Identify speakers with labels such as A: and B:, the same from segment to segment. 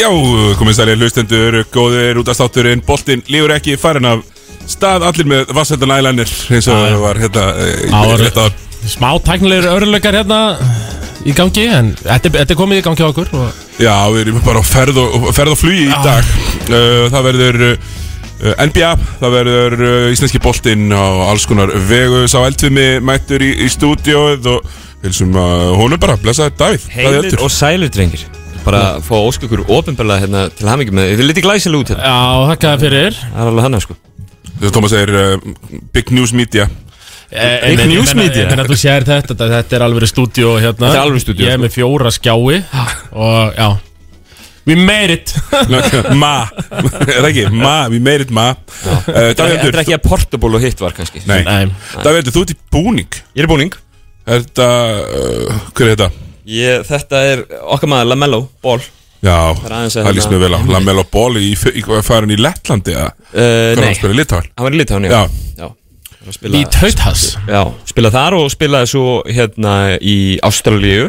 A: Já, komið sælir hlustendur, góðir út af státturinn, boltinn lífur ekki farin af stað allir með vasseldan ælænir eins og
B: Já, já.
A: var hérna eh,
B: Áður-
A: rétt að
B: Smá tæknilegur örlökar hérna í gangi En þetta, er- þetta er komið í gangi á okkur og...
A: Já, við erum bara á ferð og, ferð og flugi í dag uh, Það verður uh, NBA, það verður uh, Íslenski boltinn á alls konar vegu Sá eldfimi mættur í, í stúdíóið og hilsum að uh, honum bara, blessaður Davíð hvað er
C: Heilir
A: eldur?
C: og sælir drengir Bara að fá ósk ykkur ofinbarlega hérna, til hamingjum með Þið er litið glæsileg út hérna
B: Já, þakkaði fyrir
C: Það er alveg hann sko
A: Þess að Thomas segir uh, Big News Media
B: Big
C: News Media.
B: Þannig að þú sér þetta, þetta, þetta er alveg stúdíó hérna
C: Þetta er alvöru stúdíó,
B: Ég er
C: sko.
B: með fjóra skjái Og já We made it
A: Ma, er það ekki? Ma, við meiritt ma uh,
C: Þetta er- þetta er
A: Davíð
C: ekki að portable og hitt var kannski
A: Nei,
B: Nei,
A: Davíð Eldur, þú ert í búning
C: Ég er búning
A: Er þetta, uh, hver er þetta?
C: ég, Þetta er okkar maður Lamello, ból
A: Já,
C: er aðeins að
A: það líst mér
C: hérna-
A: vel á Lamelo Ball í, í, í farin í Lettlandi eða?
C: uh,
A: Hvað er
C: Nei,
A: hann að spila í Litáin?
C: hann var í litáni
A: Já.
C: já. Hann var að
B: í
C: Spila,
B: tautas
C: já, spila þar og spilaði svo hérna í Ástralíu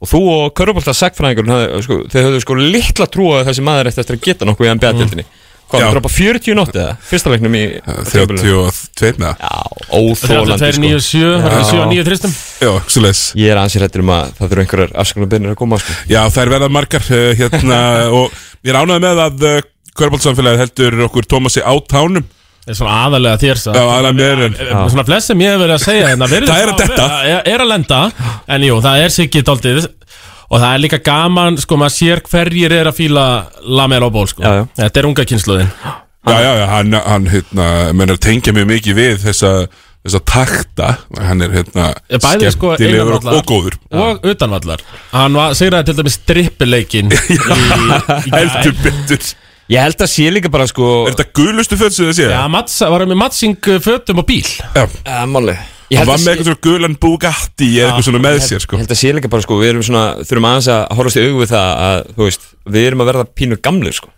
C: Og þú og Körubolta sagfræðingur sko, Þau höfðu sko litla trú að þessi maður eftir eftir að geta nokkuð í NBA-dildinni Hvað,
A: Mm. Já.
C: hann dropa 40 nótt eða? Fyrsta leiknum í
A: 32 með það
C: Já, sko. óþólandi
B: 32, 9, 7, var ekki 7 og 9 þristum
A: Já, svo leiðis
C: Ég er ansið hættur um að það þurfa einhverjar afsökunarbyrnir að koma sko.
A: Já, það er verða margar uh, hérna, og ég er ánægð með að uh, Körbáltsamfélagið heldur okkur Tómasi á tánum
B: Það er svona aðalega þér
A: Já,
B: það
A: aðra mér en
B: Já. svona flest sem ég hef verið að segja hérna, virðist
A: Það er að
B: hafa
A: detta.
B: verið- er- er að lenda en jú, það er sikkið daldið og það er líka gaman, sko, maður sér hverjir er að fíla Lamelo Ból, sko
C: Já, já.
B: þetta er unga kynsluðin
A: Já, já, já, hann, hann hérna, menn er að tengja mjög mikið við þessa, þessa takta Hann er hérna
B: Ég bæði, sko, innan
A: skemmtilegur og,
B: vallar.
A: og góður
B: og utanvallar hann var, segir til dæmis strippileikin
A: Heldur betur Er
C: Ég held að sé líka bara sko
A: þetta gulustu föt sem þið séð?
B: Já, Mats var hann með matsing fötum og bíl
A: Já,
C: uh, Máli Ég
A: Hann
C: held
A: var
C: að
A: með
C: sé-
A: eitthvað svona gulan Bugatti eða eitthvað svona með sér,
C: ég
A: sko
C: held að sé líka bara sko Við erum svona, þurfum aðeins að horfast í augum við það að, Þú veist, við erum að verða pínu gamlir sko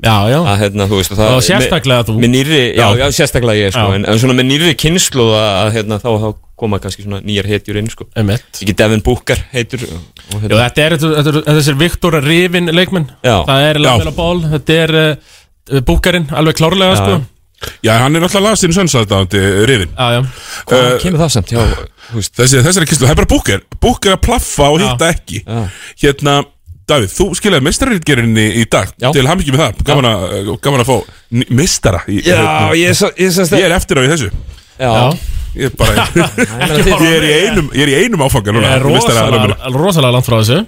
B: Já, já,
C: að, hérna, þú veist, og það,
B: og sérstaklega þú
C: með, með nýri, já,
B: Já.
C: já, sérstaklega ég sko
B: Já.
C: en, en svona með nýri kynslu að hérna, þá, þá koma kannski svona nýjar heitjur inn sko
B: Einmitt.
C: Ekki Devin Booker heitur og,
B: Jú,
C: og, hérna,
B: þetta er, þetta er, þetta er þessir Viktor Rivin leikmenn
C: Já.
B: Það er Lamelo Ból, þetta er uh, búkarinn, alveg klárlega, sko
C: já.
A: Já, hann er alltaf lasinn sönnsæðdándi, Rifin
B: Já, já, Uh,
C: Hvað kemur það samt? Já, þú veist
A: Þessi, þessari kynstu, það er bara búker Búker að plaffa og hitta ekki
C: Já.
A: Hérna, Davíð, þú skiljaði meistarritgerinni í dag
C: Já.
A: Til hammingjum með það, gaman, að, gaman að fá n- meistara í, hérna.
C: Já, ég, ég, ég, Hérna. ég,
A: Ég er eftir á í þessu
C: já.
A: Ég er bara
B: Ekki
A: Ég
B: horfa
A: er í
B: á mig.
A: einum, ég er í einum áfanga núna
B: Ég er
A: í meistararæðinu.
B: rosalega, rosalega langt frá þessu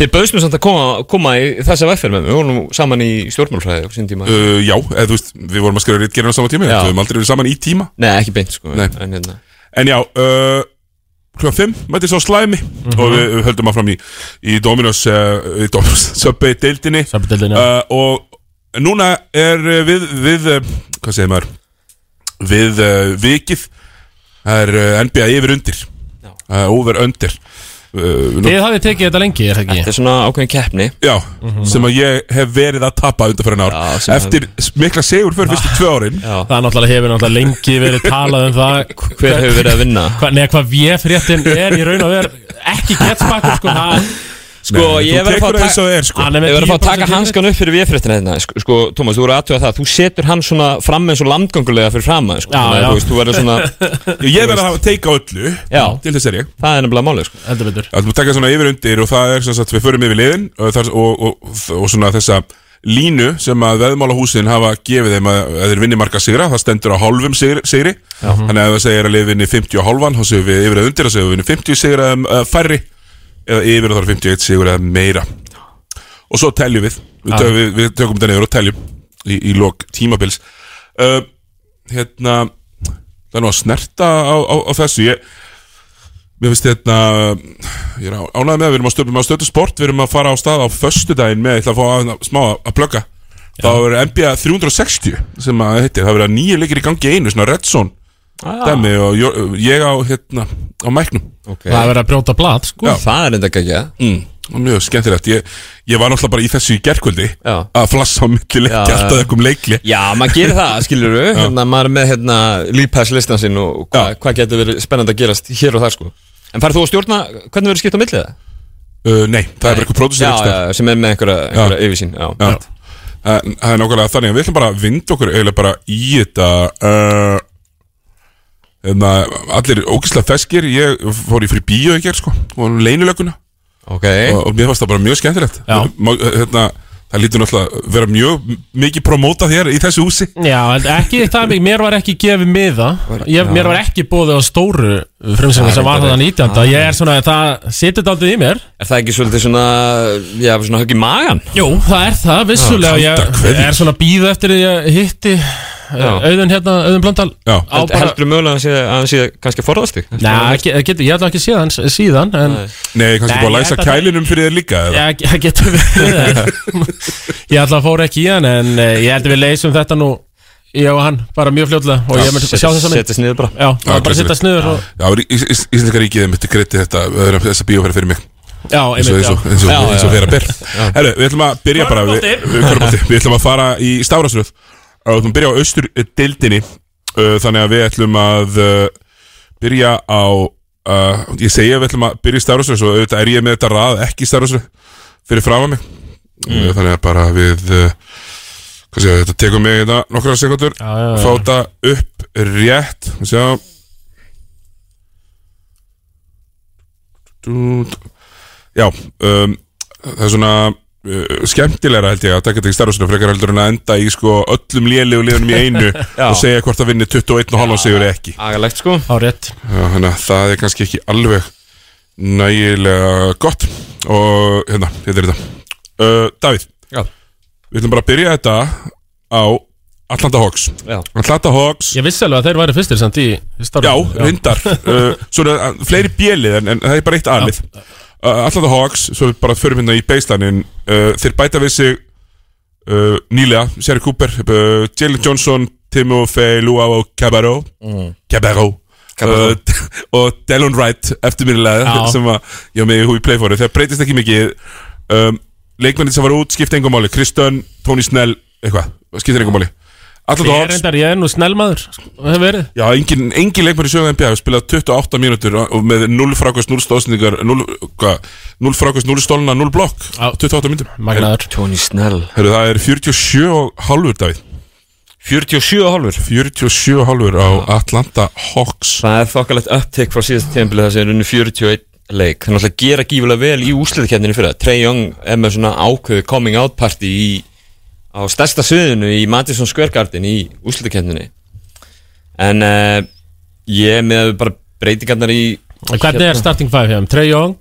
C: Þið bauðst mér samt að koma, koma í þessa vegferð með mér, við vorum saman í stjórnmálfræði á sín tíma
A: Uh, já, eða þú veist, við vorum að skrifa ritgerðina á sama tíma
C: Já.
A: Við höfum aldrei verið saman í tíma
C: Nei, ekki beint sko
A: Nei.
C: En, hérna.
A: En já, uh, klukkan 5, mættir svo slæmi Og við við höldum áfram í, í Dominos, uh, í Dominos Subway deildinni
B: Söpudildin, já
A: uh, Og núna er uh, við, við uh, Hvað segir maður? Við uh, vikið Það er uh, NBA yfir undir
C: Já.
A: uh, Over undir uh, nú,
B: Þið hafið tekið þetta lengi, er það
C: Þetta
B: ekki?
C: er svona ákveðin keppni
A: Já, sem að ég hef verið að tapa undanfærin ár
C: Mhm. Já, sem Ah.
A: Eftir mikla segur fyrir fyrstu tvö árin
C: já.
B: Það er náttúrulega hefur náttúrulega lengi verið talað um það
C: Hver hefur verið að vinna?
B: Hva, Nei, hvað véfréttin er í raun og ver Ekki getspakkur, sko það-
C: Sko, ég
A: Þú
C: verið
A: tekur
C: að,
A: það eins
C: að,
A: og er sko
B: Hann er
C: að,
B: með
C: að, að
B: 10%
C: taka sko. hanskan upp fyrir viðfréttina hérna Sko, sko Tómas, þú voru aðtöða það Þú setur hann svona fram eins og landgangulega fyrir fram sko.
B: Já,
C: Þannig að
B: já.
C: Þú veist, þú verður svona
A: Ég verið að hafa teika öllu
C: Já.
A: Til þess er ég
C: Það er nefnilega málið sko
B: Heldur betur
A: Það er að taka svona yfir undir og það er sem sagt við förum yfir liðin og, þar, og, og, og svona þessa línu sem að veðmálahúsin hafa gefið þeim að, að þeir vinni marga sigra það stendur á hálfum sigri, sigri. þannig að ef það segir að liðið vinni 50 og hálfan þá segir við yfir að undir, þá segir við vinni 50 sigra eða, uh, færri eða yfir og það er 51 sigur eða meira og svo teljum við við, tök, við, við tökum þetta neyður og teljum í, í lok tímabils uh, hérna það er nú að snerta á, á, á þessu ég Mér finnst þetta, ég er ánægð með að við erum að stöðum að stöðu sport, við erum að fara á stað á föstudaginn með, ég ætla að fá að, smá að plugga Þá verður NBA 360 sem að heitir, það verður nýju leikir í gangi í einu, svona Red Zone dæmi og jo- ég á, hérna, á mæknum
C: okay.
B: Það er verið að brjóta blad, sko
C: Það er enda ekki ekki
A: mm. Mjög skemmtilegt, ég, ég var náttúrulega bara í þessu í gerkvöldi
C: Já.
A: að flassa á milli leikja
C: Já.
A: alltaf eitthvað um leikli
C: Já, maður gerir það, skilur við hérna, Maður er með hérna, lífpæðslistan sinn og hvað hva getur verið spennandi að gerast hér og þar sko. En farið þú að stjórna, hvernig verður skipt á millið það?
A: uh, Nei, það er bara eitthvað
C: Já,
A: pródusir
C: já, sem er með einhverja, einhverja yfirsýn já.
A: Já. Það það er nákvæmlega þannig að við ætlum bara að vinda okkur eiginlega bara í þetta uh, Þannig að allir ógislega feskir Ég fór í fyrir bíó í gerð sko og leinilögguna
C: Ok,
A: og, og mér fannst það bara mjög skemmtilegt
B: Eh. Já.
A: Má, hérna, Það lítur náttúrulega að vera mjög mikið promótað hér í þessu húsi
B: Já, en ekki það mikið, mér var ekki gefið miða ég, Mér var ekki bóðið á stóru frumsegna
C: Það
B: sem var
C: er bara-
B: þarna 19. Ég er svona, það situr daldið í mér
C: er það ekki svolítið svona Já, svona högg í magan?
B: Jú, það er það, vissulega
A: kalda
B: Ég
A: kveðjur.
B: er svona býð eftir því að ég hitti
C: Já.
B: auðun hérna, auðun blöndal
A: Já.
B: á
C: Held,
B: bara,
C: Heldur þú mögulega að hann sé- að hann sé kannski að forðast þig?
B: Næ, ekki- það getur, ég hef ekki séð hans síðan en
C: Nei.
A: Nei, kannski
B: Nei,
A: búið að
B: ég
A: læsa
B: held að það-
A: kælinum fyrir þér líka eða?
B: Já, það getur verið en- Ég ætla að fóra ekki í hann en eh, ég held að við leysum þetta nú ég og hann, bara mjög fljótlega og ég mun sjá þess að
C: Settist niður bara
B: Já, það var bara að
A: klessilegt.
B: sitta sniður og
A: Já, í- í- í- Íslenska ríkið er mitt greiti þetta öðrum- þessa bíóferð fyrir mig
B: Já,
A: eins og-
B: einmitt,
A: eins og- eins
B: já
A: og-
C: Já,
A: eins og
C: já.
A: vera ber Herru, við ætlum að byrja bara við,
B: Körfubolti.
A: við, körfubolti. við ætlum að fara í Stárasröð og við ætlum að byrja á austur dildinni þannig að við ætlum að uh, byrja á uh, ég segi að við ætlum að byrja í Stárasröð svo auðvitað er ég með þetta rað ekki í Stárasröð fyrir fram að mig mm. þannig að bara við uh, hvað séu, þetta tekur mig þetta nokkra sekundur
B: Já, já, já.
A: fá þetta upp rétt við sjá Dú- já um, það er svona uh, skemmtilegra held ég að taka þetta í starfsuna frekar heldur en að enda í sko öllum lélegu liðunum í einu
C: Já.
A: og segja hvort það vinni 21,5 sigur eða ekki
C: Agalegt sko
B: Á rétt
A: Já, þannig að það er kannski ekki alveg nægilega gott og hérna, hérna er þetta uh, Davíð,
C: Já,
A: við ætlum bara að byrja þetta á Atlanta Hawks
C: já
A: Atlanta Hawks,
B: Ég vissi alveg að þeir væri fyrstir samt í í starfi
A: já, reyndar uh, svona uh, fleiri bjölið en, en það er bara eitt aðlið uh, Atlanta Hawks, svo við bara förum hérna í baseline uh, þeir bæta við sig uh, nýlega, Sherry Cooper uh, Jalen Johnson, Timo Fey Luau Cabarro Cabarro
C: Cabarro.
A: Uh, og Delon Wright eftirminnilega
B: Já.
A: sem að ég var með í húi playfóru þegar breytist ekki mikið um, leikmennir sem var út skipta engum máli Kristön, Tony Snell, eitthvað skipta engum máli Alltaf
B: Ég er reyndar, ég er nú snellmaður sko, og hef verið
A: Já, engin, engin leikmæri í sögum NBA hefur spilað 28 mínútur og með 0 frákvæmst 0 stóðsendingar 0, hva, 0 frákvæmst 0 stólna 0 blokk
B: Já.
A: 28 mínútur
B: Magnaður
C: Tony Snell
A: Herru, það er 47 og hálfur, Davíð
C: 47 og hálfur
A: 47 og hálfur á Atlanta Hawks
C: Það er þokkalegt upptake frá síðast tímpil þess að er unni 41 leik Þannig að gera gífulega vel í úsliðkjarninni fyrir það Trey Young er með svona ákveðu coming out party í, á stærsta sviðinu í Madison Square Garden í úsliðkjarninni En uh, ég er með bara breytingarnar í
B: En Hvernig
A: hérna.
B: er starting five hjá þeim? Trey Young,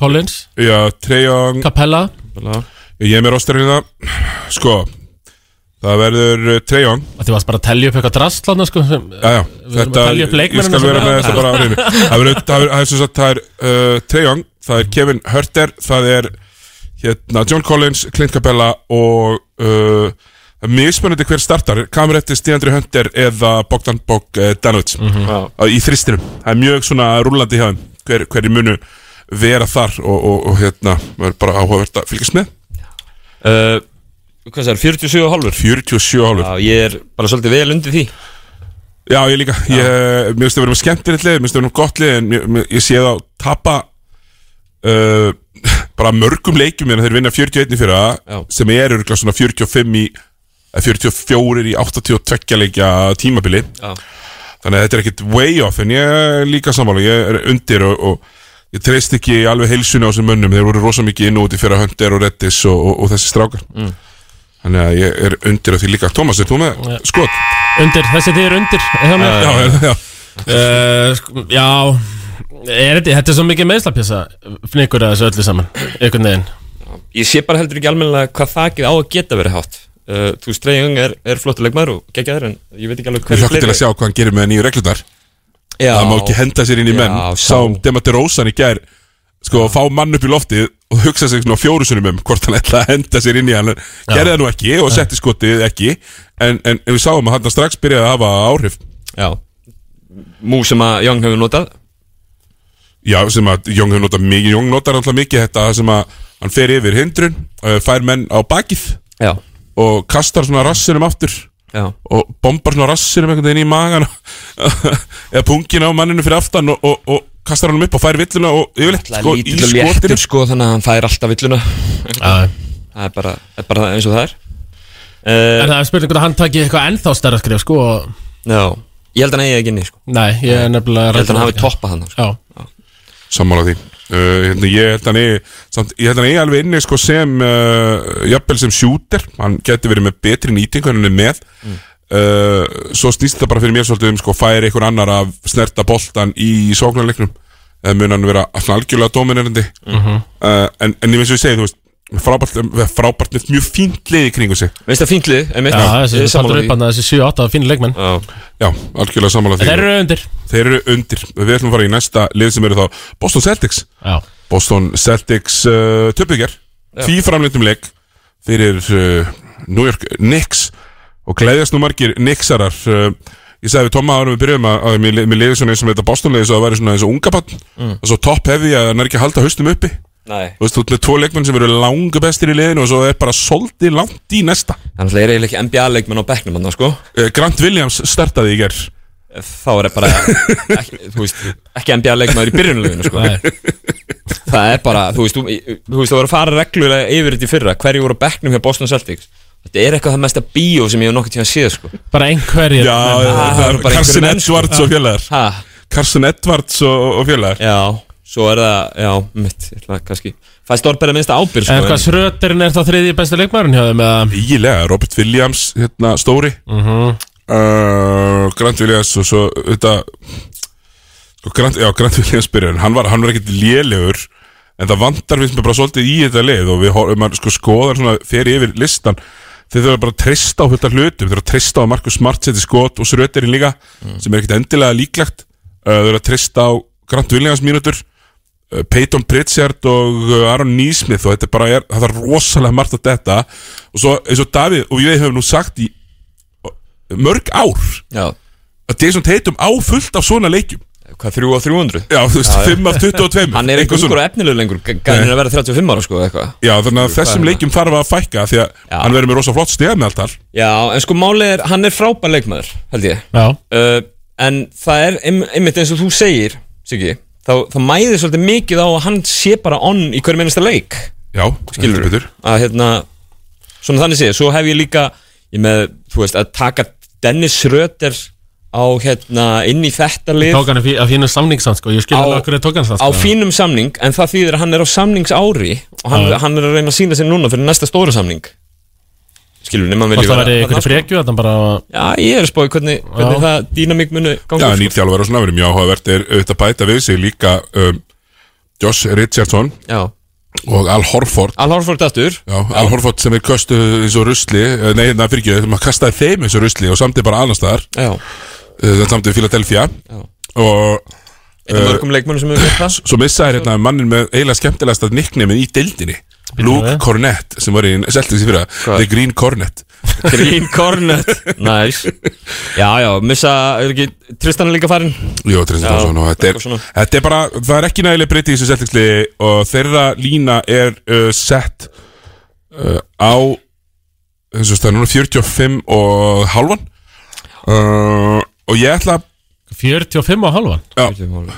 B: Collins,
A: Já, Treyjong
B: Capella
C: Hérna.
A: Ég er með rostarinn það Sko, það verður Treyjong
B: Þið varst bara að telja upp eitthvað drast lána sko sem,
A: Já, já,
B: Við erum að telja upp
A: ég
B: leikmennina
A: skal
B: sem
A: vera
B: eru
A: með
B: á-
A: þetta bara á reynu Það verður- það verður- það er sem sagt, það er uh, Trae Young, það er Kevin Hurter Það er hérna, John Collins, Clint Capella og uh, það er mismunandi hver startar Kameretti, Stíandri Hunter eða Bogdan Bog uh, Danovic
B: Mhm.
C: Já.
A: Á- í þristinum, það er mjög svona rúlandi hjá þeim hver, hverju munu vera þar og, og, og hérna, verður bara áhugavert að fylgjast með
C: uh, Hvað það er, 47 og hálfur
A: 47 hálfur
C: Já, ég er bara svolítið vel undir því
A: Já, ég líka, ég, mér finnst að vera með skemmtilegt lið, mér finnst að vera með gott lið en ég, ég sé þá tapa uh, bara mörgum leikjum en þeir vinna 41 fyrir
C: Já.
A: það sem er örgulega svona 45 í eða 44 í 82 leikja tímabili
C: Já.
A: þannig að þetta er ekkit way off en ég er líka sammála, ég er undir og, og ég treyst ekki alveg heilsuna á þessum mönnum, þeir voru rosa mikið inn og úti fyrir að Hunter og Reddis og, og, og þessi strákar þannig að ég er undir á því líka Thomas, er þú með skot?
B: Undir, þessi þið er undir hjá mér
A: Já, já, já
B: Eh, sko, Já er þetta, þetta er svo mikið meðslapjasa Fnikur að þessu öllu saman Einhvern veginn
C: ég sé bara heldur ekki almennilega hvað þakið á að geta verið hátt uh, þú veist, Trey Young er, er flottuleg maður og geggja þér en ég veit ekki alveg
A: Ég
C: hverju
A: hlakka til að sjá hvað hann gerir með nýju reglundar
C: já,
A: Það má ekki henda sér inn í
C: Já,
A: menn
C: sá.
A: Sáum Demati Rósan í gær Sko að fá mann upp í loftið Og hugsa sig svona fjórusunum um Hvort hann ætla að henda sér inn í hann Gerði það nú ekki og setti skotið ekki En, en, en við sáum að hann strax byrjaði að hafa áhrif
C: já. mú sem að Young hefur notað
A: já, sem að Jóng hefur notað mikið, Jóng notar alltaf mikið þetta sem að hann fer yfir hindrun, uh, fær menn á bakið
C: Já,
A: og kastar svona rassinum aftur
C: já,
A: og bombar svona rassinum einhvern veginn í magan eða pungin á manninu fyrir aftan og, og, og kastar hann upp og fær villuna og yfirleitt
C: sko,
A: sko, í
C: lítill og léttur
A: skotinu
C: sko þannig að hann fær alltaf villuna
B: Já.
C: það er bara, er Uh, bara eins og það er
B: En það er spurning hvort að hann taki eitthvað ennþá stærra skrif sko og-
C: uh, Já, ég held að hann eigi ekki inni sko
B: Nei, ég er nefnilega
C: Ég held að hann hafi toppa hann sko.
B: Já,
A: sammála því uh, hérna, ég held hann eigi samt, ég held hann eigi alveg inni sko sem uh, jafnvel sem shooter, hann geti verið með betri nýtingu en hann er með uh, svo snýst það bara fyrir mér svolítið um sko færi einhver annar að snerta boltan í sóknarleiknum eða mun hann vera svona algjörlega dominerandi uh, en, en ég veist við segið, þú veist frábært, frábært með mjög fínt lið í kringu sig
C: Veist það fínt lið, einmitt
B: já þessi
C: Ég er
B: þú
C: sammála
B: taldur
C: því.
B: upp hann að þessi 7-8 fínu leikmenn
C: Já,
A: Já, algjörlega sammála því
B: Þeir eru undir
A: Þeir eru undir Við ætlum að fara í næsta lið sem eru þá Boston Celtics
B: Já,
A: Boston Celtics uh, töpugjær Því framlindum um leik Fyrir uh, New York Knicks Og gleðjast nú margir Knicksarar uh, Ég sagði við Tomma árum við byrjum að, að mér, mér liði svona eins og þetta Boston liði svo að það væri svona eins og unga bann og svo topp hefi að hann er ekki að halda haustum uppi Þú
C: nei
A: veist, þú ert með tvo leikmenn sem eru langa bestir í liðinu og svo er bara soldið langt í næsta
C: Þannig að ég er eiginlega ekki NBA-leikmenn á bekknum hann sko
A: uh, Grant Williams startaði í gerð
C: Þá er það bara ekki, Þú veist, ekki NBA-leikmenn í byrjunleginu sko
B: nei,
C: Það er bara, þú veist, þú, þú veist, það voru að fara reglulega yfir þetta í fyrra Hverju voru á bekknum hjá Boston Celtics Þetta er eitthvað það mesta bíó sem ég hef nokkuð tíma séð, sko
B: bara einhverjir
A: Já,
B: menn.
A: já,
C: það
A: það
C: eru
A: er
C: bara
A: Carson
C: einhverjir menn, sko.
A: Edwards og fjölaðar
C: Ha,
A: Carson Edwards og, og fjölaðar
C: já, svo er það, já, mitt, ég ætla að kannski Fæst orðberða minnsta ábyrð, sko
B: En hvað Sröterin er það þriðji besti leikmærin hjá þeim eða?
A: Ígilega, Robert Williams, hérna, stóri uh, Grant Williams og svo, þetta sko, Grant, Já, Grant Williams byrjar Hann var, hann var ekkit lélegur En það vantar finnst mér bara svolítið í þetta leið Og við hor- ef maður sko, skoðar svona, fer yfir listan Þeir þurfa bara að treysta á þetta hlutum Þeir þurfa að treysta á Markus Smart seti skot og Sröterin líka Sem er ekkit endilega líklegt uh, Þeir þurfa að treysta á Grant Williams mínútur uh, Peyton Pritchard og uh, Aaron Neesmith og þetta bara er, það er rosalega margt að þetta og svo eins og Davíð og ég hefum nú sagt í mörg ár
C: Já,
A: að Jason Tatum á fullt af svona leikjum
C: hvað, 3 og 300
A: já, þú veist, 5 af 22
C: Hann er ekki
A: eitthvað
C: ungur og efnilegur lengur Gæðin er að vera 35 ára, sko, eitthvað
A: já, þannig að þessum leikjum þarf að fækka því að
C: Já.
A: hann verður með rosa flott stegað með allt þar
C: Já, en sko, málið er, hann er frábær leikmaður, held ég
B: Já,
C: uh, En það er ein- einmitt eins og þú segir, Siggi Þá, þá mæðir svolítið mikið á að hann sé bara on í hverjum einasta leik
A: já,
C: skilur
A: heldur betur.
C: að hérna, svona þannig sé, svo hef ég líka ég með, þú veist, að taka Dennis Röder á hérna, inn í þetta lið
B: tók hann að fí- að fínu samningssand sko Ég skil
C: Á-
B: alveg okkur að tók hann það
C: á
B: sko
C: fínum samning, en það þýðir að hann er á samningsári og hann, hann er að reyna að sína sér núna fyrir næsta stóra samning skilur, nema
B: Hvort
C: viljum
B: það verði ykkur frekju að hann bara
C: Já, ég er að spáði hvernig, hvernig það dýnamík munu
A: já,
C: gangi upp,
A: nýr þjálfur og svona verður mjög áhugavert er auðvitað að bæta við sig líka um, Josh Richardson
C: sko. Já,
A: og Al Horford
C: Al Horford aftur
A: Já, Al Horford sem er köstu eins og rusli eh, Nei, það fyrir ekki, maður kastaði þeim eins og rusli og samt er bara annars staðar
C: Já,
A: eh, samt er Philadelphia
C: Já.
A: og
C: einn af mörgum leikmönnum sem hefur gert það
A: svo missaði hérna mannin með eiginlega skemmtilegasta nicknamið í deildinni Luke
C: eh?
B: við.
A: Cornett sem var í Celtics í fyrra The Green Cornet
C: Green Cornet, nice Já, já, missa, er ekki Tristan er líka farinn
A: Jó, Tristan
C: Já,
A: Thompson og þetta
C: eitthvað svona.
A: er, þetta er bara, það er ekki nægileg breytið í þessu Celticsli og þeirra lína er uh, sett uh, á eins og það er núna 45 og halvan uh, og ég ætla að
B: 45 og halvan
C: um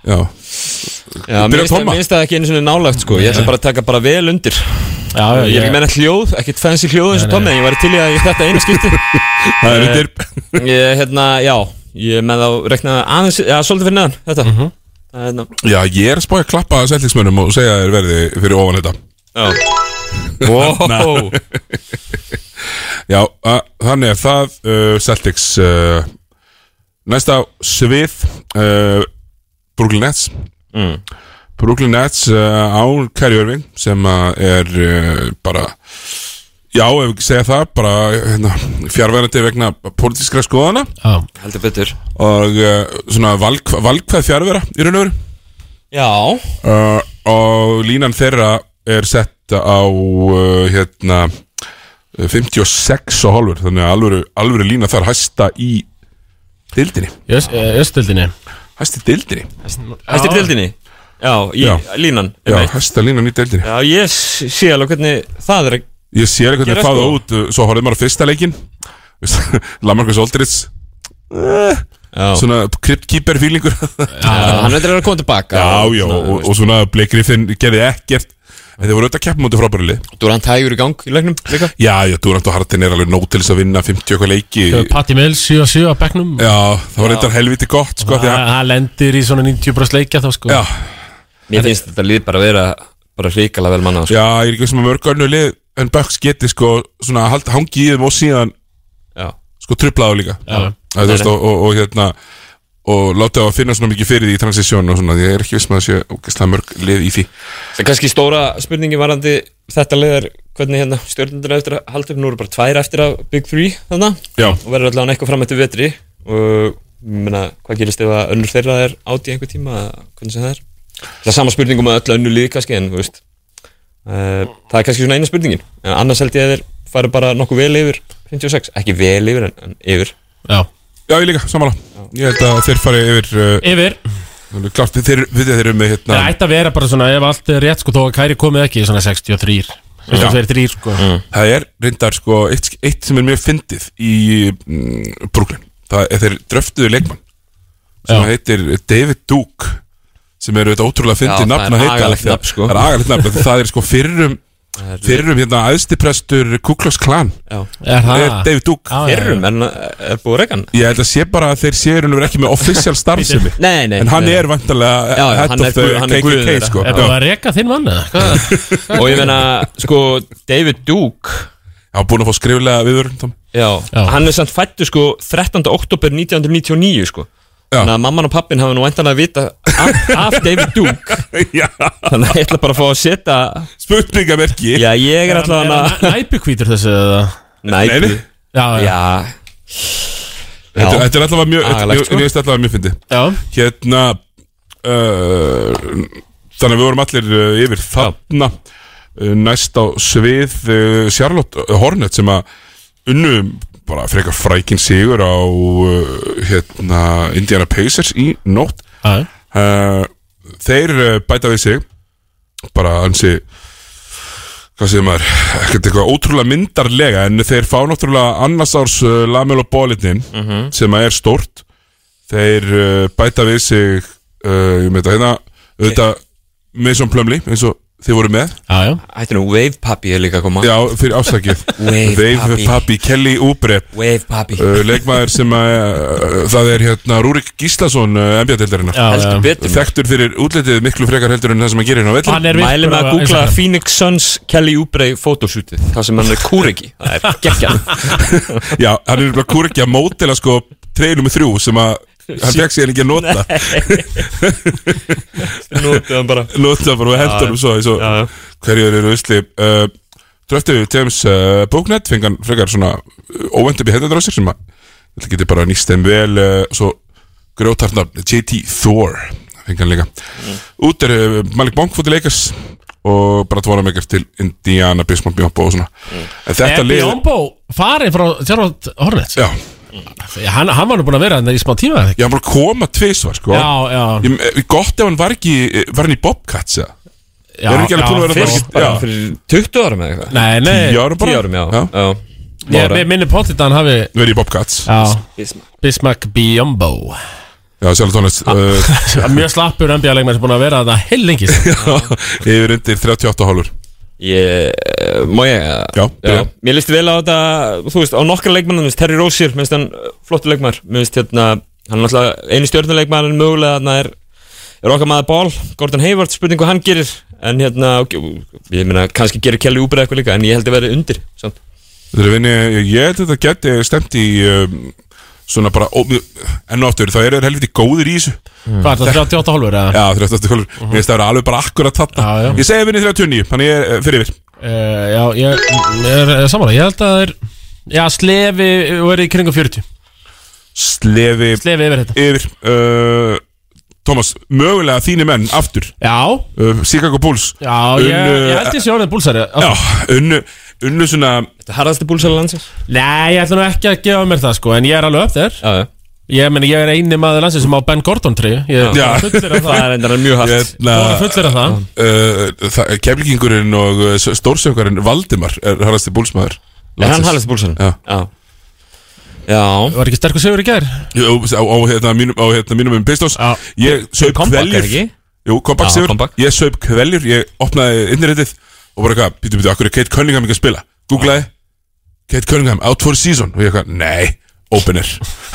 C: Já,
A: Já,
C: mér
A: Byrja
C: finnst-
A: Tomma.
C: mér finnst það ekki einu svona nálægt sko Ég ætla bara að taka bara vel undir
B: Já,
C: Eh, Ég er ekki
B: já,
C: meina hljóð, ekkert fancy hljóð eins
B: Nei,
C: og Tommi En ég var til í að ég þetta einu skipti
A: það er undir
C: Ég, hérna, já, ég er með þá reknaði aðeins Já, svolítið fyrir neðan, þetta Það er hérna,
A: Já, ég er að spája að klappa að Celticsmönnum og segja að þeir verði fyrir ofan þetta
C: já Wow
A: Já, að, þannig er það uh, Celtics uh, Næsta svið uh, Brooklyn Nets
C: Mm.
A: Brooklyn Nets uh, án Kerry Irving sem að er uh, bara Já, ef við ekki segja það, bara hérna, fjárverðandi vegna pólitískra skoðana
B: já
C: Heldur betur
A: og uh, svona valk, valkvæð fjárverða í raun og veru
C: Já,
A: uh, og línan þeirra er sett á uh, hérna uh, 56 og hálfur þannig að alvöru, alvöru lína þar hæsta í dildinni
B: Í öst- eh, Östildinni
A: Hæsti deildinni
C: Hæstir dildinni Já, í
A: Já.
C: línan
A: Já,
C: einmitt.
A: hæsta línan í deildinni
C: Já, ég s- sé alveg hvernig það er að
A: Ég sér hvernig
C: Gera
A: það
C: sko.
A: út uh, Svo horfði maður á fyrsta leikin Lamarcus Aldrich
C: Já,
A: Svona kryptkeeper feelingur
C: hann veitir að vera að koma tilbaka
A: Já, já, og, og svona Blake Griffin gerði ekkert En þeir voru auðvitað að keppa mútið frábærili
C: Þú er hann tægur í gang í leiknum líka
A: Já, já, Durant og Harden er alveg nóg til þess að vinna 50 eitthvað leiki Já,
B: Patti Mills 7-7 á bekknum
A: það var eitthvað helviti gott, sko því að,
B: Hann hann lendir í svona 90% leikja þá sko
A: Já,
C: Mér finnst þetta lið bara að vera bara hrikalega vel manna sko.
A: já, ég er ekki sem að mörg önnu lið En Bucks geti, sko, svona hald, hangi í þeim og síðan,
C: Já,
A: sko, truplaðu líka
B: Já.
A: Það, þú veist, og, og, og hérna Og láta það að finna svona mikið fyrir því í transisjón og svona Því ég er ekki viss með að sé ógeðslega mörg lið í því
C: það er kannski stóra spurningi varandi þetta lið er hvernig hérna stjórnundur eftir að halda upp nú eru bara tvær eftir að Big Three þarna
A: Já,
C: og verður allavega eitthvað fram eftir vetri og ég meina, hvað gerist ef að önnur þeirra er átt í einhver tíma eða hvernig sem það er Það er sama spurningum að öll önnu lið kannski en þú veist uh, það er kannski svona eina spurningin en annars held ég að þeir fari bara nokkuð vel yfir 56, ekki vel yfir en, en yfir
B: Já.
A: já, ég líka, sammála Ég held að þeir fari yfir uh,
B: Yfir,
A: alveg Klart, þeir, við þeir eru með hérna
B: það ætti að vera bara svona ef allt er rétt sko þó að Kæri komið ekki í svona 63 63 sko
A: Það er reyndar sko eitt, eitt sem er mjög fyndið í mm, Brooklyn Það er þeir dröftuðu leikmann sem
B: Já.
A: heitir David Duke sem eru þetta ótrúlega
C: Já,
A: fyndið
C: það
A: nafn
C: er
A: að heita
C: agalegt
A: því að-
C: nafn, sko.
A: Það er agalegt nafn, af því það er sko fyrrum fyrrum hérna aðstiprestur Kuklos Klan
C: Já.
B: Er
A: er
B: það?
A: David Duke
B: Já, já.
C: Fyrrum, en er búið að reyka hann?
A: Ég held að sé bara að þeir séu hann ekki með official starfsemi
C: Nei, nei
A: En hann
C: nei.
A: er vantarlega
C: Já, já,
A: head
C: hann er
A: of the
C: guð- hann er guð
A: KKK
C: þeirra.
A: sko
B: Er það
A: Já,
B: að reka þinn mann eða? Hvað?
C: Og ég meina, sko, David Duke
A: hann er búin að fá skriflega viður
C: Já,
B: Já.
C: hann er samt fættu sko 13. oktober 1999 sko
A: Já.
C: Þannig að mamman og pappin hafa nú endanlega vita af, af David Duke
A: Já,
C: Þannig að ég ætla bara að fá að setja
A: spurningamerki
C: Já, ég er
B: Er
C: alltaf hann að
B: hann næpukvítur þessu eða?
A: Nei,
C: Næpi
A: nei.
B: Já, já,
C: Já
A: Þetta
C: Já.
A: þetta er allavega mjög, þetta-
C: Agalegt,
A: ég-
C: sko.
A: ég veist allavega mjög fyndið
B: já.
A: Hérna uh, Þannig að við vorum allir uh, yfir þarna uh, Næst á svið uh, Charlotte Hornet sem að unnu bara frekar frækin sigur á uh, hérna, Indiana Pacers í nótt
B: já.
A: uh, Þeir uh, bæta við sig bara ansi hvað segir maður, ekkert eitthvað ótrúlega myndarlega en þeir fá náttúrulega annars árs uh, Lamelo Bólitnin sem að er stórt þeir uh, bæta við sig uh, ég með þetta hérna auðvitað Mason Plumlee eins og þið voru með
B: já, já.
C: Ætti nú Wave Papi er líka að koma
A: já, fyrir afsakið
C: Wave
A: Wave
C: Papi.
A: Papi, Kelly Oubre
C: Wave Papi
A: uh, leikmaður sem að uh, það er hérna Rúrik Gíslason uh, NBA-deildarinnar
B: já, já.
C: Heldur betur
A: þekktur fyrir útlitið miklu frekar heldur en það sem hann gerir hérna á velli
B: Hann er virkur
C: Mælum að
B: á
C: googla
B: Instagram.
C: Phoenix Suns Kelly Oubre photoshootið Það sem hann er kúriki Það er geggjað
A: Já, hann er bara kurkja mótela sko treylu með þrjú sem að hann fekk sér ekki að nota
C: Nótið hann bara
A: nota bara og hendur um svo, svo
C: Já, já.
A: hverjur eru usli uh, Dröftu James uh, Bóknett fengan frekar svona óvendur upp í hendur á sér sem að þetta getur bara nýst þeim vel uh, svo grjótarnar JT Thor fengan líka
C: Mm.
A: út er uh, Malik Bonk fótið leikas og bara tvoðan megar til Indiana Bismarck Bjombo og svona
C: Mm.
A: en þetta
B: Er
A: lið
B: Bjombo farin frá Charlotte Hornets?
A: já,
B: Hann, hann var nú búin að vera hann í smá tíma eða ekki?
A: ég hann bara koma tvisvar sko
B: Já, já,
A: Ég, eh, gott ef hann var ekki eh, var hann í Bobcats eða?
B: já
A: erum ekki alveg búin að vera
B: fyrst-
C: Fyrst bara
A: Já.
C: fyrir 20 árum eða eitthvað
B: Nei, nei,
A: Tíu árum bara?
C: Tíu árum, já,
A: Já.
C: já.
B: ég mig- minni pottit að hann hafi
A: Verið í Bobcats Já,
B: Já, Bismarck Bjombo
A: sjálf tónlist uh,
B: Hann er Mjög slappur NBA-leikmenn sem búin að vera þetta heil lengi
A: Yfir undir 38 hálfur
C: Ég, eh, má ég
A: Já, byrja.
C: Mér líst vel á þetta, þú veist, á nokkra leikmann minnst Terry Rozier, minnst hann eh, flottur leikmar minnst hérna, hann er náttúrulega einu stjórnuleikmann en mögulega hann er, er okkar maður ból, Gordon Hayward, spurning hvað hann gerir en hérna, ok, ég meina kannski gerir Kelly Uber eitthvað líka, en ég held að vera undir samt.
A: Þetta er vinni Ég held að þetta geti stemt í um, Svona bara ó, mjög- Enn og aftur Það eru þeir helviti góðir í þessu
B: Hvað er það, 38 hálfur eða?
A: Já, 38 hálfur Mér finnst það vera alveg bara akkurat þarna
B: Já, já.
A: Ég segi vinni 39 Þannig ég er eh, fyrir yfir
B: Uh, já, ég, ég er samanlega, ég held að það er Já, slefi og er í kringum 40
A: Slefi
B: Slefi yfir þetta
A: Yfir uh, Thomas Mögulega þínu menn Aftur
B: Já,
A: uh, Chicago Bulls
B: já, ég, ég held ég sé orðin búlsari
A: Já, unnu Unnu svona
C: Þetta er harðasti búlsæli landsins
B: Nei, ég ætla nú ekki að gefa mér það sko En ég er alveg upp þér
C: Já, já
B: Ég meni, ég er eini maður landsins sem á Ben Gordon 3 Ég er
A: Já.
B: bara fullir af
C: Það
B: það
C: er endara mjög hægt
B: Ég er fullir af það
A: uh, Keflingingurinn og uh, stórsöngurinn Valdimar er harrasti búlsmaður
C: Er hann Hallest Búlsson?
A: Já.
C: Já Já
B: Var ekki sterkur sigur í gær?
A: Jú, á, á, hérna, mínum, á hérna, mínum um Pistons
B: Já.
A: Ég saup
C: comeback, er
A: kveljur
C: ekki?
A: Jú, comeback
C: Já,
A: sigur
C: comeback.
A: Ég saup kveljur, ég opnaði internetið Og bara eitthvað, býtu, býtu, akkur er Kate Cunningham ekki að spila Googlaði Kate Cunningham, out for season Og ég eitthvað, nei, opener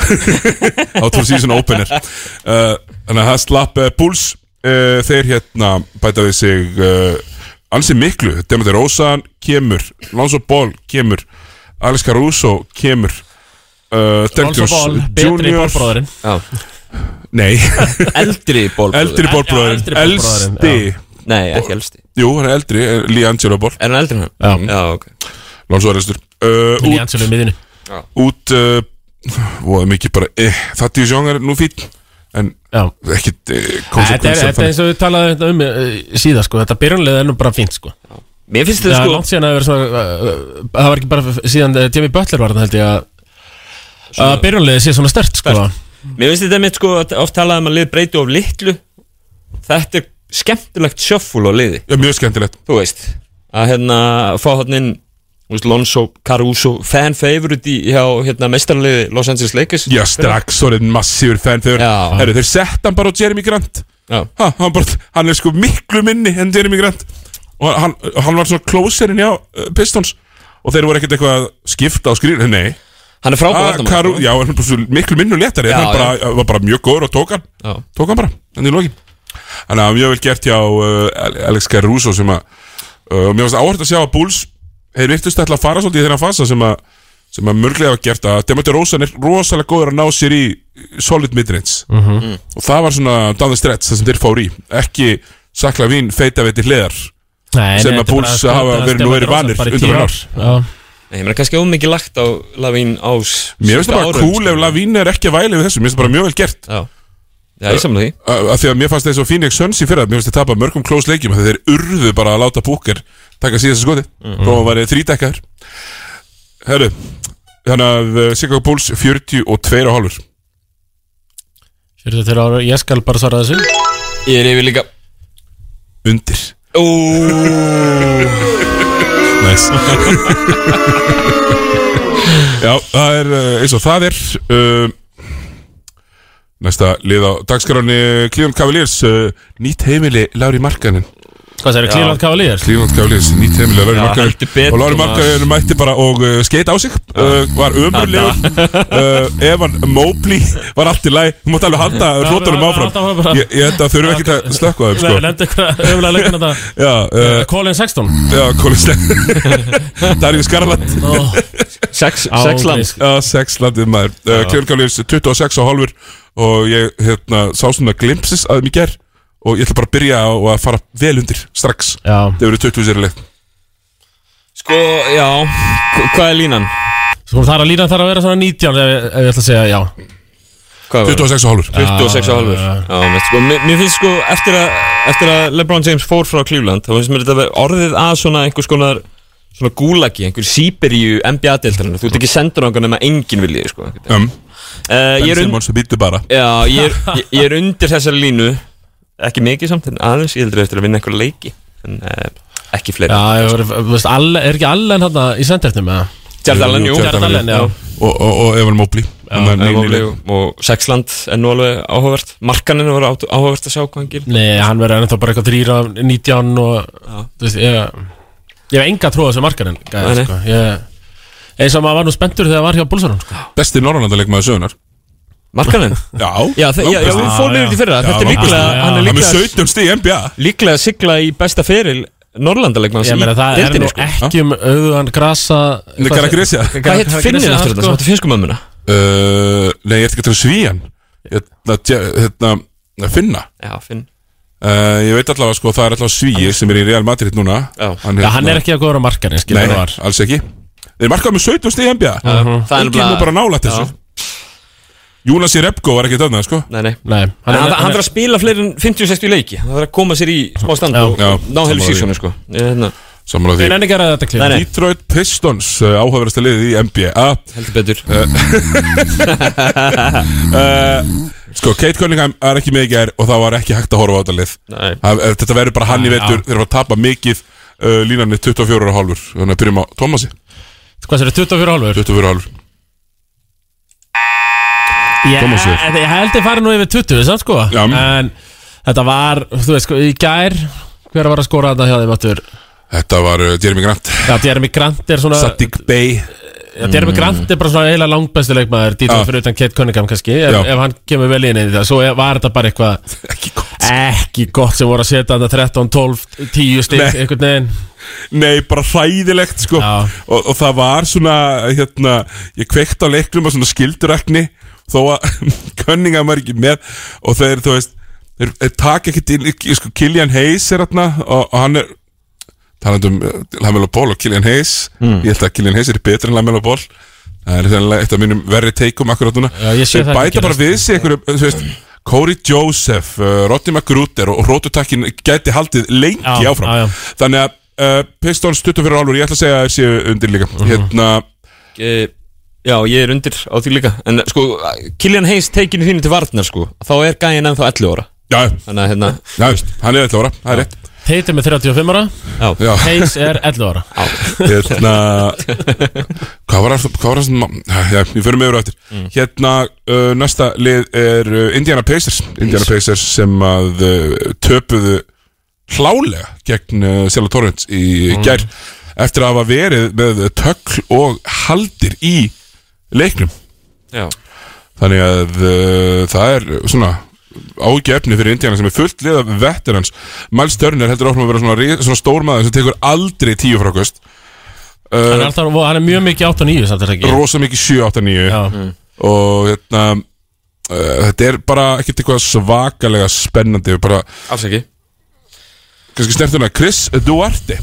A: Out for season, opener uh, Þannig að það slapp uh, Bulls uh, Þeir hérna bæta við sig uh, Ansi miklu, Demetri Rósan kemur Lonzo Ball kemur Alex Caruso kemur uh, Derrick
B: Lonzo
A: Jones
B: Ball, betri
A: Jr.
B: bólbróðurinn
C: Já.
A: Nei,
C: Eldri bólbróður
A: eldri bólbróðurinn
B: eldri bólbróðirinn,
A: Elsti
C: Nei, ekki elsti
A: Jú, hann er eldri, er Lee Angelo Ball
C: Er hann eldri en
B: Já.
C: hann? Já, ok
A: Lónsó er elstur uh,
B: Í
A: Út,
B: ansölu miðinu
A: út uh, Voða mikið bara eh, Þatti Sjón er nú fýll En
B: Já
A: ekkit eh,
B: Þetta er,
A: konsekvensar
B: þetta er eins og við talaðum þetta um eh, síðar sko, þetta byrjunlega er nú bara fínt sko
C: Mér finnst
B: Það
C: þetta
B: er
C: sko
B: langt síðan að vera svona uh, uh, Það var ekki bara f- síðan eh, Jimmy Butler var þannig held ég að að byrjunlega sé svona stert sko
C: Mér finnst þetta mitt sko að Oft talaði um að lið breyti of litlu Þetta er skemmtilegt shuffle á liði
A: Já, mjög skemmtilegt
C: Þú veist Að hérna fá hann inn þú veist, Lonzo Caruso Fan favorite í hjá hérna mestarliði Los Angeles Lakers
A: Já, strax orðin massífur fan þegar
C: Já.
A: Herru, þeir sett hann bara á Jeremy Grant
C: Já.
A: ha, hann, bara, hann er sko miklu minni en Jeremy Grant Og hann, hann var svona closerinn hjá uh, Pistons Og þeir voru ekkert eitthvað að skipta á skrýr Nei
C: Hann er frábæð
A: Ah, Karu, já, hann er bara svo miklu minnu léttari
C: sko. Já,
A: Það bara, var bara mjög góður og tók hann
C: Já.
A: Tók hann bara, hann í lokin Þannig að mjög vel gert hjá uh, Alex Caruso sem að uh, Mér varst áhört að sjá að Bulls Þeir virtust ætla að fara svolítið í þeirra fasa sem að sem að mörglega hafa gert að Demetri Rósan er rosalega góður að ná sér í solid midrange -hmm. og það var svona down the stretch það sem þeir fór í ekki sakla vín feita veit í hliðar
B: Nei,
A: Sem
B: nei,
A: að
B: þetta er
A: Bulls
B: bara-
A: hafa verið nú
B: Stefán
A: verið vanir
B: Rosa bara í
A: undanfarin
B: tíu
A: ár.
B: Já.
C: Nei, mér er kannski ómikið lagt á Lavín ás
A: Mér finnst það bara
C: árum,
A: cool
C: sko.
A: ef Lavín er ekki að væli við þessu, mér finnst það bara mjög vel gert
C: Já, já ég samla því
A: að að því að mér fannst þessu Phoenix Suns í fyrra mér fannst þeir tapa mörgum close leikjum af því þeir urðu bara að láta búkir taka síðast skoti mm -hmm. og væri þrítekkaður Herru þannig að uh, Chicago Bulls 42 og hálfur
B: 42 ára, ég skal bara svara þessu
C: Ég er yfir líka
A: undir
C: Úúúú
A: nice. Já, það er uh, eins og það er uh, Næsta lið á dagskráni Cleveland Cavaliers uh, nýtt heimili Lári Markanin
B: Hvað það eru, Cleveland Cavaliers?
A: Cleveland Cavaliers, nýtt heimil að Lári
C: Já, heldur
A: Markaður
C: betur,
A: og Lári
C: maður.
A: Markaður mætti bara og uh, skeit á sig uh, var ömurlegur uh, Evan Mobley var allt í læg þú mátt alveg halda hrótunum
B: bara- halda bara-
A: áfram ég, ég held að þurfum ekki að slökka þeim
B: Nei,
A: sko.
B: nefndi eitthvað öfulega leikunum þetta
A: já, uh,
B: Colin Sexton
A: já, Kolisteg Darjus Garland
B: Ó,
C: Sex,
B: á,
C: sex land
B: grís.
A: já, sex landið maður uh, Cleveland Cavaliers 26 og hálfur og ég hérna, sá svona glimpsis að mér ger og ég ætla bara að byrja á að fara vel undir strax
B: Já,
A: þeir eru 20 sér í leik
C: Sko, já hva- Hvað er línan?
B: sko það er að lína þar að vera svona 19 ef, ef ég ætla að segja já
C: Hvað var það?
A: 26 og hálfur
C: 26 og halvur
B: Já,
C: Já, mér, sko, mér, mér finnst sko eftir að, eftir að LeBron James fór frá Cleveland þá finnst mér þetta vera orðið að svona einhvers konar svona gúlagi, einhver síberíu NBA-deltarinn, þú ert ekki sendur á einhvern nema enginn viljið, sko uh,
A: um,
C: ég,
A: Ben
C: er und,
A: Simmons býtu bara
C: já, ég, er, ég, ég er undir þessari línu ekki mikið samt, en aðeins ég heldur eftir að vinna einhver leiki en uh, ekki fleiri
B: já ég var, veist, all, er ekki allan hann í sendefnum eða?
C: Jared Allen, jú
A: Jared
B: Jared Allen, já
A: og, og, og Evan Mobley Hann er
C: Nei,
A: nýr-
C: Mobley og- og Sexland er nú alveg áhugavert Markaninn var át- áhugavert að sjá hvað hann gerir
B: Nei, hann verður ennþá bara eitthvað 3 af 19 og þú veist, ég ég hef enga trú á þessu markarinn
C: Nei, nei.
B: sko. Ég- eins og maður var nú spenntur þegar maður var hjá Búlsarun sko.
A: besti norrlandarleikmaður sögunar
C: Markaninn?
A: já,
C: Já, þe- já, já,
A: langbesti.
C: við
B: Já,
C: fórum
B: já.
C: yfir því fyrra Þetta er
A: langbesti.
C: líklega,
B: Já,
C: hann er
B: já.
A: hann er
C: líklega,
A: 17 stig í NBA
C: líklega að sigla í besta feril Norrlandalegmanns
B: ég meina það er
C: í
B: nú
C: deildinni sko
B: ekki um auðan grasa
A: Nei,
B: hvað-
A: Karagrisja.
C: Hvað hétt finnir
B: Karagrisja,
C: þetta aftur þetta?
B: sko?
C: Þetta er finnsku mömmuna
A: uh, nei, ég ætti ekki að tala svíjan hérna, dje- hérna að finna
C: Já, finn
A: uh, ég veit allavega sko, það er allavega svíi sem er í Real Madrid núna hérna-
C: Já.
B: Já, hann er ekki að góður á markarinn skilur
A: nei,
B: hann
C: hérna
A: nei,
B: var
A: alls ekki þeir markaði með 17 stig í NBA
C: Það er
A: ekki nú bara nálætt þessu
C: Já.
A: Jonas Repko var ekki þarna sko
C: Nei, nei
B: Nei,
C: En Hann hann þarf að spila fleiri en 50-60 leiki Hann þarf að koma sér í smá stand
B: Já.
C: og
A: Já,
C: ná
A: sammála
C: heilu
A: því.
C: sísónu sko Ég, hérna,
A: Saman á því
B: Ég nenni ekki að ræða þetta klíma
C: Nei, nei.
A: Detroit Pistons, uh, áhugaverðasta liðið í NBA
C: heldur betur
A: Sko, Kate Cunningham er ekki með í gær og það var ekki hægt að horfa á þetta lið
C: Nei.
A: Það- eh, Þetta verður bara hann í vetur, þeir eru að tapa mikið uh, línan er 24 og hálfur Þannig að byrjum á Thomasi,
B: Hvað sér, 24 hálfur?
A: 24 og hálfur
B: Ég
A: Thomas er.
B: ég held ég fari nú yfir 20 samt sko
A: Já.
B: En þetta var, þú veist sko, í gær Hver var að skora þetta hjá þeim aftur?
A: Þetta var uh, Jeremy Grant
B: Já, Jeremy Grant er svona
A: Sadik Bey
B: Já, Jeremy Grant er bara svona eiginlega langbæstu leikmaður
A: Mm.
B: Dítið
A: Já.
B: fyrir utan Kate Cunningham kannski ef,
A: Já.
B: ef hann kemur vel inn í þetta Svo var þetta bara eitthvað
A: Ekki gott
B: ekki gott sem voru að setja þetta 13, 12, 10 stík
A: Nei.
B: einhvern veginn
A: Nei, bara hræðilegt sko
B: Já.
A: og, og það var svona hérna, Ég kveikti á leiknum og svona skildurakni Þó að könninga maður ekki með Og þeir, þú veist Þeir, þeir taka ekkert inn í- sko, Killian Hayes er þarna og, og hann er talandi um eh, Lamelo Ball og Killian Hayes
B: Mm.
A: Ég held að Killian Hayes er betur en Lamelo Ball Það er sennilega eitt af mínum verri teikum akkurat núna
B: Já, ég sé
A: Þeir
B: það ekki
A: bæta bara við sig einhverju, þú veist Corey Joseph, uh, Rodney McGruder og, og rótutakkin gæti haldið lengi
B: Já,
A: áfram
B: já, já.
A: Þannig að uh, Pistons 24 álur, ég ætla að segja að þeir séu undir líka Hérna,
C: Eh, Já, ég er undir á því líka En sko, Killian Hayes teikinu þínu til varnar sko Þá er gæin ennþá 11 ára
A: já,
C: Þannig að hérna,
A: já, hann er 11 ára, það er rétt
B: Tate er með 35 ára,
C: já,
A: Já,
B: Hayes er 11 ára
A: hérna Hvað var það, hvað var það sem Já, ég fyrir mig yfir á eftir Hérna, uh, næsta lið er uh, Indiana Pacers Indiana Pacers sem að uh, töpuðu hlálega gegn uh, Sela Torrents í gær eftir að hafa verið með tökl og haldir í leiknum
C: já.
A: Þannig að uh, það er svona ágefni fyrir Indiana sem er fullt lið af veterans Miles Turner heldur áfram að vera svona, ri- svona stórmaður sem tekur aldrei tíu frákvöst
B: Hann er, alltaf, og hann er mjög mikið 8 og 9 samt er það ekki
A: rosa mikið 7-8-9
B: Já.
A: og hérna uh, þetta er bara ekkert eitthvað svakalega spennandi bara,
C: alls ekki
A: kannski snertuna Chris Duarte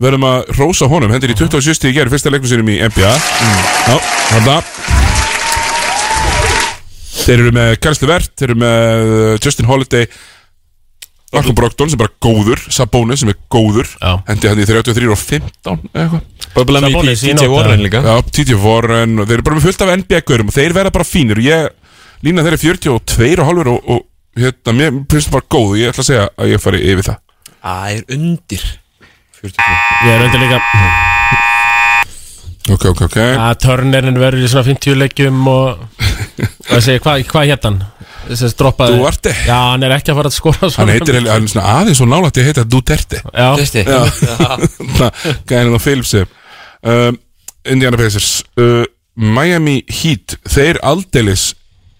A: verðum að rósa honum, hendur í 27. stig í gerð fyrsta leikum sínum í NBA Já, þarna Þeir eru með Karlslu Vert, þeir eru með uh, Justin Holiday Malcolm Brogdon sem er bara góður, Sabonis sem er góður
B: Já.
A: hendi hann í 33 og 15 eða eitthvað
C: Böbla með
B: Sabonis í
C: DJ
B: nótt,
C: Warren
B: eða?
C: líka
A: Já, TJ Warren og þeir eru bara með fullt af NBA-gaurum og þeir verða bara fínir og ég lína þeir eru 42 og halvur og, og hérna, mér finnst það bara góð og ég ætla að segja að ég fari yfir það
C: Það er undir 42.
B: Ég er undir líka
A: Ok, ok, ok
B: að Turnerin verður í svona 50 leikjum og hvað segir, hvað hva hétt hann? Þessi droppaði
A: Duarte.
B: Já, hann er ekki að fara að skora svona
A: Hann heitir, heil- hann er svona aðeins og nálægt ég heita Duterte
B: Já,
C: Veistu?
A: Gæðin og Phillips um, Indiana Pacers uh, Miami Heat Þeir aldeilis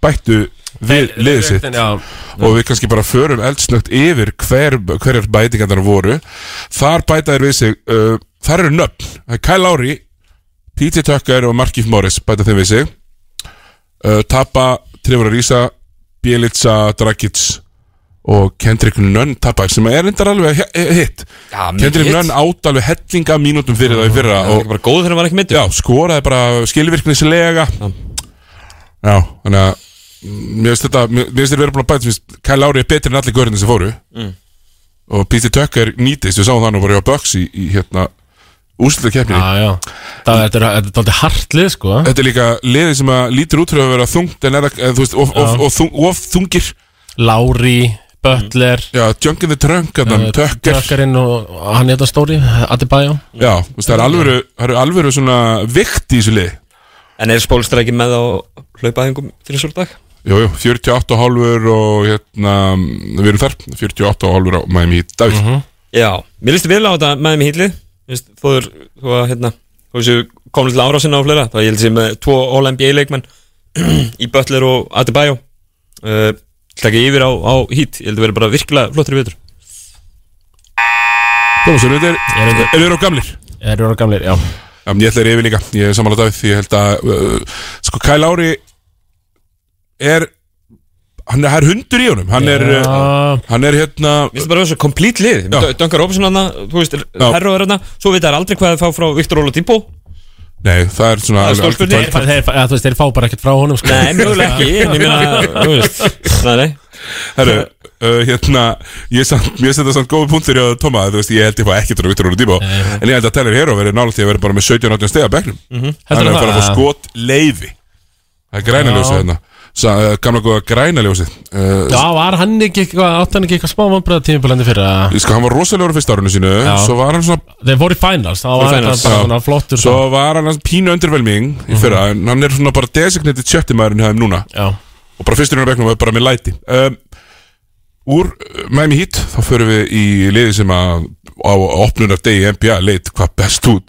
A: bættu við liðið sitt
B: Já,
A: og við kannski bara förum eldsnögt yfir hver, hverjar bætingarnar voru þar bæta þér við sig uh, þar eru nöfn, það er Kyle Lowry P.T. Tucker og Markif Morris bæta þeim við sig uh, Tapa, Trevor Risa Bielitsa, Dragic og Kendrick Nunn tapa sem er endar alveg he- he- hitt
C: Já, mikið
A: Kendrick
C: hitt.
A: Nunn átt alveg hellinga mínútum fyrir það í fyrra
C: Það
A: og
C: er bara góð þegar maður er ekki mittur
A: já, skoraði bara skilvirknislega Já, þannig að mm, mér finnst þetta, mér mér finnst þetta verið búin að bæta mér finnst Kyle Lowry er betri en allir görðin sem fóru og P.T. Tucker nýtist við sáum þannig bara hjá Bucks í, í hérna úrslutu
B: já,
A: keppninni
B: já Það þetta er þetta er aldrei hartlið, sko
A: Þetta er líka liðið sem að lítur út fyrir að vera þungt en er að, eða, þú veist, of, of, of, þung, of þungir
B: Lári, Böttler
A: Já, Junkin the Trunk, þannig, Mm. Tucker
B: Tökkarinn eh, og og hann hérna stóri, Adebayo
A: Já, þú veist, það er alvöru, það eru alvöru svona vikt í þessu liði
C: En er spólstra ekki með á hlaupaðingum fyrir svolítið dag?
A: Jú, jú, 48 hálfur og hérna, við erum þar 48 hálfur á Miami Heat Davíð,
C: Já, mér líst vel á þetta með mér hýtli Þú er, þú að hérna Þú séu komin til árásinna á fleira Það ég held sér með tvo All-NBA leikmenn Í Butler og Adebayo uh, Takk yfir á, á hít Ég held að vera bara virkilega flottir í vetur
A: Thomas, eru þeir
B: Eru þeir-
A: eru þeir á gamlir?
B: Eru orða gamlir, já
A: Já, ég ætla þeir yfir líka, ég er samanlega Davíð ég held að, uh, sko, Kyle Lowry er hann er, hann er hundur í honum hann er,
B: Já.
A: uh, hann er hérna
C: Mér finnst bara þessu komplít lið
A: Já.
C: Döngar Robinson hana, þú veist, Herro er hana Svo veit það aldrei hvað það fá frá Viktor Óla Dibó
A: nei, það er svona
C: Það er stór spurning.
A: alveg-
B: Þeir, þeir, þeir, eða, þú veist, þeir fá bara ekkert frá honum, sko
C: Nei, mjögulega ekki En ég meina, þú veist Nei, nei
A: Herru, uh, hérna, ég samt, mér setja samt góði punktur í að Toma, þú veist, ég held ég fá ekkert úr vittur úr tíma, en ég held að Tyler Hero verið nála því að vera bara með 17-18 steg að bekknum mm -hmm. hann
B: Heldurðu
A: er að fara að
B: Mhm, það?
A: fá skot leiði það er græna ljósið hérna Sa, uh, gamla góða græna ljósið uh,
B: Já, var hann ekki eitthvað, átt hann ekki eitthvað smá vombraða tímpilandi fyrir að
A: sko, hann var rosalegur á fyrsta árunni sínu, svo var hann svona
B: þeir voru í finals, þá var hann
C: finals,
B: bara
A: já.
B: svona flottur Mhm.
A: svo var hann aðeins pínu undirvelming í fyrra, en hann er svona bara designated sjötti maðurinn hefðum núna
B: Já,
A: og bara fyrsturinn á bekknum var bara með læti um, Úr uh, Miami Heat þá förum við í liði sem að á opnunar degi NBA leit hvað best út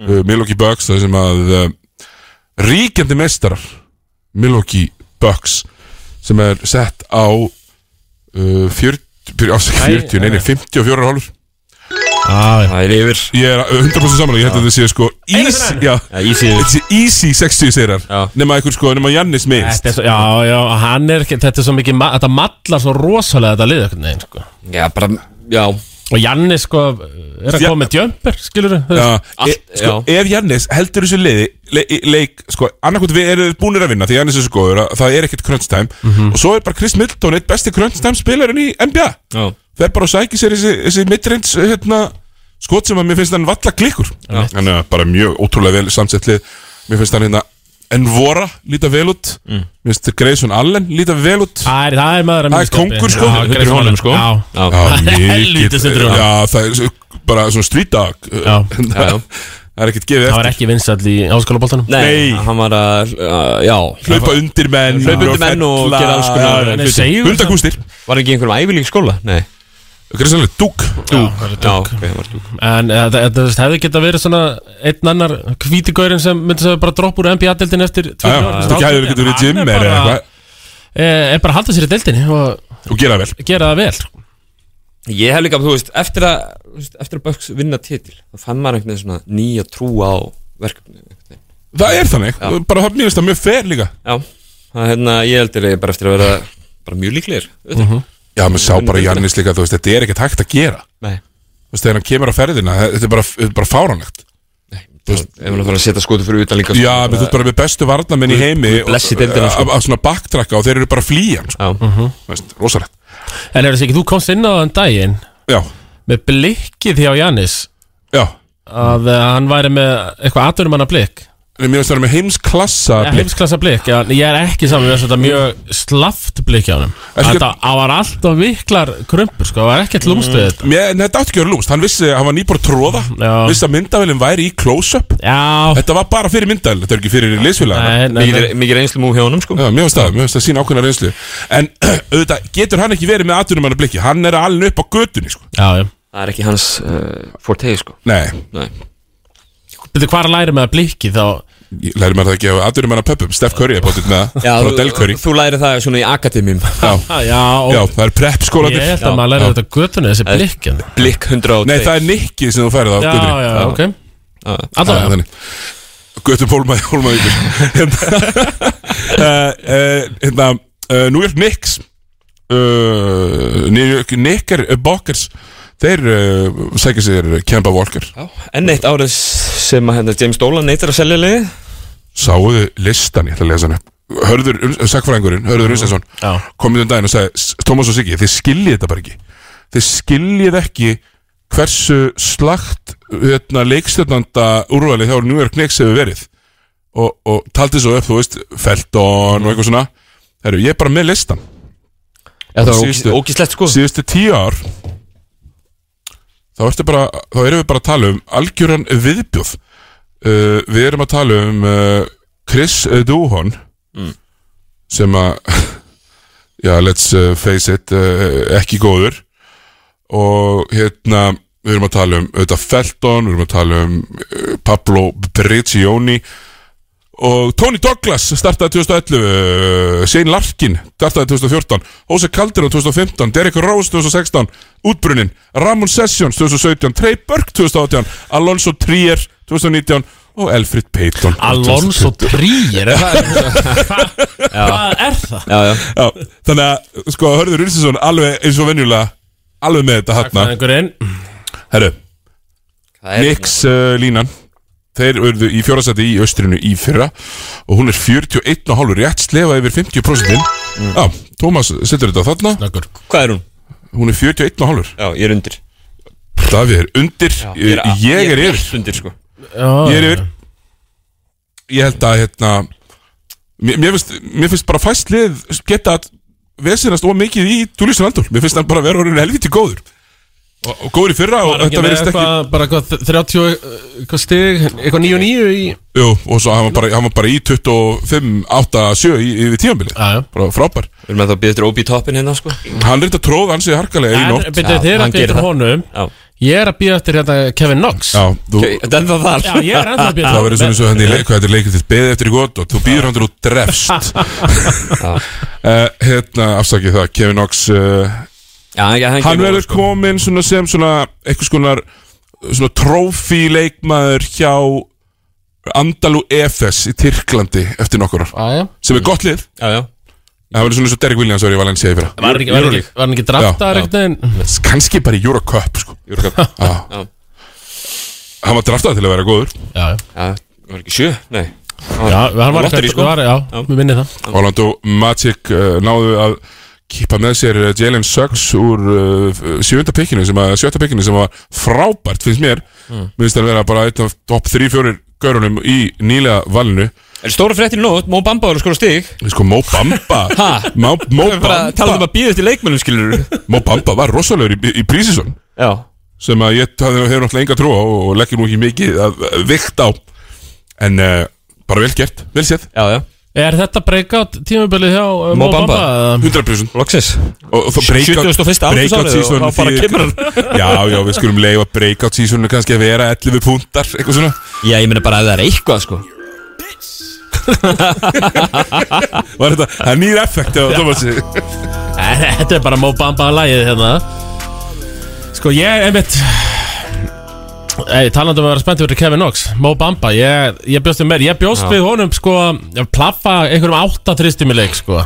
A: uh, Milwaukee Bucks það sem að uh, ríkjandi meistarar Milwaukee Bucks sem er sett á uh, 40, fyrir- afsakið,
B: Æ,
A: 40 neini 54 hálfur
B: já, já.
C: Það er yfir
A: ég er 100% samanlega, ég held að þetta sé sko
B: Einu
A: easy,
B: fyrir
A: já,
C: Já, í síðu
A: þetta sé easy 60 sigrar
C: Já.
A: nema einhver sko, nema Jannis meist
B: Þetta er svo, já, já, hann er ekki, þetta er svo mikið, ma- þetta mallar svo rosalega þetta lið einhvern veginn, sko
C: Já, bara, já
B: Og Janni, sko, er að
A: Já.
B: koma með jumper, skilur þú?
A: Já,
C: Allt-
A: e, sko, ef Jannis heldur þessu liði le, í- leik, sko, annarkvæmt við erum búinir að vinna því Jannis er svo góður að það er ekkert crunch time og svo er bara Chris Middleton eitt besti crunch time spilarinn í NBA
C: Já,
A: fer bara og sækir sér þessi, þessi midrange hérna, skot sem að mér finnst hann valla klikkur hann er eh, bara mjög ótrúlega vel samsettlið mér finnst hann hérna en Vora líta vel út mér finnst Grayson Allen líta vel út
B: Það er, það er maður að
A: Það er
B: mínu skapi.
A: kóngur, sko.
B: Já,
A: Hundur í
B: Grayson
A: honum,
B: Allen,
A: sko.
B: Já,
C: já,
A: Já, mikið-
B: Helvítis undir honum.
A: Já, það er svo- bara svona street dog
B: Já,
C: já, já.
A: það er ekkert gefið
B: það
A: eftir
B: var ekki vinsall í háskólaboltanum
A: Nei.
C: Nei, hann var að, uh, já
A: hlaupa undir menn
C: Hlaupa undir menn og
A: fella-
C: gera alls konar
A: Já,
B: Hann
A: já,
B: er
A: hluti.
B: seigur,
A: hundakústir
C: Var ekki í einhverjum æfilík skóla? Nei
A: Kristján Lund, dúk
B: Dúk
C: Já, ok, það var dúk
B: En eh, þetta þetta, þú veist, hefði geta verið svona einn annar kvítigaurin sem myndi segja bara droppa úr NBA-deltin eftir
A: Já, já, þetta gæði verið getur í gym
B: Hann
A: eða
B: er bara-
A: eitthvað
B: eh, er bara að halda sér í deltinni og
A: og gera það vel
B: gera það vel
C: Ég hef líka, þú veist, eftir að þú veist, Eftir að Böks vinna titil þá fann maður einhvern veginn svona nýja trú á verkefni
A: það er þannig bara það mér finnst það mjög fer líka
C: Já, það er hérna, ég heldur ég bara eftir að vera bara mjög líklegir uh -huh.
A: já, maður sá bara Jannis líka þú veist þetta er ekkert hægt að gera
C: Nei,
A: þú veist þegar hann kemur á ferðina það- þetta er bara, þetta er bara fáranlegt
C: þú veist, ef hann fara að setja skotu fyrir utan líka sko.
A: já,
C: svona,
A: menn þú ert bara með bestu varnamenn í heimi
C: Guð blessi deildina, sko.
A: af- af svona backtracka og þeir eru bara flýjan
C: Já,
A: rosalegt
B: En er þess ekki, þú komst inn á þann daginn
A: já,
B: með blikkið hjá Jannis
A: já
B: að eh, hann væri með eitthvað atvinnumanna blikk
A: En mér finnst það með heimsklassa blik.
B: heimsklassa blikk, já, en ég er ekki saman með þetta mjög slaft blikk hjá hann
A: Ertu-
B: þetta hann var alltaf miklar krumpur sko, það var ekkert lúmst við þetta
A: Mér- Nei, þetta átti ekki að vera lúmst, hann vissi, hann var nýbúr að tróða
B: Mm, Já.
A: Vissi að myndavælinn væri í close-up
B: Já,
A: Þetta var bara fyrir myndavél, þetta er ekki fyrir liðsfélagarna.
B: nei, nei, nei.
C: mikið, mikið reynslu múf hjá honum, sko
A: Já, mér finnst það, mér finnst það sína ákveðna reynslu En auðvitað, getur hann ekki verið með atvinnumanna blikki Hann er alveg upp á götunni, sko
B: Já, já
C: Það er ekki hans uh, fortei, sko
A: Nei,
C: Nei,
B: Byrðu, hvað er að læra með að blikki þá
A: ég læri maður það ekki af atvinnumanna pöpum Steff Curry er bóttið með það, frá Del Curry
C: þú læri það svona í akademím
A: Já,
B: Já,
A: já, það er prep
B: ég
A: skólandir
B: held að
C: Já,
B: maður læra
A: já.
B: þetta á götunni þessi blikk en-
C: Blikk 102
A: Nei, það er nikki sem þú færið á
B: Já,
A: götunni
B: já,
C: Já.
B: ok
C: Já.
A: Já,
B: Alltaf,
A: þannig Götum hólmaði, hólmaði ykkur Hérna, eh, eh, Hérna eh, New York Knicks eh, New York Knicker Bokkers Þeir eh, sækja sér Kemba Walker
C: Já, enn eitt árið sem að hérna, James Dolan neytir að selja liðið
A: Sáuðu listan, ég ætla að lesa hann upp Hörður, sagfræðingurinn, Hörður Unstensson
B: Já.
A: komið um daginn og sagði "S- Tómas og Siggi, þið skiljið þetta bara ekki þið skiljið ekki hversu slagt hérna, leikstjórnanda úrvali þá New York Knicks hefur verið og, og taldi svo upp, þú veist, Felton og eitthvað svona Heru, ég er bara með listan
C: Já, það var
A: Síðustu-
C: ógis- ógislegt sko
A: síðustu tíu ár þá, ertu bara, þá erum við bara að tala um algjöran viðbjóð uh, við erum að tala um uh, Chris Duhon sem að já, let's uh, face it uh, ekki góður og hérna við erum að tala um auðvitað Felton, við erum að tala um uh, Pablo Brigioni og Tony Douglas startaði 2011 uh, Shane Larkin startaði 2014 Jose Calderon 2015 Derek Rose 2016 Útbrunnin Ramon Sessions 2017 Trey Burke 2018 Alonso Trier 2019 og Elfrid Payton
B: Alonso Trier er það- Hvað hvað er það?
C: Já, já,
A: Já, þannig að sko Hörður Ulsinsson alveg eins og venjulega alveg með þetta hann
B: Einhverjinn
A: Herru,
C: það er
A: Nix uh, línan Þeir urðu í fjórasæti í austrinu í fyrra og hún er 41,5 rétt slefa yfir 50% mm. Já, Tómas setur þetta þarna
B: Snöggur
C: Hvað er hún?
A: Hún er 41 og hálfur
C: Já, ég er undir
A: Davíð er undir Ég ég er yfir
C: allt undir sko
A: Ég er yfir Ég held að hérna Mér, mér, finnst, mér finnst bara fæstlið geta að vesinast of mikið í Július Randól Mér finnst hann bara vera orðin helviti góður og, og góður í fyrra og
B: Var ekki
A: þetta
B: með
A: verðist ekki
B: eitthvað, bara eitthvað 30 eitthvað stig, eitthvað 9-9 í
A: Jú, og svo hann var bara, hann var bara í 25, 8, 7 í, yfir tímanbili
B: Já, já.
A: Bara frábær
C: Við erum að það býða eftir OB toppin hérna sko
A: Hann reyndi að tróða hans í harkalega í
B: En
A: nótt
B: byrju,
C: Já,
B: þið er
C: hann
B: að
C: gerir
B: byrja
C: það.
B: honum
C: Já
B: Ég er að byrja eftir hérna Kevin Knox
A: Já, þú,
C: Ok, Þetta er ennþá þar
B: Já, ég er ennþá að byrja
A: það verður svona eins og henni
B: Ah.
A: leik, hvað þetta er leikið til beðið eftir í gott og þú býður hann til þú drefst
B: Ah.
A: uh, hérna afsakið það Kevin Knox uh,
C: Já, hann, hann,
A: hann
C: kemur
A: verður
C: sko.
A: kominn svona sem svona einhvers konar svona trófí leikmaður hjá Andalu Efes í Tyrklandi eftir nokkur
C: Ah.
A: ár
B: Já, já.
A: sem er gott lið
C: Já, já
A: það verður svona eins og Derek Williams var í Valencia í fyrra
B: Var hann ekki- var hann ekki- var hann ekki draftar
C: Já, já.
B: eitthvað
A: kannski bara í Eurocup sko
C: Júrukapp
A: ah.
C: Já.
A: hann var draftað til að vera góður
B: Já, já
C: Já, var ekki sjö? Nei
B: Já, hann var
C: Lotterí,
B: ekki
C: sko.
B: var, Já, við minni það
A: Orlando Magic uh, náðu að kýpa með sér uh, Jalen Suggs úr uh, sjöunda pikkinu sem að sjötta pikkinu sem var frábært finnst mér,
C: Mm.
A: minnst að vera bara einn af topp 3-4 gaurunum í nýlega valinu,
C: Er stóra fréttin í nót, Mó Bamba var að skora stig
A: sko Mo Bamba
C: Ha?
A: Mo, Mo,
C: Við bara talaðum
A: Bamba,
C: um að býða eftir leikmennum skilur
A: Mo Bamba var rosalegur í, í prísison
C: Já
A: sem að ég hafði hefur náttúrulega enga trú á og, og leggir nú ekki mikið að, að vikt á en uh, bara vel gert, vel séð
C: Já, já
B: Er þetta breakout tímabilið hjá uh,
C: Mo
B: Mo Bamba? eða?
A: 100%
C: Loksins
A: og, og þá breakout
C: 71.
A: breakout
C: aldursári
A: season
C: og þá bara
A: þýðir-
C: kemur hann.
A: já, já, við skulum leifa breakout seasonu kannski að vera 11 púntar, eitthvað svona
C: Já, ég meina bara að það er eitthvað sko
A: var þetta, það er nýr effekt já, Thomasi.
B: Nei, Þetta er bara Mo Bamba lagið hérna Sko ég, einmitt Ei, talandi um að vera spennt fyrir Kevin Knox Mo Bamba, ég, ég bjóst við meir Ég bjóst við honum, sko að Plaffa einhverjum átta þristum í leik, sko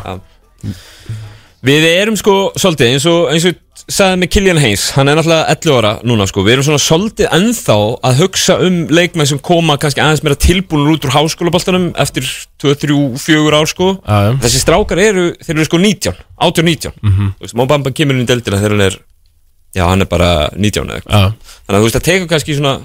C: Við erum sko svolítið eins og eins og sagði með Killian Hayes, hann er náttúrulega 11 ára núna sko, við erum svona svolítið ennþá að hugsa um leikmenn sem koma kannski aðeins meira tilbúinur út úr háskólaboltanum eftir 2-3-4 ár sko
B: Já, já.
C: þessi strákar eru, þeir eru sko 19 18-19, mm -hmm. þú veist, Móbamba kemur inn í deildina þegar hann er, já hann er bara 19 eða eitthvað,
B: Já,
C: þannig að þú veist það tekur kannski svona,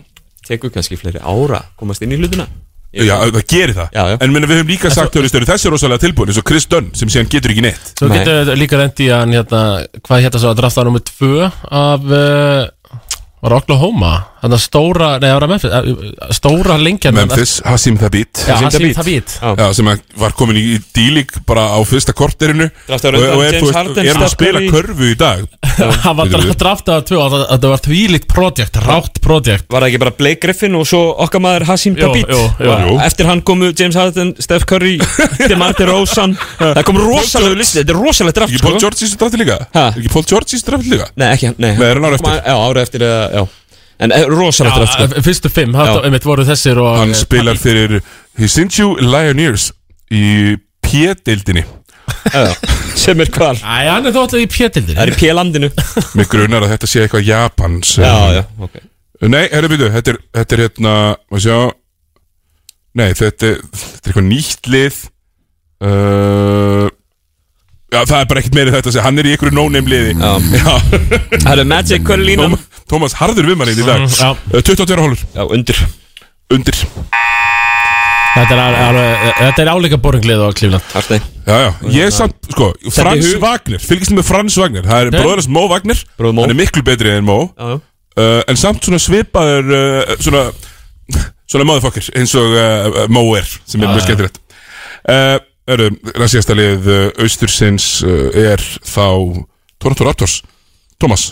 C: tekur kannski fleiri ára að komast inn í hlutina
A: já, það gerir það
C: Já, já.
A: en minna, við höfum líka sagt höfum þessi er rosalega tilbúin eins og Chris Dunn sem síðan getur ekki neitt
B: svo
C: Nei.
B: getur við líka rendi að hann, hérna, hvað hérna svo að drafta nummer tvö af uh, var Oklahoma, þannig stóra nei, það var að Memphis, uh, stóra lengjan
A: Memphis, Hassim Thabit
B: Já,
A: já.
B: hann
C: Thabit.
B: sýnt það vít
A: sem að var komin í dílík bara á fyrsta korterinu og,
C: Draftaður undan
A: og er,
C: James
A: þú veist,
C: Harden,
A: er hann að
C: sterkur
A: spila
C: í-
A: körfu í dag
B: Hann var
A: Getur við-
B: draftað að tvö og þetta var þvílíkt projekt, rátt projekt
C: Var það ekki bara Blake Griffin og svo okkar maður Hassim
B: Jú,
C: Tabit
B: jú, jú.
C: Og
A: Jú.
C: Eftir hann komu James Harden, Steph Curry, DeMar DeRozan Það kom rosalega listi, þetta er rosalega draft
A: ekki Paul George í drafti líka
C: Ha?
A: Er ekki Paul George í drafti líka
C: Nei, ekki hann, nei
A: Nei, er hann árið
C: Kom
A: eftir?
C: að- Já, ára eftir, eða, já En eh, rosalega draft sko.
B: F- Fyrstu fimm,
C: Já.
B: það einmitt voru þessir og
A: Hann spilar fyrir Hisinju Lioneers í P-deildinni
C: Já, já. Sem er hvar
B: Æ, hann er þó alltaf í pjetildin
C: Það er í P-landinu
A: Mér grunar að þetta sé eitthvað Japans
C: Já, já, ok
A: Nei, herru byrju, þetta er, þetta er hérna Má sjá Nei, þetta, er- þetta er eitthvað nýtt lið uh, Já, það er bara ekkert meira þetta að segja Hann er í einhverju no-name liði
C: Já.
A: já.
C: Um, Það er Magic, hver er línan?
A: Tóm- Tómas harður við manni í
C: Mhm.
A: dag
B: Mm, já.
A: Uh, 22 hólur,
C: Já, undir
A: undir
B: Þetta er, al- alveg- þetta er álíka boringlið og klífland
C: Arstein
A: Já, já, ég samt, sko, Frans
C: hug-
A: Wagner Fylgist með Frans Wagner, það er
B: Nei.
A: bróðurins Mó Wagner
C: Bróðir Mo.
A: Hann er miklu betri en Mó
C: Já, já
A: uh, en samt svona svipaður uh, svona svona motherfucker eins og uh, Mo er sem er mjög skemmtilegt uh, Öru, næstjasta lið uh, Austursins uh, er þá Toronto Raptors Thomas,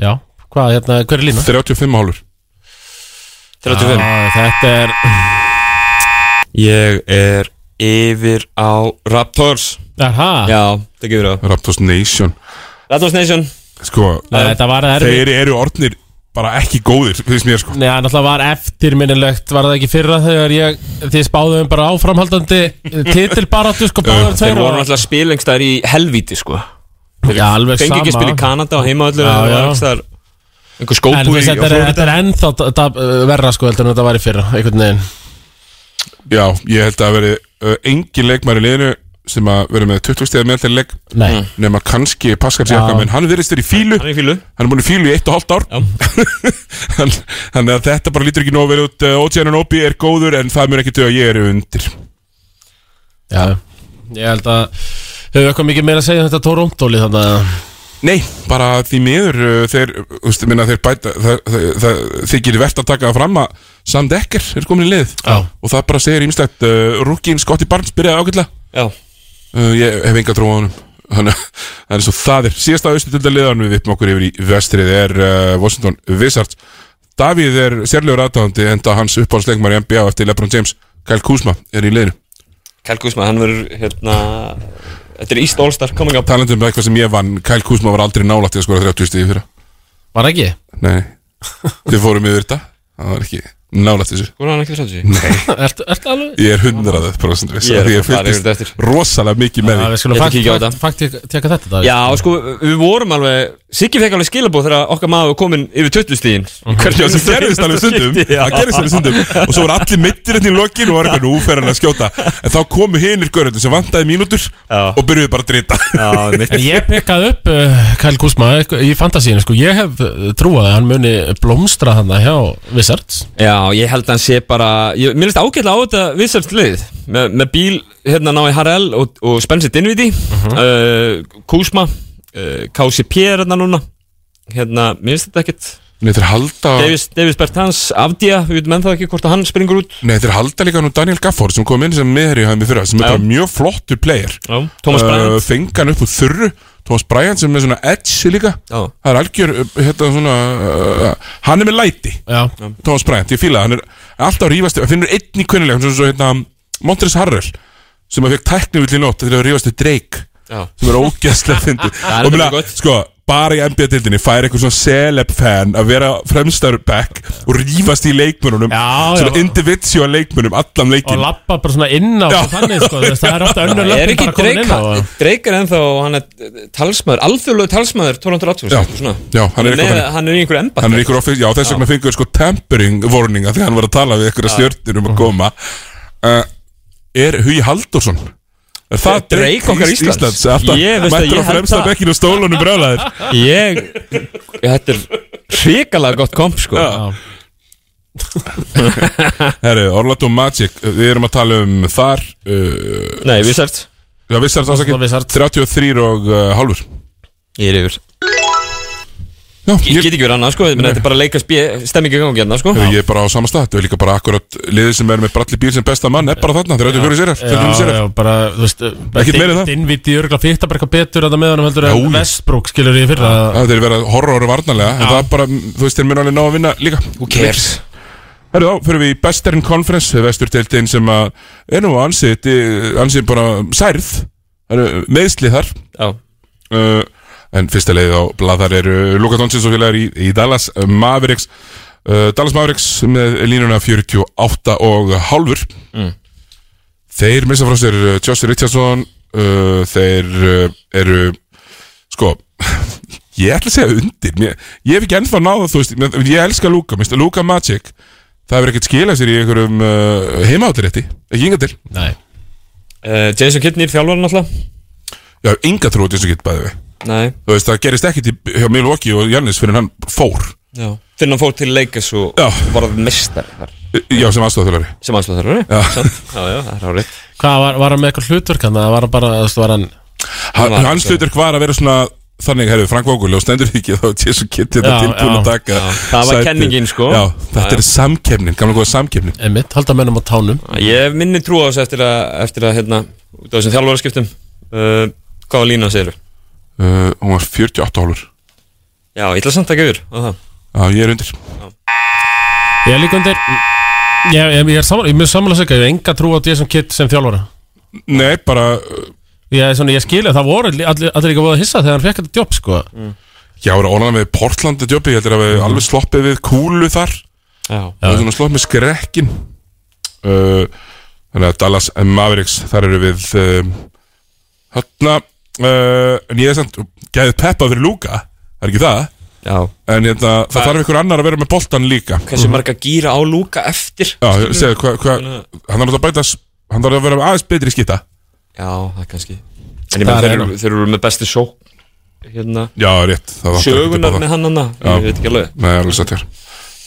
B: Já, hvað, hérna, hver er lína?
A: 35 hálfur
C: 35
B: Já, Ah, Þetta er,
C: Ah. Ég er yfir á Raptors
B: aha
C: Já, það gefur það
A: Raptors Nation
C: Raptors Nation
A: sko,
B: Nei, Eh, Þetta var erfið
A: þeir eru orðnir bara ekki góðir finnst mér sko
B: Nei, hann alltaf var eftirminnilegt Var það ekki fyrra þegar ég Þið spáðum bara áframhaldandi Titilbaratu, sko, báðum
C: Þeir
B: tveir
C: voru
B: og-
C: náttúrulega spilengstæðar í helvíti sko
B: Já, alveg
C: Fengi
B: sama
C: ekki spil í Kanada og heimavöldur
B: Já, já.
C: Einhver
B: En þú
C: skópúð í
B: veist,
C: á
B: þetta er,
C: Flórída.
B: þetta er ennþá da- da- verra, sko, heldur en þetta var í fyrra Einhvern veginn
A: já, ég held að það veri uh, engin leikmæri liðinu sem að vera með 20 stíða meðaltegileg
B: Nei
C: Mm.
A: nema kannski Pascal Siakam en hann virðist þér í fílu
C: Hann er í fílu
A: hann er búin í fílu í eitt og hálft ár Hann- þannig að þetta bara lítur ekki nóg verið út Ótsjæðan og Óbi er góður en það mjög ekki dög að ég er undir
B: Já Ég held að Hefur eitthvað mikið meira að segja um þetta Torontóli þannig að
A: Nei, bara því miður uh, þeir, úst, minna, þeir bæta það, það, það þykir verðt að taka það fram að Sam Dekker er komin í lið
B: Já.
A: og það bara segir ímslegt uh, Rúkin Scotty Barnes byrjaði ágætlega
C: Já
A: uh, ég hef enga trú á honum þannig það er svo það er síðasta austundaliðan við vippum okkur yfir í vestrið er uh, Washington Wizards Davíð er sérlegur aðdáðandi enda hans uppáhaldsleikmar í NBA eftir Lebron James Kyle Kuzma er í liðinu
C: Kelgúsma, hann verður hérna Þetta er East All Star coming up
A: talandi um eitthvað sem ég vann Kyle Kuzma var aldrei nálægt í að skora 30 stíði fyrra
B: Var ekki?
A: Nei, þið fórum yfir þetta Það var ekki nálægt þessu
C: Hvor er hann ekki fyrir þessu? Nei
B: Ertu ert alveg?
A: Ég er hundraðið prosent viss
C: Ég er
A: af Því ég
C: að fara yfir þetta
A: fylgist
C: eftir.
A: rosalega mikið með
B: Já, við
A: því
B: skulum
C: Ég ætla að
B: fakt-
C: kíkja á
B: fakt- fakt- teka þetta Davíð.
C: Já, sko, við vorum alveg Siggi fekk alveg skilabóð þegar okkar maður var komin yfir 20 stíðin
A: Já, sem gerðist alveg stundum Það gerðist alveg stundum Og svo voru allir meittir hérna í lokin og var eitthvað nú fer hann að skjóta En þá komu hinir görðunum sem vantaði mínútur
C: Já.
A: Og byrjuðu bara að drita
C: Já, mitt
B: En ég pekkaði upp uh, Kyle Kuzma eitthvað í fantasíinu sko. Ég hef uh, trúað að hann muni blómstra hann hjá Wizards
C: Já, ég held að hann sé bara ég, Mér finnst ágætlega á þetta vissast lið með, með bíl, hérna nái Harel og, og Spencer Dinvidi uh Kúsma uh, KCP er hérna núna Hérna, mér finnst þetta ekkert
A: Nei, þeir halda
C: Davis, Davis Bertans, Avdija, við veitum ennþá ekki hvort að hann springur út
A: Nei, þeir halda líka nú Daniel Gafford sem kom inn sem meðherri hafði mig fyrra sem er
C: Já.
A: bara mjög flottur player Uh,
C: Já, Thomas Bryant.
A: Fengi hann upp úr þurru Thomas Bryant sem er svona edge líka
C: Já.
A: Það er algjör, uh, hérna svona uh, Hann er með læti
B: Já,
A: Thomas Bryant, ég fíla það, hann er alltaf að rífast hann finnur einn í kvinnilegum sem svo hérna Montres Harrell sem að fekk tæknivill í nótt til að rífast við Drake
C: Já.
A: sem er ógæslega fyndi
C: er
A: og
C: mjög
A: meina,
C: gott.
A: sko, bara í NBA-dildinni fær eitthvað svona celeb fan að vera fremstar back og rífast í leikmönunum
B: Já, já.
A: svona individual leikmönum allan
B: og
A: leikin
B: lappa bara svona inn á
A: Já.
B: þannig sko, þú veist, það er ofta önnur
C: Það er
B: löppin
C: ekki
B: bara komin
C: Drake,
B: inn á það.
C: Drake er ennþá hann er eh, talsmaður, alþjóðlegu talsmaður 1280
A: Já.
C: eitthvað svona.
A: Já, hann er eitthvað
C: Nei,
A: þannig.
C: hann er í einhverju embætt
A: hann er ykkur office, já þess vegna fengur sko tampering warninga þegar hann var að tala við ykkur stjörnir um að koma uh, er Hugi Haldursson er það
C: Drake okkar
A: Ís-
C: Íslands?
A: Íslands
C: Ég
A: alltaf
C: veist að
A: mættur á
C: ég held
A: fremsta
C: það.
A: bekkinu og stólunum brjálæðir
C: Ég, þetta er hrikalega gott komp sko
A: Já. herru, Orlando Magic uh, við erum að tala um þar uh,
C: Nei, við sært
A: já, vissar það
B: Orlando Wizards.
A: 33 og uh, hálfur
C: Ég er yfir
A: já,
C: Ég
A: ég,
C: get ekki verið annað sko, ég meina, þetta er bara leikast stemmingi gangi hérna sko
A: ég er bara á sama stað þetta er líka bara akkurat liðið sem er með Bradley Beal sem besta mann er bara þarna, 34 sérar 35
B: Já,
A: sérar
B: já, bara, þú veist
A: Ekkert meira en það.
B: Dinviti örgla fyrta bara eitthvað betur að það með honum heldur
A: Já, já.
B: en Vestbrook skilur ég fyrir að
A: Það þeir vera horror varnarlega En það er bara, þú veist, þeir mun alveg ná að vinna líka
C: Who cares?
A: Herru þá, fyrir við í Bestern Conference Vesturteildin sem að er nú ansið Ansið bara særð Það eru meðsli þar
C: Já,
A: uh, En fyrsta leiðið á bladar eru Luka Doncic og félagar í, í Dallas uh, Mavericks uh, Dallas Mavericks með línuna 48 og hálfur Þeir missa frá sér uh, Josh Richardson uh, Þeir uh, eru Sko Ég ætla að segja undir Mér, Ég hef ekki ennþá náða þú veist menn- Ég elska Luka, minnst Luka Magic Það hefur ekkert skilað sér í einhverjum uh, heimaátirétti Ekki ynga til
B: Nei,
C: uh, Jason Kidd nýr þjálfarinn alltaf
A: Já, ynga trúið þessu gett bæði við
C: Nei,
A: Þú veist, það gerist ekkert í- hjá Milwaukee og Jannis fyrir hann fór
C: já Finn hann fór til leikas og
A: Já.
C: varð mestar þar
A: Já, sem aðstofþjólari
C: Sem aðsluð þar,
A: Já.
C: Já, já, það er árið
B: hvað var, var hann með eitthvað hlutverk hann var hann bara, þú veist, var hann
A: Hann-
C: var-
A: Hans hlutur var að vera svona Þannig, herðu, Frank Vogel og stendur því ekki Þá er Jésu Kitt þetta
B: Já,
A: tilbúin
B: já,
A: að taka
C: já. Það var
A: sætið.
C: kenningin, sko.
A: Já, þetta
C: Já,
A: er samkefnin, gamla góða samkefnin
B: einmitt, halda mönnum á tánum
C: Ég hef minni trú á þessu eftir að, eftir að hérna, út af þessum þjálfararskiptum uh, Hvaða lína segirðu?
A: uh, Hún var 48 hálfur
C: Já, ég ætla samt að gefur á það
A: Já, ég er undir
B: Ég er líka undir Ég, ég, ég er samanlega, ég er mjög samanlega segja Ég hef enga trú á Jason Kidd sem þjálfara
A: Nei, bara, uh,
B: Ég, er svona, ég skilja, það voru allir, allir líka voða að hissa þegar hann fekk þetta jobb sko.
A: já, voru ólega með Portland jobbi, ég heldur að við alveg sloppið við kúlu þar
C: Já,
A: Það er svona sloppið með skrekkin uh, Þannig að Dallas Mavericks Þar eru við um, Hanna uh, En ég er samt, gæðið peppa fyrir Luka Það er ekki það
C: já
A: En hérna, það þarf einhver annar að vera með boltan líka
C: Hversu marga gýra á Lúka eftir?
A: Já, segðu, hvað hva,
C: Þannig að-
A: Hann þarf að bæta s- Hann þarf að vera aðeins betri í skita
C: Já, Já, það kannski En ég menn
B: Það
C: þeir,
B: er
C: eru- þeir eru með bestu sók Hérna
A: Já, rétt það vantar ekkert upp á
C: Sögunar
A: það.
C: með hann hann Ég veit ekki alveg
A: Nei, alveg satt hér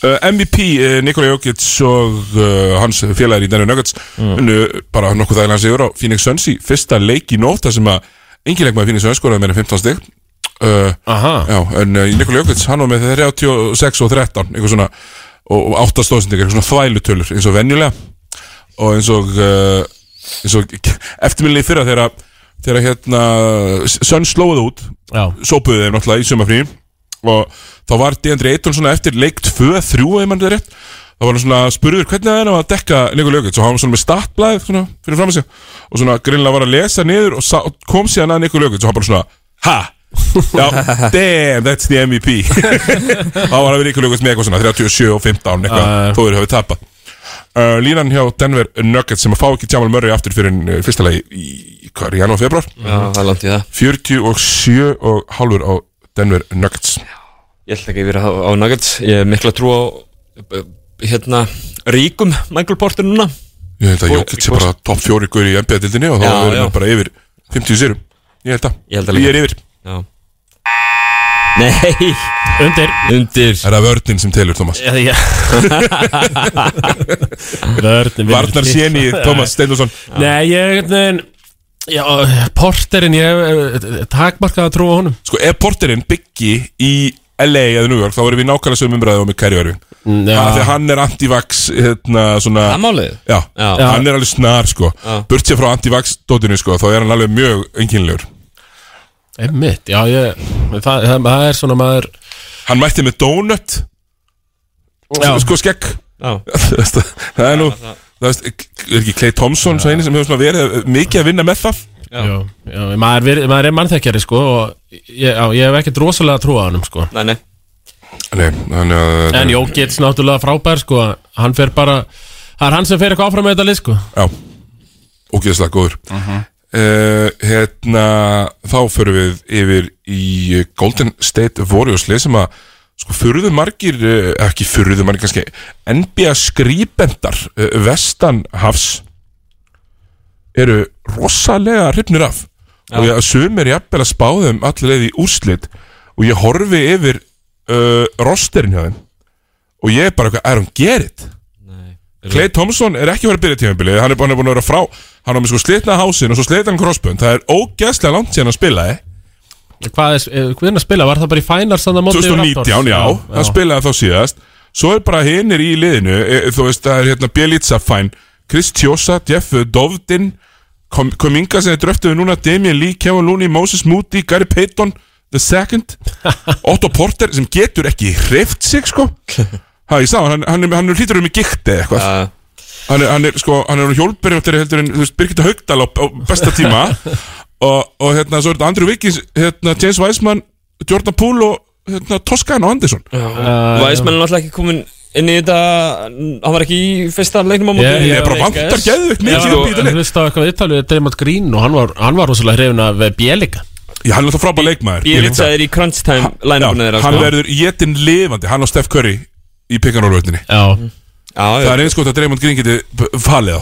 A: Uh, MVP, uh, Nikola Jokic og uh, hans félagir í Denver Nuggets unnu bara nokkuð þægilega sigur á Phoenix Suns í fyrsta leik í nótt þar sem að engin leikmaður Phoenix Suns skoraði meira en 15 stig uh,
B: Aha
A: Já, en uh, Nikola Jokic, hann var með 36 og 13 eitthvað svona, og, og 8 stóðsendingar eitthvað svona þvælutölur, eins og venjulega og eins og uh, eins og eftirminni fyrra þegar að- þegar að, hérna Suns slóðu út
B: Já,
A: sópuðu þeim náttúrulega í sumafrín og þá var D.Andri Eitón svona eftir leik 2-3 ef mann er rétt þá var hann svona spurður hvernig það er að dekka leikur lögut og hann var svona með startblæð svona, fyrir fram að sig og svona grinnlega var að lesa niður og, sá, og kom síðan að leikur lögut og hann bara svona ha Já, damn, that's the MVP Þá var hann leikur lögut með eitthvað svona 37 og 15 eitthvað,
B: Já, já.
A: þó eru hafið tapað uh, Línan hjá Denver Nuggets sem að fá ekki Jamal Murray aftur fyrir uh, fyrsta lagi í, í, hvað er, í janúar, februar
C: Já, það er langt í það
A: 47 og hálfur á Denver Nuggets
C: Ég ætla ekki að vera á, á Nuggets Ég er mikla trú á eh, Hérna Ríkum Michael Porter núna
A: Ég held að Jókic er bara topp fjóri guður í NBA-dildinni og þá
C: Já,
A: verður
C: já.
A: hann bara yfir 50 sérum Ég held að,
C: Ég held að líka.
A: er yfir
C: Já Nei
B: undir
C: Undir
A: Er það vörninn sem telur, Thomas?
B: Já, já Vörnum
A: Varnar séni, Thomas Steindorsson
B: Nei, ég einhvern veginn- Já, porterinn, ég eh, takmarkaði að trúa honum
A: Sko, ef porterinn byggi í LA eða New York, þá verðum við nákvæmlega sögum umræðið og með Kæri verðum Þegar hann er anti-vax, hérna, svona
C: Það málið
A: Já,
C: Já.
A: hann er alveg snar, sko
C: Já.
A: Burt sér frá anti-vax dótinu, sko, þá er hann alveg mjög enginlegur
B: Einmitt, já, ég Það, það, það er svona maður
A: Hann mætti með donut
B: Já.
A: Sko, skegg
C: Já
A: Þú veist, það er nú það veist, er ekki Clay Thompson svo eini sem hefur svona verið mikið að vinna með það
C: Já.
B: já, já, maður, veri- maður er mannþekkjari sko og ég, já, ég hef ekkert rosalega trú á honum sko
C: Nei, nei
A: Nei, þannig að
B: en Jókits náttúrulega frábær sko hann fer bara, það er hann sem fer eitthvað áfram með þetta lið sko
A: Já, ógeðslega góður uh Hérna, þá förum við yfir í eh, Golden State Warriors lið sem að sko furðu margir, eh, ekki furðu margir kannski, NBA skrýpendar eh, vestan hafs eru rosalega hrifnir af og ég, sumir jafnvel að spá þeim allir leið í úrslit og ég horfi yfir uh, rosterin hjá þeim og ég er bara eitthvað, I don't get it Clay Thompson er ekki verið að byrja tímabilið hann er búin hann er búinn að vera frá hann er með sko slitna hásin og svo slitna hann crossbund það er ógeðslega langt síðan að spila
B: hvað er, eh, hvernig að spila, var það bara í finals þannig að móti
A: 2019, já, hann spilaði þá síðast svo er bara hinnir í liðinu e, þú veist, það er hérna Bielitsa fæn Kristjósa, Jeff Dovdin Kom- Kominga sem þið dröftuðu núna Damien Lee, Kevin Looney, Moses Moody Gary Payton, The Second Otto Porter sem getur ekki hreift sig sko ha, ég sá, hann, hann, er- hann er hlýtur um í gikti eða eitthvað
C: Já,
A: hann er, hann er sko, hann er hjólperi heldur en, þú veist, Birgitta Haugdal á, á besta tíma og, og hérna, svo er þetta Andrew Wiggins, hérna, James Wiseman Jordan Poole og hérna, Toskan og Anderson
B: Eh,
C: Væsmenn Eh, er náttúrulega ekki komin inn í þetta Hann var ekki í fyrsta leiknum á móti
B: Ég-
A: ég er bara vantar geðvikt
C: Já,
A: mikið
C: sko,
A: upp í þetta lið.
B: hlusta á eitthvað viðtalið Damon Green og hann var, hann var rosalega hrifin af Bjelika
A: Já, hann er alltaf frábæð leikmaður
C: Ég
A: Bielitsa.
C: litsa þér í crunch time
A: Já,
C: line-upinu þeirra sko.
A: hann verður jetin lifandi, hann og Steph Curry í pikanólvöldinni
B: já,
A: Það
C: verður
A: er eins gott að Draymond Green geti b- falið á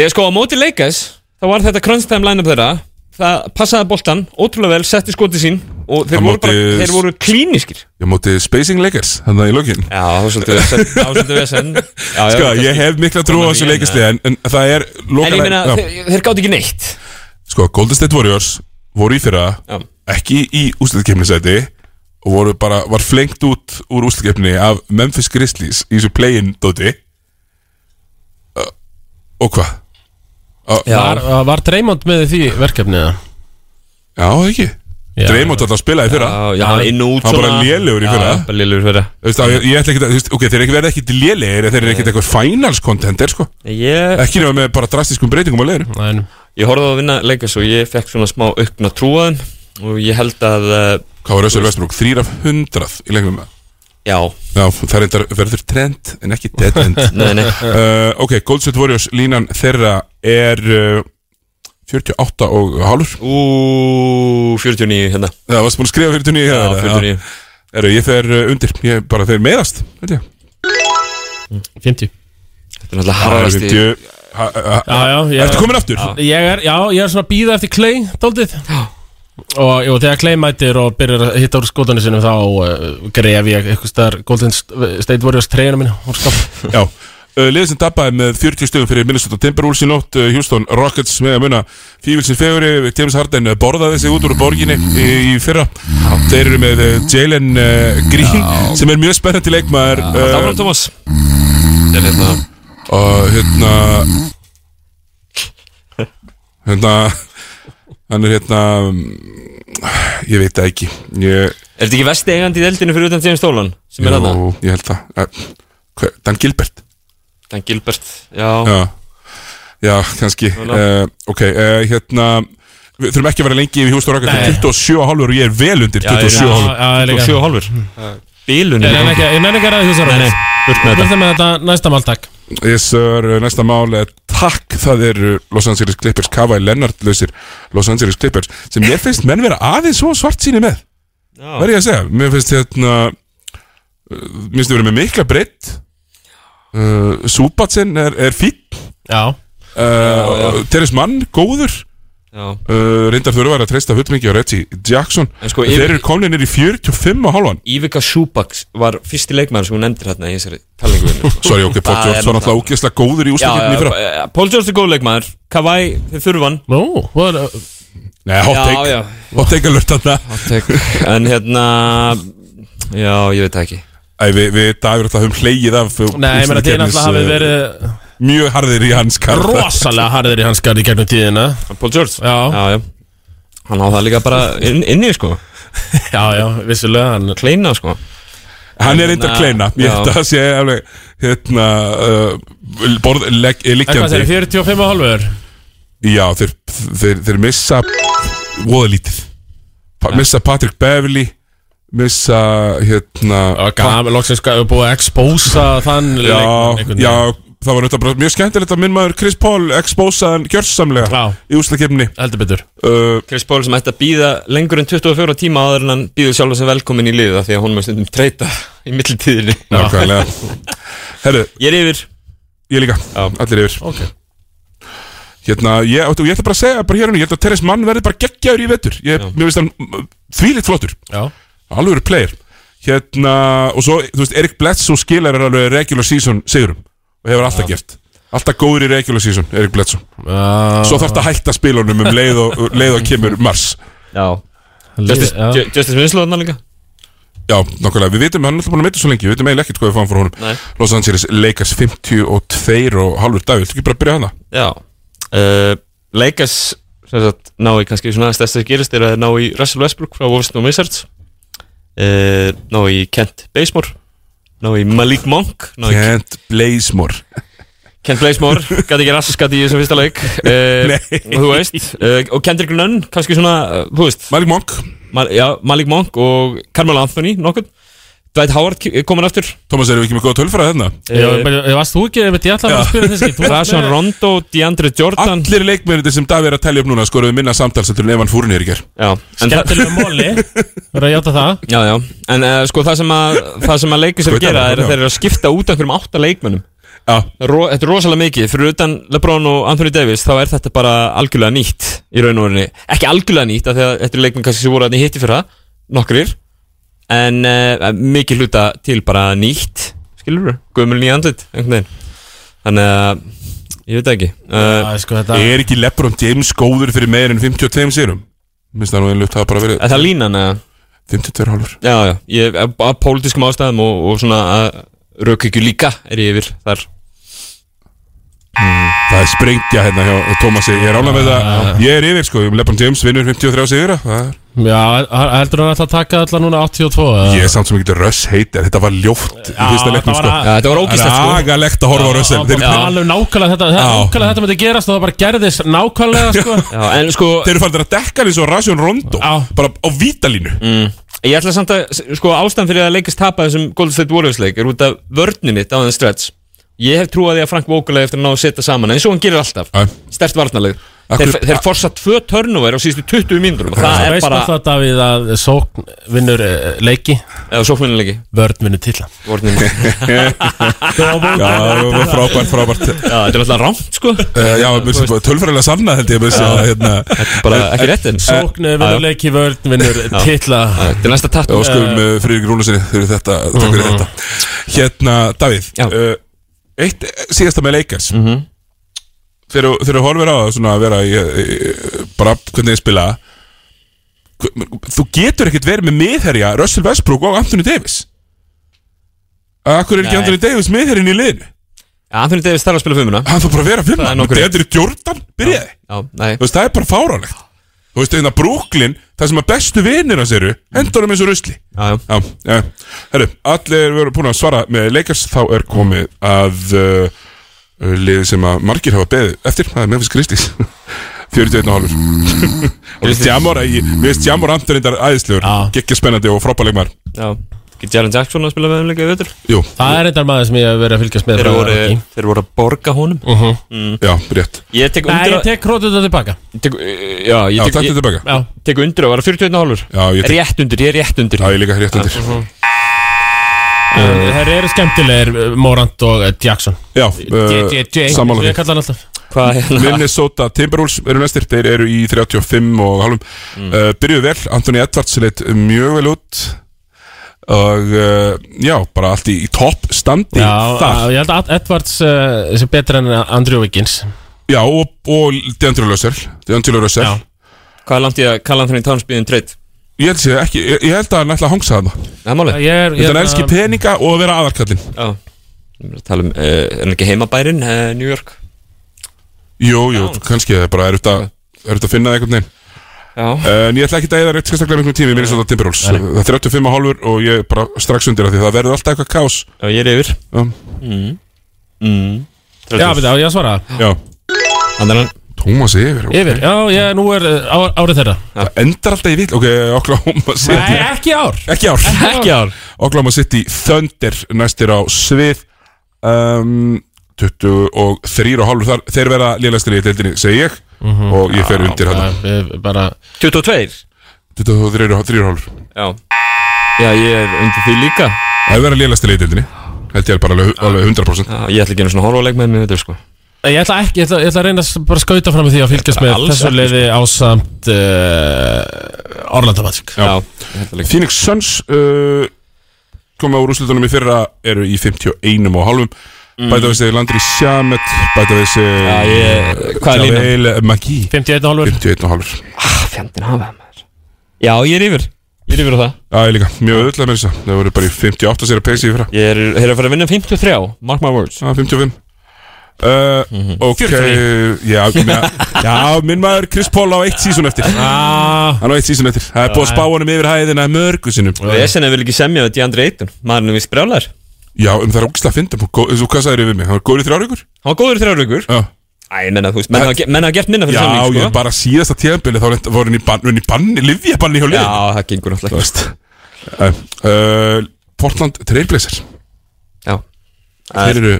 C: Ég sko á móti leikas Þá var þetta crunch time line-up þeirra Það passaði boltan, ótrúlega vel, setti skoti sín Og þeir
A: Á
C: voru,
A: móti-
C: bara, þeir voru klínískir
A: Ég móti Spacing Lakers, þannig að í lókin
C: Já, það var svolítið vesen Það var svolítið vesen Já, já,
A: Sko,
C: kannski.
A: ég hef mikla trú á þessu
C: Koma
A: leikisli en, en það er
C: En ég
A: lokalega-
C: meina,
A: Já.
C: þeir, þeir gátt ekki neitt
A: Sko, Golden State Warriors voru í fyrra
C: Já.
A: ekki í úsliðkefnisæti og voru bara, var flengt út úr úsliðkefni af Memphis Grizzlies í þessu play-in dóti uh, og hvað?
C: Já.
B: Var, var Dreymond með í því verkefnið eða?
A: Já, það ekki
B: Já.
A: Dreymond alltaf spilaði í fyrra
C: Já, já, hann inn og út
A: Hann var
C: svona
A: bara lélegur í
C: Já,
A: fyrra.
C: bara lélugur fyrra
A: Þú veist, að, ég, ég ætla ekki að, þú veist, ok, þeir ekki verða ekki lélegir en þeir eru ekkert eitthvað finals contender, sko
C: Ég
A: ekki nefnum með bara drastiskum breytingum á leiðinu
B: Nei, nú.
C: Ég horfði á að vinna leikas og ég fekk svona smá aukna trúaðin og ég held að, uh,
A: Hvað var Össur Vestbrúk? 3 af 100 í leiknum með
C: já,
A: Já, það er reyndar- verður trend en ekki dead end
C: nei, nei,
A: uh, Ok, Golden State Warriors línan þeirra er uh, 48 og hálfur
C: ú, 49 hérna,
A: Það varst búin að skrifa 49
C: já,
A: hérna,
C: 49,
A: Eru, ég fer uh, undir, ég bara þeir meðast held ég.
B: 50
C: þetta er náttúrulega
A: Það er
C: harðasti,
A: 50
B: Já, já, ég-
A: Ertu komin aftur?
B: Ég er, já, ég er svona að býða eftir Clay dóldið og, og þegar Clay mætir og byrjar að hitta úr skótunni sinum þá uh, gref ég eitthvað staðar Golden State Warriors treyjuna mína úr skáp.
A: Já, uh, liðið sem dabbaði með 40 stöðum fyrir Minnesota Timberwolves í nótt uh, Houston Rockets með að muna Fívilsins feguri, James Harden uh, borðaði sig út úr borginni í, í fyrra Þeir eru með uh, Jalen uh, Green sem er mjög spennandi leikmaður uh,
C: Áfram Thomas Þetta er hérna
A: og hérna hérna hann er hérna mm, ég veit það ekki ég,
C: Er þetta ekki vesti eigandi í deldinu fyrir utan James Dolan sem er hann
A: jú, ég held það Eh, hver- Dan Gilbert
C: Dan Gilbert Já,
A: Já, já kannski uh, Ok, uh, hérna Við þurfum ekki að vera lengi yfir Hjústur Rockets
B: Nei.
A: 27,5 og ég er vel undir
C: ég er- hérna-
A: 27,5
B: Já, já, líka. Mm.
C: 27,5 Bílun
B: Ég nenni ekki, ég nenni ekki að ræða þessu
C: Nei,
B: ráð.
C: nei, burt með
B: Við
C: þetta
B: þurfum með þetta næsta máltak.
A: Yes, sir, næsta mál er Takk, það eru Los Angeles Clippers Kawhi Leonard lausir Los Angeles Clippers sem mér finnst menn vera aðeins svo svart síni með
C: Já.
A: Hvað er ég að segja? Mér finnst hérna uh, Mér finnst þið verið með mikla breytt uh, Súbatsin er, er fín
B: Já,
A: uh, Teres Mann, góður
C: Já.
A: uh, reyndar þurfa að treysta fullmikið á Reggie Jackson
C: En sko,
A: þeir
C: yfir-
A: eru komin nýri 45 og halvan
C: Ívika Sjúbaks var fyrsti leikmæður sem hún nefndir hérna í þessari talingu
A: sorry ok, Paul George
C: Það er
A: var
C: náttúrulega-
A: náttúrulega ógeðslega góður í
C: hérna
A: ústakirni fyrra
C: Paul George er góð leikmæður Kawhi, þið þurfan
B: nú, hvað er,
A: nei, hot
C: Já,
A: take,
C: já.
A: hot take alert þarna
C: En hérna Já, ég veit það ekki
A: Æ, við, við dagur alltaf höfum hleyið af uh,
B: nei, ég meina þið
A: úrslitakeppnis,
B: náttúrulega hafið
A: uh,
B: verið
A: mjög harðir í hans karl
B: rosalega harðir í hans garði gegnum tíðina.
C: Paul George?
B: Já.
C: já, já. Hann á það líka bara inn, inni sko
B: Já, já, vissulega, hann
C: Kleina sko
A: hann er reyndar
C: Hérna,
A: kleina ég held
C: já.
A: að það sé alveg hérna uh, borð, legg,
B: Hvað
A: liggjandi
B: segir, 45 og halvur?
A: já, þeir, þeir, þeir missa voðalítið pa, missa Patrick Beverly missa hérna
B: Gaman, loksins, hvað, við búið að expósa þann
A: já,
B: leikmann einhvern
A: já,
B: veginn.
A: það var auðvitað bara mjög skemmtilegt að minn maður Chris Paul exposaðan gjörsamlega
B: Já.
A: í úslakefni
B: Heldur betur.
A: uh,
C: Chris Paul sem ætti að býða lengur en 24 tíma áður en hann býður sjálf sem velkomin í liða því að hún með stundum treyta í millitíðinni
A: nákvæmlega herru,
C: Ég er yfir
A: ég líka, allir yfir
B: Ok.
A: hérna, ég, og ég ætla bara að segja bara hér og nú, ég ætla að Teres Mann verði bara geggjaður í vetur ég, mér finnst hann mm, þvílíkt flottur
B: Já.
A: alveg verið player hérna, og svo, þú veist, Erik Bledsoe skilar er alveg regular season sigurum og hefur alltaf gert, alltaf góður í regular season Erik Bledsoe,
B: Já.
A: svo þarf þetta hætta spilunum um leið og, leið og kemur mars
C: Já
B: Justice, já.
C: Ju- Justice Winslow hann líka
A: Já, nákvæmlega, við vitum, hann er alltaf búin að meita svo lengi Við vitum eiginlega ekkert hvað við fáum frá honum
C: Nei.
A: Los Angeles Lakers 52 og halvur dag Viltu ekki bara byrja hana?
C: Já uh, Lakers sem sagt ná í kannski svona stærsta sem gerist er að þeir ná í Russell Westbrook frá Wolfson og Wizards uh, ná í Kent Bazemore ná í Malik Monk ná í
A: Kent Blazemore
C: Kent Blazemore, gæti ekki raskat í þessum fyrsta leik uh,
A: Nei.
C: Þú veist uh, Og Kendrick Nunn, kannski svona, uh, þú veist
A: Malik Monk,
C: Mal, já, Malik Monk og Carmelo Anthony nokkur Dwight Howard ke- er komin aftur
A: Thomas erum við ekki með góða tölfræði hérna
B: Já, bara- ég varst þú ekki, ég veit ég ætlaði bara að spyrja þessi Þú varst
C: Rajon
B: með-
C: Rondo, DeAndre Jordan
A: Allir leikmennir sem Davi er að telja upp núna skoruðu minna samtalsættur en Evan Fúrnir í ger
C: já, en, það,
B: Skemmtilega móli Verður að játa það
C: já, já. en uh, sko það sem að það sem að leikir sér
A: Skautar,
C: gera er
A: já.
C: að þeir eru að skipta út einhverjum átta leikmönnum
A: Já,
C: Ro, Þetta er rosalega mikið, fyrir utan LeBron og Anthony Davis þá er þetta bara algjörlega nýtt í raun og orinni, ekki algjörlega nýtt af því að þetta er leikmenn kannski sem voru að hitti fyrir það nokkrir, en uh, mikið hluta til bara nýtt skilur þú, gömul nýja andlit einhvern veginn, þannig að ég veit það ekki uh,
B: Já, sko, þetta
A: er ekki Lebron James góður fyrir meir en 52 sérum? Minnst það nú einlega það hafa bara verið
C: að það lína hana
A: 52 halvur
C: já, já, ég, að pólitískum ástæðum og, og svona að raukykju líka er ég yfir þar
A: Það er sprengja hérna hjá Thomasi Ég er ánægð með það, ég er yfir sko Lebron James vinnur 53 sigra Það er
B: Já, h- heldur hann ætla að taka allar núna 82 eða?
A: Ég er samt sem ekki röss heitir, þetta var ljótt í fyrsta
B: Já,
A: leiknum
B: það
A: sko.
B: var
C: Já, þetta var
A: Það
C: ógíslegt
A: er
C: sko
A: agalegt að horfa á rössel
B: Já,
A: Þeir,
B: bara
A: þeir,
B: Alveg nákvæmlega þetta það-
A: Já.
B: Nákvæmlega þetta myndi gerast og það bara gerðist nákvæmlega sko.
C: Já, en sko,
A: þeir eru fannir að dekka hann eins og Rasjón Rondo
B: Já.
A: Bara á vítalínu
C: mm. Ég ætla samt að, sko ástæðan fyrir að leikast tapa þessum Golden State Warriors leik er út af vörnum mitt á þannig
B: Mm.
C: stretch Ég hef trúið því að Frank Vogel eigi eftir að ná að setja saman eins og hann gerir alltaf,
A: Já.
C: stert varnarleg
A: Akkur-
C: Þeir, þeir forsa tvö törnúver á síðustu 20 mínútur og það
B: Það
C: er
B: veist bara...
C: bara,
B: það Davíð að sókn vinnur eh, leiki,
C: eða sóknuleiki
B: vörn vinnur tilla
C: Já,
A: Já, það var frábært, frábært
C: þetta er alltaf rámt sko
A: uh, Já, mér finnst bara tölfræðilega sanna held ég mér finnst að, hérna,
C: Bara ekki rétt en
B: Sókn vinnur leiki, vörn vinnur tilla
C: Þetta er næsta tattu
A: og skoðum uh, Friðrik Rúnasinni fyrir þetta, takk fyrir þetta Hérna, Davíð
C: Mhm. Já. Mhm.
A: uh, Eitt síðasta með leikars mm -hmm. Þegar þegar þú horfir á það svona að vera í, í, bara hvernig ég spila hv- þú getur ekkert verið með miðherja Russell Westbrook og Anthony Davis Akkur er ekki
C: Nei.
A: Anthony Davis miðherjinn í liðinu?
C: Anthony Davis þarf að spila fimmuna
A: Hann þarf bara að vera fimm
C: Það er nokkuð rétt.
A: Þetta er Jordan, byrjaði
C: Já, nei
A: Þú veist, það er bara fáránlegt Þú veist, þetta Brooklyn, það sem að bestu vinir hans eru Hendur hann eins og rusli
C: Já, já.
A: Já, já Herru, allir eru búin að svara með leikars Þá er komið að uh, Liðið sem að margir hafa beðið eftir Það er Memphis Christies 41 og hálfur
C: Mm.
A: Og Jamor, ég mér finnst Jamor Antonindar æðislegur
B: Já.
A: Gekki spennandi og frábæleikmar
C: Já Getur Jalen Jackson að spila með um leika í vettur
A: Jú,
B: Það er þetta maður sem ég hef verið að fylgjast með
C: Þeir
B: frá
C: voru,
B: leiki.
C: þeir voru að borga honum
A: já, rétt
C: Ég tek
B: Nei,
C: undir
B: ég
C: að
B: tek krótið þetta tilbaka
C: tek- eh, Já,
A: Já,
C: ég
A: takk
C: tek-
A: þetta
C: ég
A: tilbaka
B: Já,
C: tek undir að vara 41 hálfur
A: Já, ég tek-
C: Rétt Mhm. undir, ég er rétt undir
A: Já, ég líka rétt undir
B: þeir eru skemmtilegir eh, Morant og eh, Jackson
A: Já, uh,
B: JJJ, eins og
A: sammála því
B: ég kalla hann alltaf
C: Hvað hérna
A: Minnesota Timberwolves eru næstir Þeir eru í 35 og halvum
B: Mm.
A: uh, Byrjuðu vel, Anthony Edwards leitt mjög vel út Og uh, já, bara allt í, í topp standi
B: Já,
A: þar
B: að- ég held að Edwards eh, sé betur en Andrew Wiggins
A: Já, og, og Deandre Russell Deandre Russell
B: Já.
C: Hvað er langt í að kalla Anthony Towns um býðin treyt?
A: Ég held, sé ekki, ég, ég held að hann ætla að hangsa þarna Þannig
C: Það er málið
B: Ég er, ég
A: að hann elski peninga og að vera aðarkallinn
C: Já Ég er að tala um, eh, er hann ekki heimabærin, eh, New York?
A: Jú, jú, kannski það er bara erut að, erut að finna það einhvern veginn Eh,
C: Já
A: En ég ætla ekki að eða rétt sérstaklega miklum tími í Minnesota Timberwolves Það er 35 og hálfur og ég er bara strax undir að því það verður alltaf eitthvað kás
C: Já, ég er yfir
A: um, Mm.
B: Já, við það, ég að svara
A: Já,
C: Þannig að hann
A: Tómas yfir ok.
B: Yfir, já, ég, nú er eh, á, árið þeirra
A: Það endar alltaf í vill Ok, Oklahoma City
B: Nei, ekki ár
A: Ekki ár
B: Ekki ár
A: Oklahoma City Thunder Næstir á svið um, 23 og hálfur þar Þeir verða lélæstir í deildinni Segi ég
C: Mhm.
A: Og ég fer undir hann
B: Við bara
C: 22
A: 23 og 3 og hálfur
C: Já Já, ég er undir því líka
A: Það verða lélæstir í deildinni Held ég er bara alveg, alveg 100%
C: Já, Ég ætla ekki einu svona horfa að leik með mér þetta sko
B: Ég ætla ekki, ég ætla, ég ætla að reyna að bara skauta fram með því að fylgjast með
C: Alls
B: þessu
C: ekki,
B: leiði ásamt uh, Orlanda Magic
A: Já.
C: ég held að leik
A: Phoenix Suns uh, Komið úr úrslutunum í fyrra Eru í 51 og hálfum Bæta við sig Landry Sjamet Bæta við sig
C: Mm. Já, ég, hvað er línan?
A: Javel Magí
B: 51 og hálfur
A: 51 og hálfur
C: Ah, fjandinn hafa það maður Já, ég er yfir Ég er yfir á það
A: Já, ég líka, mjög auðvitað með þess að Það voru bara í 58 sér að peysi í fyrra
C: Ég er, þeir eru að fara að vinna 53 Mark my words
A: Já, 55 Uh, ok, já, minna, já, minn maður Chris Paul á eitt sísón eftir Hann
B: ah,
A: á eitt sísón eftir Það er búið að spá honum yfir hæðina mörgu sinum
C: Og ég senni vil ekki semja þetta í andri eitun Maður er nú vist brjálæður
A: Já, um það er ógislega að finna Þú hvað sagðir við mig, hann var góður í þrjárvíkur
C: Hann var góður í þrjár vikur
A: Já,
C: Æ, ég menna, þú veist, menn hafa ge- menn hafa gert minna
A: já
C: fyrir samning
A: ég
C: sko.
A: bara síðasta tíðanbili Þá lent- voru hann í banni, hann í banni, livja banni hjá
C: Já,
A: liðinu
C: það gengur
A: Þú
C: náttúrulega ekki
A: veist uh, Portland Trailblazer
C: Já
A: Þeir eru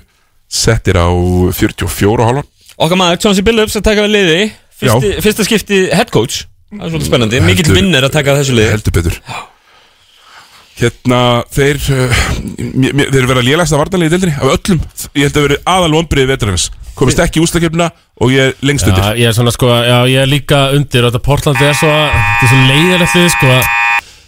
A: settir á 44 og hálfan
C: Okkar maður, Chauncey Billups að taka við liði Fyrsti, Fyrsta skipti head coach Það er svolítið spennandi, mikill
A: Heldur-
C: vinn er að taka þessu liði
A: heldur betur Hérna, þeir uh, mér, mér- þeir vera lélægsta varnarlega í deildinni af öllum, ég held að vera aðal vonbriði vetarins, komist ekki í úslakefnina og ég er lengst undir
B: já, Ég er svona sko, já, ég er líka undir og Þetta Portland er svo, þetta er svo leiðilegt lið sko að-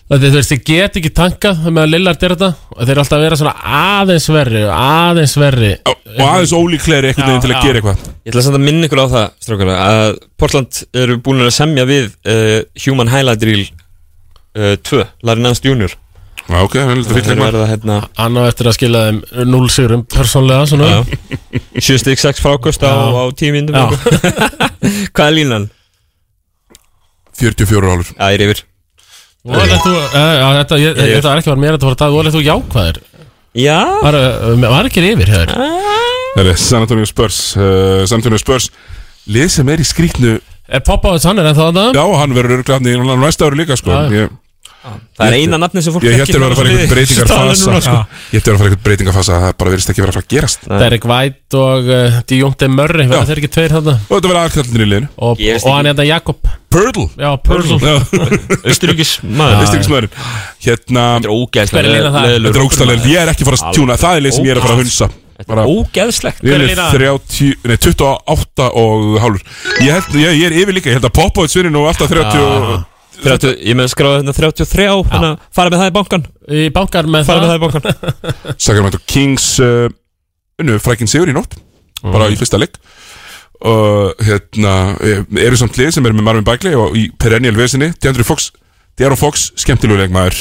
B: Þetta, þú veist, þið get ekki tankað með að Lillard er þetta og þeir eru alltaf að vera svona aðeins verri aðeins verri
A: Á- og aðeins ólíklegri einhvern veginn
B: Já,
A: til að
B: já.
A: gera eitthvað
C: Ég ætla samt að minna ykkur á það, strákala að Portland eru búin að semja við uh, Human Highlight Reel uh, 2, Larry Nance Jr.
A: Já, ok, hann er lítið
C: Þeir
A: fyrir eitthvað
C: verða hérna
B: Hann á eftir að skila þeim 0 sigurum persónlega svona
C: Já. 7 stík 6 frákost á,
B: Já.
C: á 10 myndum
B: Já.
C: Hvað er línan?
A: 44 hálfur
C: Já, ég er yfir
B: Voðalegt þú, eh, já, þetta, ég,
C: Ég-
B: þetta var ekki var mér að þetta voru dag Voðalegt þú jákvæður
C: Já, Ah.
B: Var, eh, var ekki yfir hér
A: Það er San Antonio Spurs uh, San Antonio Spurs lið sem er í skrýtnu
B: Er Poppa hans hann er ennþá þannig
A: já, hann verður örglega hann í hann á næsta ári líka sko.
B: Já, já.
A: ég,
C: Það er eina nafni sem fólk
A: Ég hætti að vera að fara einhvern breytingarfasa
C: sko.
A: Ég hætti að vera að fara einhvern breytingarfasa Það bara verðist ekki vera að fara að gerast
C: Nei.
B: Derek White og uh, Dionte Murray verða
A: Já.
B: þeir ekki tveir þarna
A: Og þetta verði aðkallin í liðinu
B: og,
C: Ég veist
B: og hann er þetta Jakob
A: Purtle
B: já, Purcell
A: Já,
C: Östuríkis maður Þetta
A: Vistingismæðurinn Hérna
C: er
B: Hver er lína
C: ógæðslega
B: það?
A: Þetta er ógstæðlega Ég er ekki að fara að tjúna Það er leið sem ég er að fara að hunsa Bara
C: Ógæðslegt
B: Hver er
A: Við erum 30,
B: lína?
A: nei 28 og hálfur Ég held, ég, ég er yfir líka, ég held að poppa út svinni nú alltaf 30 og
C: Ah. 30, Ég með skráði hérna 33 á Þannig að fara með það í bankan
B: í bankar með
C: Fara með
B: það
C: það í bankan
A: Sacramento Kings uh, unnu frækinn sigur í nótt
B: Mm.
A: bara í fyrsta leik og hérna eh, eru samt lið sem eru með Marvin Bagley og í perennial vesinni Deandre Fox Deandre Fox skemmtilegu leikmaður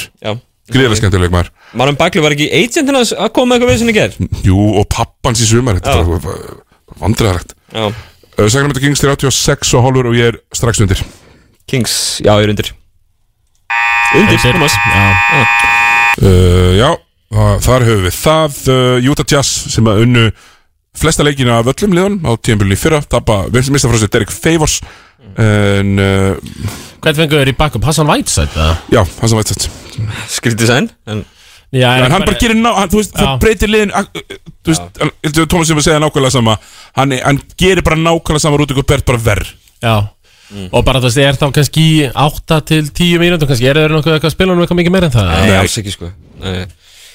A: gríðilega skemmtilegu leikmaður
C: Marum Bakli var ekki agentinn hans að koma með eitthvað við sinni ger
A: jú og pappans í sumar þetta
C: Já.
A: er bara eh, vandræðarlegt
C: Já
A: Uh, Sacramento Kings 36 og hálfur og ég er strax undir
C: Kings Já, ég er undir Undir, Thomas
B: já.
A: uh, já það- þar höfum við það uh, Utah Jazz sem að unnu flesta leikina af öllum liðun á tíðanbílunni fyrra tappa, við mista frá sér Derek Favors en uh,
B: hvern fengur þeir í bakum Hassan Whiteside eða?
A: Já, hann sem vært þetta
C: Skrítið sæn En
B: já,
A: En hann bara gerir ná, hann, þú veist,
B: Já.
A: það breytir liðin ak- Þú veist, hann- ég held að Thomas sem að segja nákvæmlega sama Hann, hann gerir bara nákvæmlega sama Rúti Gobert bara verð
B: já
A: Mm.
B: og bara þú veist, er þá kannski í 8 til 10 mínútur kannski, er þeir nokkuð eitthvað að spila um eitthvað mikið meira en það
C: Nei, alls ekki sko Nei.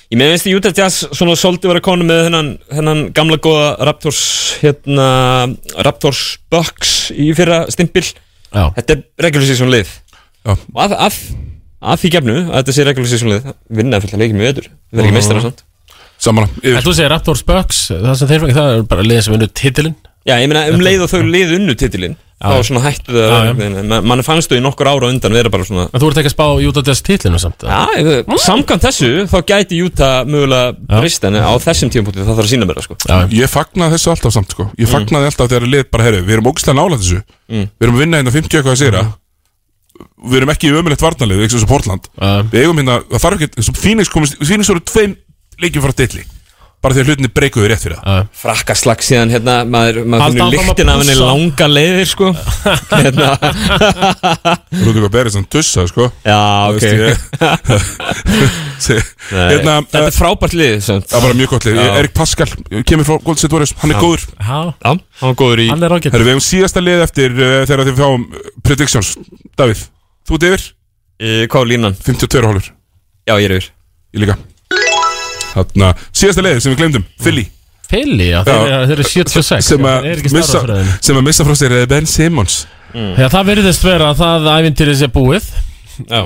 C: Ég með veist í Utah Jazz svona svolítið vera konu með hennan, hennan gamla góða Raptors hérna, Raptors Bucks í fyrra stimpil
B: já,
C: Þetta er regular season lið
A: Já.
C: og að, að, að því gefnu að þetta sé regular season lið vinna fullt að leikja mjög öður við erum ekki meistara samt
A: Saman,
B: en
A: yfir
B: þú segir Raptors Bucks það sem þeir fengur, það er bara liðin sem vinnur titilinn
C: Já, ég meina um leið og þau lið unnu titilinn
B: Já.
C: þá svona hættu það
B: Já, já.
C: að vera Man, mann fannst þau í nokkur ára á undan vera bara svona
B: en þú ert ekki að spá Utah Jazz titilinu samt eða?
C: Já, ef- samkvæmt þessu þá gæti Utah mögulega brist en á þessum tímpútið það þarf að sína mér sko.
B: já,
A: Ég fagnaði þessu alltaf samt, sko
C: Mm.
A: Ég fagnaði alltaf þegar lið bara, herri, við erum ógstlega nála þessu Við erum að vinna hérna 50 eitthvað að sigra
C: Mm.
A: Við erum ekki í ömulegt varnalið, ekki svo sem Portland
B: Já.
A: Við eigum hérna, það þarf ekki svo Phoenix komist, Phoenix voru tveim leikjum frá dilli Bara þegar hlutinni breykuðu rétt fyrir það
B: já.
C: frakkaslag síðan hérna maður, maður
B: Halda
C: finnur
B: áfram að
C: lyktin af henni
B: pússa.
C: langa leiðir sko hérna
A: Rúti Gobert er sann tussa, sko
C: já ok
A: Þú veist, ég-
C: Nei.
A: Hérna,
C: þetta er frábært lið samt.
A: Það var mjög gott lið, Erik Pascal kemur frá Golden State Warriors, hann er góður
B: já,
C: já hann var góður í
B: hann er ágætt
A: Herru, við hefum síðasta lið eftir uh, þegar þið fáum uh, predictions Davíð, þú ert yfir,
C: eh, hvað var línan
A: 52 hálfur,
C: já ég er yfir
A: ég líka Þarna, síðasta lið sem við glemdum, Philly
B: Philly, já, þeir, eru- þeir eru 76
A: sem
B: já,
A: að
B: þeir eru
A: missa,
B: ekki
A: Mm.
B: starfafræðin
A: sem að missa frá sér eh, Ben Simmons
B: já, það virðist vera að það æfintýrið sé búið
C: já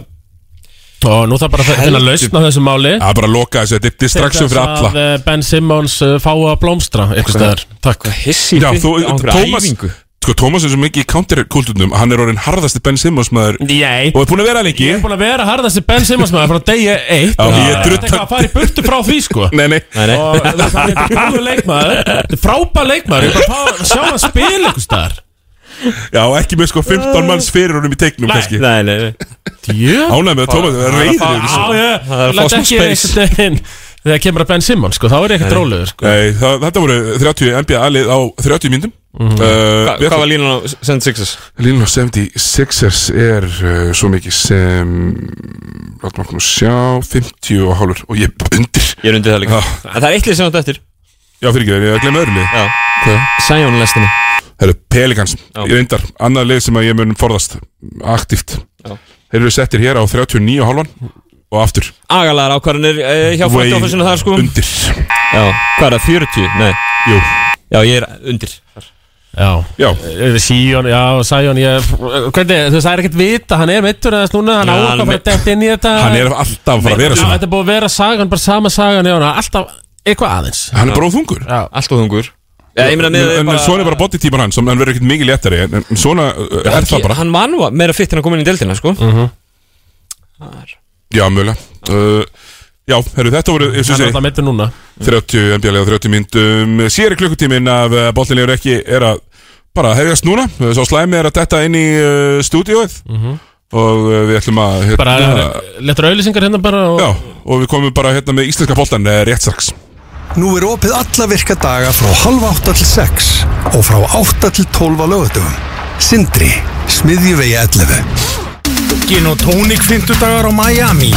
B: og nú þarf bara að finna lausn á þessu máli
A: Það er bara að loka þessu, þetta er distraction fyrir alla
B: að eh, Ben Simmons eh, fái að blómstra einhvers staðar, takk
C: hissi
A: Já, þú,
C: á einhverja
A: Thomas,
C: æfingu.
A: sko, Thomas er svo mikið í counterkulturnum, hann er orðin harðasti Ben Simmons maður
B: Nei,
A: og er búin að vera lengi
B: ég er búin að vera harðast í Ben Simmons maður frá degi eitt
A: Já,
B: og
A: ég
B: það
A: er
B: er
A: drutt-
B: eitthvað að fara í burtu frá því sko
A: Nei, nei,
C: nei nei
B: og það er eitthvað góður leikmaður þetta er frábær leikmaður, ég er bara að fá- sjá hann spila einhvers staðar
A: já, ekki með sko 15 manns fyrir honum í teiknum
B: Nei.
A: kannski
C: nei nei nei.
B: Djöfull.
A: Ánægð með Thomas, það er
C: Bara að
A: reyður
C: fá-
A: yfir þessu
B: Já, já,
C: Það er að fá
B: Læt
C: smá
B: ekki
C: space.
B: einhvern veginn Þegar kemur að Ben Simmons, sko, þá er ég ekkert rólegur, sko
A: Nei, það, þetta voru 30 NBA-lið á 30 myndum mm
C: Hva-
A: -hmm.
C: hvað var línan á Send Sixers
A: Línu á 76ers er uh, svo mikið sem látum okkur nú sjá 50 og hálfur og ég er bara undir
C: ég er undir það líka
A: Já.
C: en það er eitt lið sem átt eftir
A: Já, fyrir ekki, ég glemma öðru lið
C: já
A: Hvað?
C: Sion lestinni
A: Það eru Pelikans, ég reyndar annað lið sem að ég mun forðast aktíft
C: Já.
A: Þeir eru settir hér á 39 og hálfan og aftur
C: agalaðar ákvarðanir eh, hjá
A: Way
C: fætti ofensinu þar sko
A: Undir
C: já hvað er það 40 nei
A: Jú,
C: já ég er undir
B: Já,
A: já
B: Sion, já, Sion ég, hvernig, þú veist, það er ekkert vita hann er mittur eða núna, hann á
C: Já,
B: eitthvað að
C: hann
B: fara
C: meitt-
B: að detta inn í þetta
A: Hann er alltaf að fara að vera
B: Já,
A: svona
B: þetta er búið að vera sagan, bara sama sagan já, hann er alltaf eitthvað aðeins
A: Hann er bara óþungur
C: allt og þungur já ég meina
A: En,
C: með
A: en svona er bara bodytíman hans, hann verður ekkert mikið léttari En, en svona uh, er það bara Mhm.
C: Hann var nú meira fitt en að koma inn í deildina sko
A: Já, mögulega uh, Já, herru, þetta voru eins og
B: hann er
A: segi,
B: alltaf mittur núna
A: 30 NBA-lega og 30 myndum Sér er klukkutíminn af uh, boltinlegur ekki er að bara hefjast núna Uh, Svo slæmi er að detta inn í uh, stúdíóið og uh, við ætlum að hérna,
B: bara, letur auðlýsingar hérna bara og,
A: Já, og við komum bara hérna með íslenska boltan eh, rétt strax
D: Nú er opið alla virka daga frá halv átta til sex og frá átta til tólfa lögutum. Sindri, smiðjuvegi 11.
E: Gin og tónik 50 dagar á Miami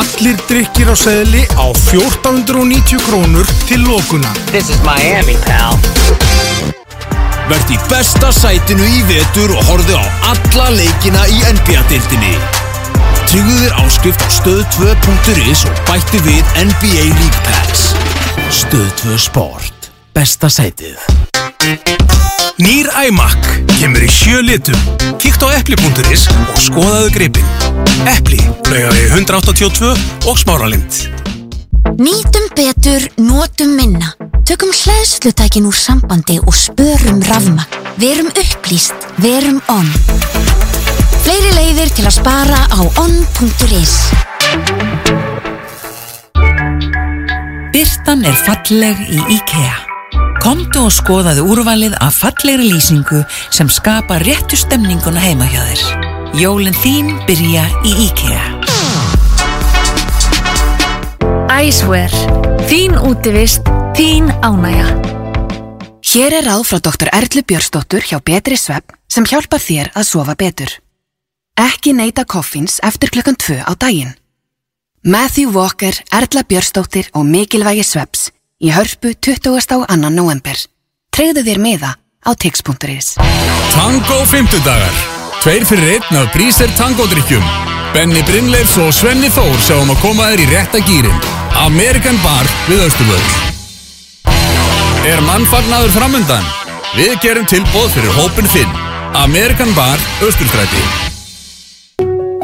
E: Allir drikkir á seðli á 1490 krónur til lokuna
F: This is Miami, pal.
G: Vert í besta sætinu í vetur og horfðu á alla leikina í NBA-deildinni. Tryggðu þér áskrift á stöð2.is og bættu við NBA League Pass. Stöð2 Sport. Besta sætið.
E: Nýr æmakk kemur í sjö litum Kíkt á epli.is og skoðaðu gripin Epli, laugavegi 182 og smáralind
H: Nýtum betur, notum minna. Tökum hlæðslutækin úr sambandi og spörum rafmagn. Verum upplýst, verum onn. Fleiri leiðir til að spara á onn.is.
I: Birtan er falleg í IKEA. Komdu og skoðaðu úrvalið af fallegri lýsingu sem skapa réttu stemninguna heima hjá þér. Jólin þín byrja í IKEA.
J: Æsver. Þín útivist, þín ánægja.
K: Hér er ráð frá Dr. Erlu Björnsdóttur hjá Betri Svepp sem hjálpar þér að sofa betur. Ekki neyta koffins eftir klukkan 2 á daginn. Matthew Walker, Erla Björnsdóttir og Mikilvægi Svepps í hörpu 22. annan november. Treyðu þér meða á tix.is.
L: Tango 50 dagar Tveir fyrir einn af Bríser Tango-drykkjum Benni Brynleifs og Svenni Þór sjáum að koma þér í rétta gýrin Amerikan Bar við Östuböð Er mannfagnaður framundan? Við gerum tilbóð fyrir hópin þinn Amerikan Bar Östubræti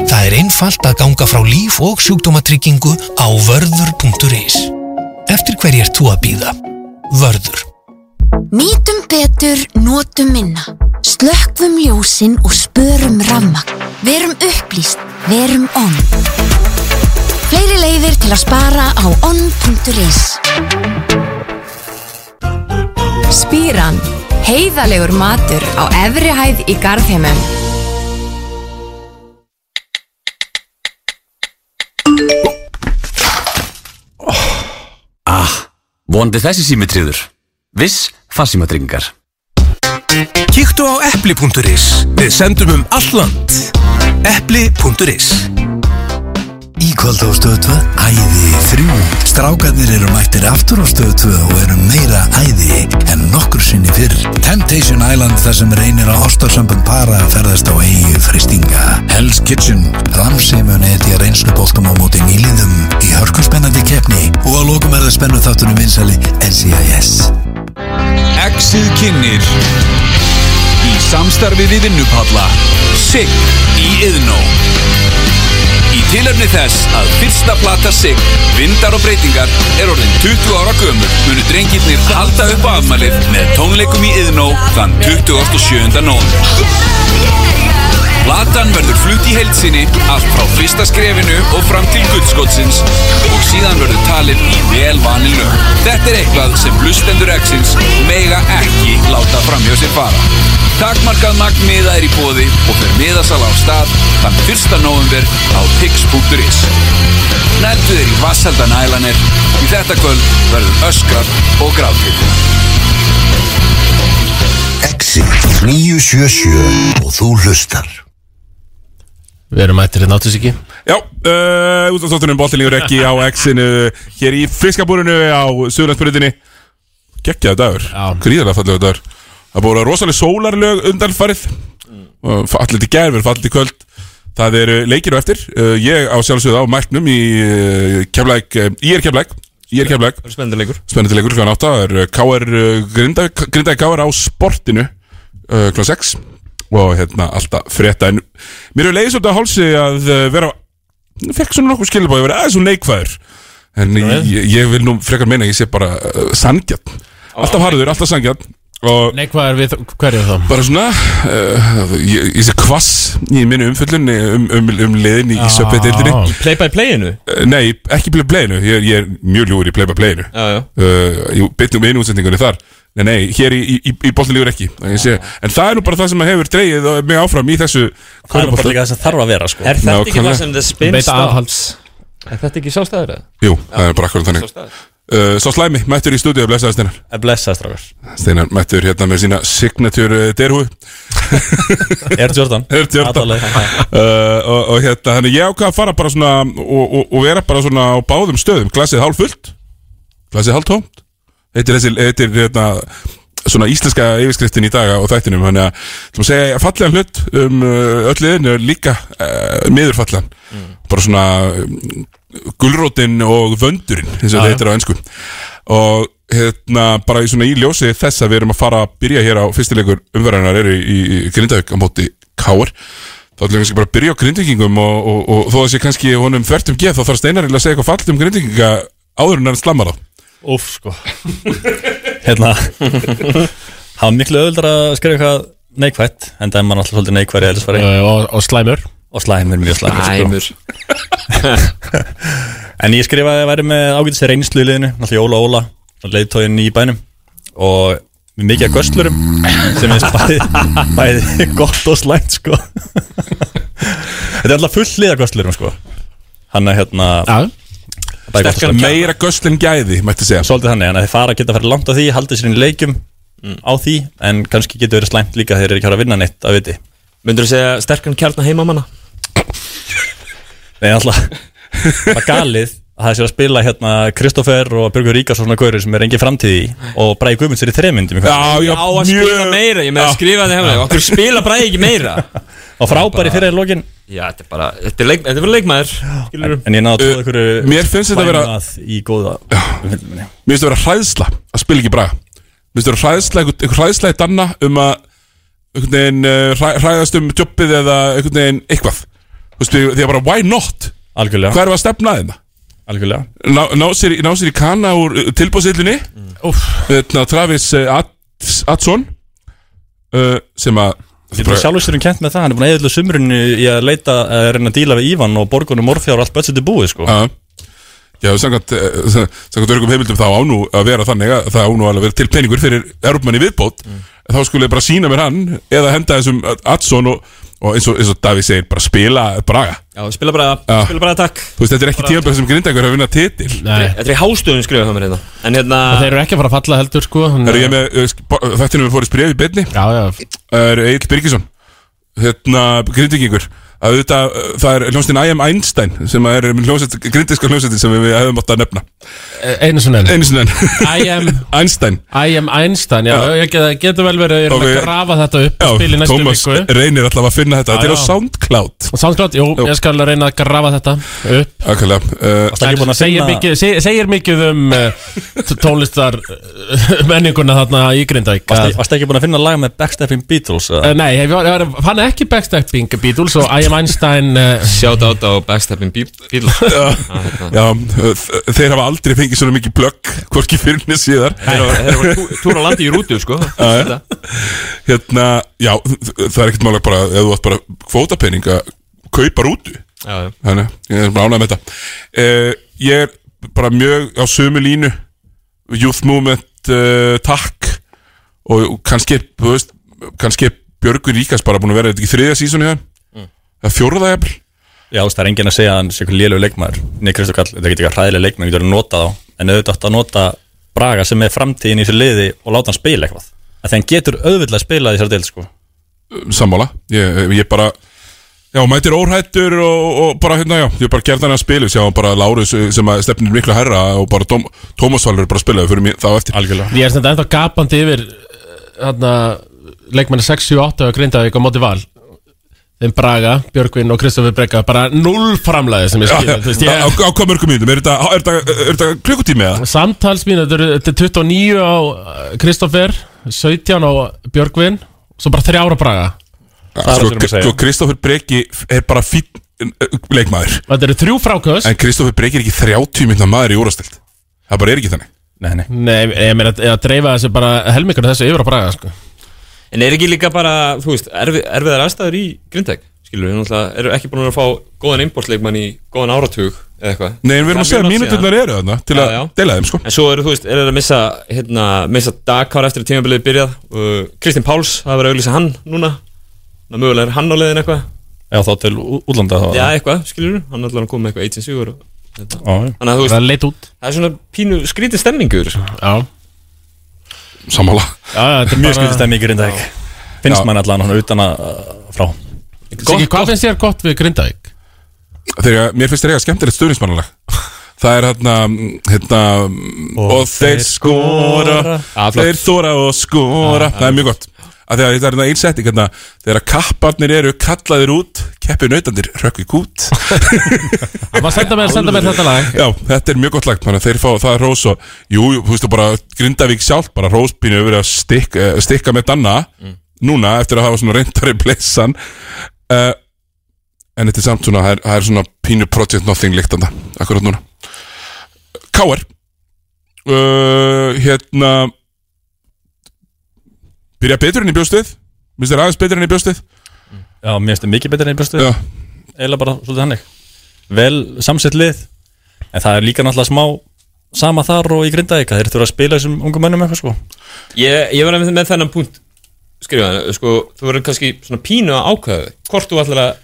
M: Það er einfalt að ganga frá líf og sjúkdómatryggingu á vörður.is. Eftir hverju ert þú að býða? Vörður.
H: Nýtum betur, notum minna. Slökkvum ljósin og spörum rafmagn. Verum upplýst, verum onn. Fleiri leiðir til að spara á onn.is.
N: Spíran. Heiðalegur matur á efri hæð í Garðheimum.
O: Ah, vonandi þessi símitriður. Viss farsímatryggingar.
E: Kíktu á epli.is Við sendum um alland Epli.is
D: Íkvöld á stöðu 2, æði 3 Strákarnir eru mættir aftur á stöðu 2 og eru meira æði en nokkur sinni fyrr Temptation Island þar sem reynir að ástarsambund para að ferðast á eigu fristinga Hell's Kitchen Ramsey mun etja reynsluboltum á móti nýliðum í hörkurspennandi keppni og að lókum er það spennu þáttunum vinsali NCIS
G: Exið kynir Í samstarfi við vinnupalla SIG í Iðnó Í tilöfni þess að fyrsta plata SIG Vindar og breytingar er orðin 20 ára gömur munu drengirnir halda upp á afmælið með tónleikum í Iðnó þann 27. nóður Platan verður flutt í heilsinni allt frá fyrsta skrefinu og fram til guldskottsins og síðan verður talið í vel vanil lög. Þetta er eitthvað sem blustendur X-ins mega ekki láta framhjá sér fara. Takmarkað magn miða er í bóði og fer miðasala á stað þann 1. november á tix.is. Nældu þér í Vassaldan Ælanir. Í þetta kvöld verður öskar og gráðkjöld.
D: Exit 977 og þú hlustar
B: Við erum mættir hérna áttu siki
A: Já, uh, út af þáttunum boltilíður ekki á X-inu Hér í fiskabúrinu á Suðlandsbyrjutinni Gekkjaðu dagur, gríðarlega fallegu dagur Það búið að rosalega sólarlög undanfarið mm. Fallit í gerfur, fallit í kvöld Það eru leikir á eftir uh, Ég á sjálfsögðu á mæknum í uh, keflæk, uh, Ég er keflæk Ég er keflæk
C: Spennandi leikur
A: Spennandi leikur klokkan 8 er uh, KR uh, grinda, grindaði KR á sportinu uh, klokkan 6 og hérna alltaf frétta en mér hefur leiðið svolítið á hálsi að uh, vera fekk svona nokkuð skilabáð að vera aðeins svona neikvæður en ég, ég vil nú frekar meina að ég sé bara uh, sangjarn alltaf harður, alltaf sangjarn og
B: Neikvæðar við hverju þá?
A: bara svona uh, ég, ég sé kvass í minni umföllun um, um, um liðin
B: Ah.
A: í, í söpveitildinni
C: Í play-by-playinu?
A: Uh, Nei, ekki play playinu, ég, er- ég er mjög ljúur í play by playinu
C: Já, já.
A: uh, Bittum einu útsendingunni þar Nei, nei, hér í, í, í boltinlífur ekki Ég sé, En það er nú bara það sem hefur dreigið mig áfram í þessu
P: Það er bara líka það sem þarf að vera sko
C: Er þetta ekki
A: Nákvæmlega.
C: það sem The Spin
A: Beita
C: starts? Er þetta ekki sástæður eða?
A: Jú, það er bara akkur þannig
C: staður.
A: Uh, sá slæmi, mættur í stúdíu, blessaði Steinar
P: Blessaði strákar
A: Steinar mættur hérna með sína signature uh, derhú
P: Er 14
A: Er 14 uh,
P: Aðalega.
A: og, og hérna, þannig ég ákvað að fara bara svona og, og, og vera bara svona á báðum stöðum Glasið hálffullt, glasið hálftómt Þetta er þessi, þetta er hérna svona íslenska yfirskriftin í daga og þættinum þannig að, þú maður segja, fallegan hlut um uh, öll liðin er líka uh, miðurfallan,
P: Mm.
A: bara svona um, gulrótin og vöndurinn eins og þetta
P: Já, já.
A: heitir á ennsku og hérna, bara í svona í ljósi þess að við erum að fara að byrja hér á fyrstileikur umverðarinnar eru í, í, í Grindavík á móti Káar þá ætlum við kannski bara að byrja á Grindvíkingum og, og, og, þó að sé kannski honum þvert um geð þá þarf Steinar eiginlega að segja eitthvað fallt um Grindvíkinga áður en hann slammar þá
P: Úf, sko Hérna Það var miklu öðuldar að skrifa eitthvað neikvætt En það er mann alltaf svolítið neikværi eðlisfæri
B: Uh, og, og slæmur
P: Og slæmur, mjög slæmur
C: Slæmur.
P: sko. En ég skrifaði að væri með ágætis reynslu í liðinu Náttúrulega Óla Óla Leiðtógin í bænum Og með mikið að göstlurum Sem er bæði, bæði gott og slæmt sko Þetta er alltaf full liða göstlurum sko Hann er hérna Bæði gott og
A: Sterkara
P: slæmt.
A: meira gösl en gæði, mætti segja
P: Svolítið þannig, þannig að þeir fara að geta að fara langt á því Haldið sér inn í leikjum á því En kannski getur verið slæmt líka þegar þeir eru ekki að fara að vinna neitt að viti
C: Myndur þú segja sterkan kjarnar heimamanna?
P: Nei, alltaf Það er galið að það sé að spila hérna Kristoffer og Björgur Ríkars og svona kaurur sem er engin framtíð í og Bræði Guðmunds er í þremyndum
A: Já,
C: Já, að spila meira, ég með að skrifa þig hefði Okkur spila bræði ekki meira
P: Og frábæri fyrir í lokin
C: Já, þetta er bara, þetta er, leik, þetta er bara leikmaður skilurðu.
P: En ég náðu að tóða
A: Uh,
P: ykkur
A: mér finnst þetta vera-
P: Í góða Mér
A: finnst þetta vera hræðsla að spila ekki braga Mér finnst þetta vera hræðsla, einhver, einhver hræðsla í danna um að einhvern veginn uh, hræ, hræðast um jobbið eða einhvern veginn eitthvað Þú veist, því að bara why not?
P: Algjörlega
A: Hvað er að stefna að þeim?
P: Algjörlega
A: Ná, ná, sér, í- ná sér í kana úr uh, tilbúðsillunni Þetta Travis uh, Ads- Adson uh, sem að
P: Ég er sjálfur sér um kent með það, hann er búin að eðla sumrunni í að leita, eh, að reyna að díla við Ívan og borgunum morfjár og allt budgeti búið sko
A: Já, Ah. já samkvæmt, eh, sam- samkvæmt örgum heimildum þá á nú að vera þannig að það á nú alveg að vera til peningur fyrir erupmann í viðbót þá skulle ég bara sína mér hann eða henda þessum Adson og, og eins og, eins og Davíð segir, bara spila Braga
C: Já, spila bara,
A: Já.
C: spila bara takk
A: Þú veist, þetta er ekki
C: Bara-
A: tíðanbæð sem grinda einhver að vinna titil
C: Þetta er í hástöðun skrifað hjá mér hérna En hérna
B: Og þeir eru ekki að fara að falla heldur sko þannig
A: Erum
B: að-
A: ég með, eh, sk- bo- þættinum við fórist bregð í beinni Já, já Er Egil Birgisson Hérna, grindingingur að þetta, það er hljómsveitin I am Einstein sem að er hljómsveit, grindiska hljómsveitin sem við hefum átt að nefna
B: Einu sinni enn.
A: Einu sinni enn.
B: I am
A: Einstein
B: I am Einstein, já,
A: Já.
B: ég get, getur vel verið Ég er
A: Og
B: að
A: við-
B: grafa þetta upp og spila í næstu
A: Thomas eh,
B: viku
A: reynir alltaf að finna þetta
B: Já,
A: Þetta er á
B: já.
A: SoundCloud
B: Soundcloud, jú, ég skal reyna að grafa þetta upp
A: Akkulega
B: En segir, mikið, segir, segir mikið um uh, tónlistar uh, menninguna þarna í Grindavík að-
P: Varst ekki búin að finna lag með Backstepping Beatles? eða?
B: Eh, Nei, hef, ég var, fann ekki Backstepping Beatles og I am Einstein uh,
C: Shout out á Backstepping Beatles
A: Já, uh, þ- þeir hafa aldrei fengið svona mikið plögg Hvorki fyrir niður síðar
C: Þeir eru- þeir eru að túra landi í rútu, sko
A: Já, já. Hérna, já, þ- það er ekkert málag bara Ef þú átt bara kvótapenning að kaupa rútu
C: Já, já.
A: Þannig, að ég er bara ánægð með þetta uh, Ég er bara mjög á sömu línu Youth Movement uh, Takk Og og kannski, er, þú veist Kannski er Björgur Ríkas bara búin að vera er Þetta ekki þriðja sísoni það
P: Mm.
A: Það er fjóraða jafnvel
P: Já, þú veist, það er enginn að segja að hann sé eitthvað lélög leikmaður Nei, Kristof Kall, þetta getur eitthvað hræðileg leikmaður getur að nota þá, en auðvitað átt að nota Braga sem er framtíðin í þessu liði og láta hann spila eitthvað Af því hann getur auðvitað að spila þessar del, sko
A: sammála ég, eh, ég bara Já, mætir óhættur og, og bara hérna, já, ég bara gerði hann að spila Sjá bara Lárus eh, sem að stefnir miklu herra og bara Tom, Tómas Valur bara spilaði fyrir mig þá eftir
B: Ég er þetta ennþá gapandi yfir eh, þarna, leikmenni 6-7-8 á Grindavík á móti val þeim Braga, Björgvin og Kristoffer Brekka bara null framlæði sem ég
A: Já,
B: skil
A: já,
B: þú veist, ég,
A: á, á hvað mörgum mínum, er þetta, er þetta, er þetta klukkutími eða?
B: Samtals mín, þetta eru- þetta er 29 á eh, Kristoffer 17 á Björgvin svo bara 3 ára Braga
A: Ja, sko, sko Kristoffer Breki er bara fín leikmaður
B: Þetta eru þrjú fráköst
A: En Kristoffer Breki er ekki 30 minna maður í úrastild Það bara er ekki þannig
P: Nei, nei
B: Nei, ég meina að- að dreifa þessu bara helmingur þessu yfir á Braga sko.
C: En er ekki líka bara, þú veist, erfi, erfiðar aðstæður í Grindæk Skilur, við náttúrulega eru ekki búin að fá góðan einbórsleikmann í góðan áratug eða eitthvað
A: Nei, en við erum að
C: Það er
A: segja
C: mjög
A: að
C: langt
A: mínúturnar
C: síðan.
A: eru þarna til að
C: Já, já.
A: deila þeim, sko
C: En svo eru, þú veist, eru þeir að missa, hérna, missa dagkár eftir að tímabilið byrjað uh, Kristinn Páls, það er verið að auglýsa hann núna Ná mögulega er hann á leiðin eitthvað
P: Já, þá til ú- útlanda þá
C: Já, eitthvað, skilur, hann ætlar að koma með eitthvað 18 sigur og Þannig að þú
B: Það leit út
C: Það er svona pínu skrítið sko. stemmingur
B: Já
A: Sammála
B: Já, þetta er
P: Mjög
B: bara-
P: skrifið stemmingur í dag Finnst mann allan hann utan að frá
B: Siggi, hvað finnst þér gott við Grindavík?
A: Þegar mér finnst þér eiga skemmtilegt stuðnismannalag Það er hérna, hérna Og, þeir
B: þeir
A: skora
B: skora.
A: Já, flott. Þeir þóra og skora Það er mjög gott að Þegar þetta er hérna einsetting hérna, Þegar kapparnir eru kallaðir út Keppi nautandir rökkvi kút
B: Maður senda mér, senda mér þetta lag
A: Já, þetta er mjög gott lag Þannig að þeir fá það er rós og Jú, jú, þú veist þú bara Grindavík sjálf Bara róspínu verið að stikka, stikka með Danna Núna eftir að hafa svona reyndari blessan uh, En þetta er samt svona Það er, það er svona pínu Project Nothing líktanda Akkurat núna K.R. Uh, hérna Byrja betur enn í bjóstið Minnst þér aðeins betur enn í bjóstið
P: Já, mér finnst það mikið betur enn í brjóstu Eila bara svolítið hannig Vel samsett lið En það er líka náttúrulega smá Sama þar og í Grindavík að Þeir þurfa að spila þessum ungu mönnum eitthvað sko
C: Ég, ég var með, með þennan punkt skrifaðan, sko, þú verður kannski svona pínu að ákvæðu hvort þú ætlar að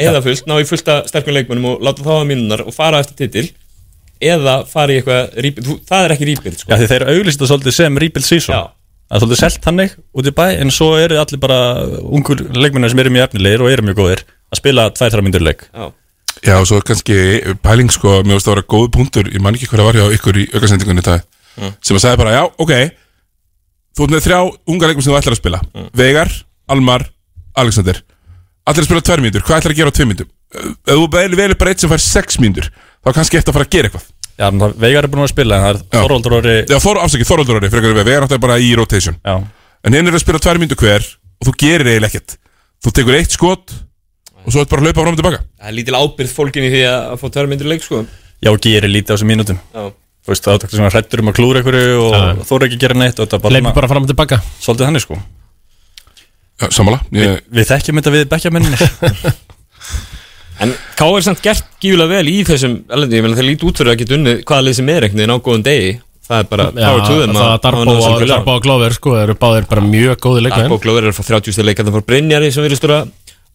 C: eða fullt, ná í fullta sterkum leikmönnum og láta þá að mínunar og fara eftir titil eða fara í eitthvað rýpild, það er ekki rýpild sko.
P: Já, því þeir auðlýst það svolítið sem rebuild season Það er svolítið selt hannig út í bæ En svo eru allir bara ungur leikmennar sem eru mjög efnilegir og eru mjög góðir Að spila tvær-þrjá myndur leik
C: Já.
A: Já, og svo er kannski pæling sko, mér finnst það að vera góð punktur, ég man ekki hverja var hjá ykkur í aukasendingunni í dag,
C: Mm.
A: sem að sagði bara, já, ok, þú ert með þrjá unga leikmenn sem þú ætlar að spila, Veigar, Almar, Alexander, allir að spila tvær mínútur, hvað ætlar að gera á tvei mínútur? Ef þú velur vel bara eitt sem fær sex mínútur, þá er kannski eftir að fara að gera eitthvað.
P: Já, en það- Veigar er búin að spila en það er Þorvaldur orði
A: Já, Þor, afsakið, Þorvaldur orði, frekar við, Veigar náttúrulega bara í rotation.
P: Já.
A: En hinn er að spila tvær mínútur hver og þú gerir eiginlega ekkert. Þú tekur eitt skot og svo ert bara að hlaupa fram og tilbaka.
C: Það er lítil ábyrð fólkin í því að að fá tvær myndir leik sko.
P: Já, og gerir lítið á þessum mínutum
C: Já.
P: Þú veist, það er svona hrættur um að klúra einhverju og
B: Já.
P: þóra ekki að gera neitt og þetta er
B: Leipur bara fram og tilbaka
P: Svolítið hannig sko
A: Já, sammála
P: ég... Vi, Við þekkjum þetta við bekkjamennir
C: En Ká er samt gert gífulega vel í þessum ellendi, ég meina þeir líti út fyrir að geta unnið hvaða lið sem er einhvern veginn á góðan degi það er bara
B: Já,
C: power to them
B: það
C: að-
B: er Darbo
C: að ná
B: og
C: þessum
B: Darbo og Glover sko, eru báðir bara mjög góði leikmenn
C: Darbo Glóður er að fá 30 stig leik þannig að fór Brynjari sem virðist vera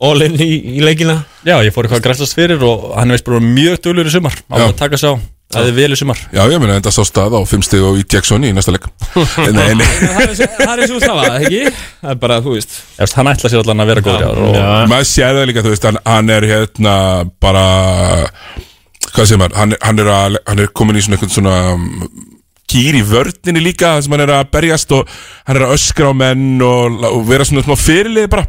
C: all in í, í leikina
P: Já, ég fór eitthvað að græsast fyrir og hann veist bara mjög dölur í sumar Á að taka sig á, það er vel í sumar
A: Já, ég meina enda sá stað á fimm stig og í Jackson í næsta leik Nei, nei
C: Það er eins og það var, ekki? Það er bara, þú veist
P: Efst, Hann ætla sér allan að vera góður og...
A: Maður sér það líka, þú veist, hann, hann er hérna bara Hvað segir maður, hann, hann, er, að, hann er komin í svona einhvern svona um, Kýr í vördninni líka, þar sem hann er að berjast og hann er að öskra á menn og, og vera svona smá fyrirlið bara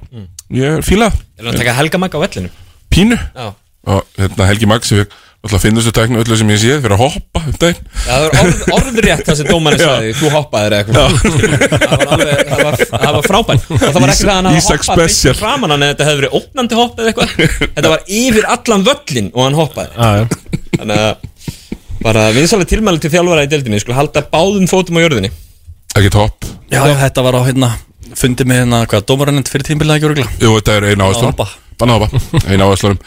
A: Ég er fílað
C: Er hann að taka Helga Magga á vellinu?
A: Pínu
C: Já.
A: Og hérna Helgi Magg sem við alltaf finnum þessu tæknu öllu sem ég séð fyrir að hoppa um daginn
C: Það var orð, orðrétt það sem dómarinn sagði Þú hoppaðir eða eitthvað Það var alveg, það var, það var frábæn Og Það var ekki það að hann hafi
A: Ísak
C: hoppað
A: special.
C: beint í framan hann eða Þetta hefði verið ópnandi hopp eða eitthvað Þetta var yfir allan völlin og hann hoppaði
B: Já, já.
C: Þannig að bara vinsalega tilmæli til þjálfara í deildinni Skul halda báðum fótum á jörðinni
A: Ekkert hopp
P: Já, já, þetta var á hérna Fundi með hérna, hvað, dómarannend fyrir tímbilið ekki örgulega
A: Jú, þetta er eina
P: Bannað að hoppa.
A: áherslunum Bannað að hoppa Eina áherslunum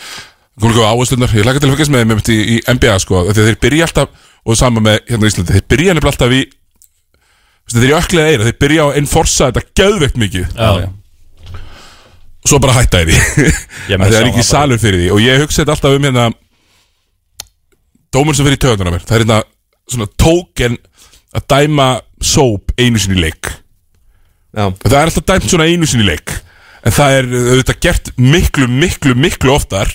A: Komum við á áherslunar Ég lakka til að fylgjast með þeim einmitt í, í NBA sko af því að Þeir byrja alltaf Og sama með hérna í Íslandi Þeir byrja nefnilega alltaf í þú veist, Þeir eru öklega eira Þeir byrja á að enforsa þetta gæðvegt mikið
P: Já, já.
A: Og svo bara hætta þeir því
P: Ég
A: Af því
P: meina,
A: Það er
P: sá
A: ekki
P: það
A: salur fyrir því Og ég hugsa þetta alltaf um hérna Dómur sem fyrir í töðunar mér Það er hérna svona tóken Að dæma sóp einu sinni í leik
C: Já.
A: Það er alltaf dæmt svona einu sinni í leik En það er uh, auðvitað gert miklu, miklu, miklu oftar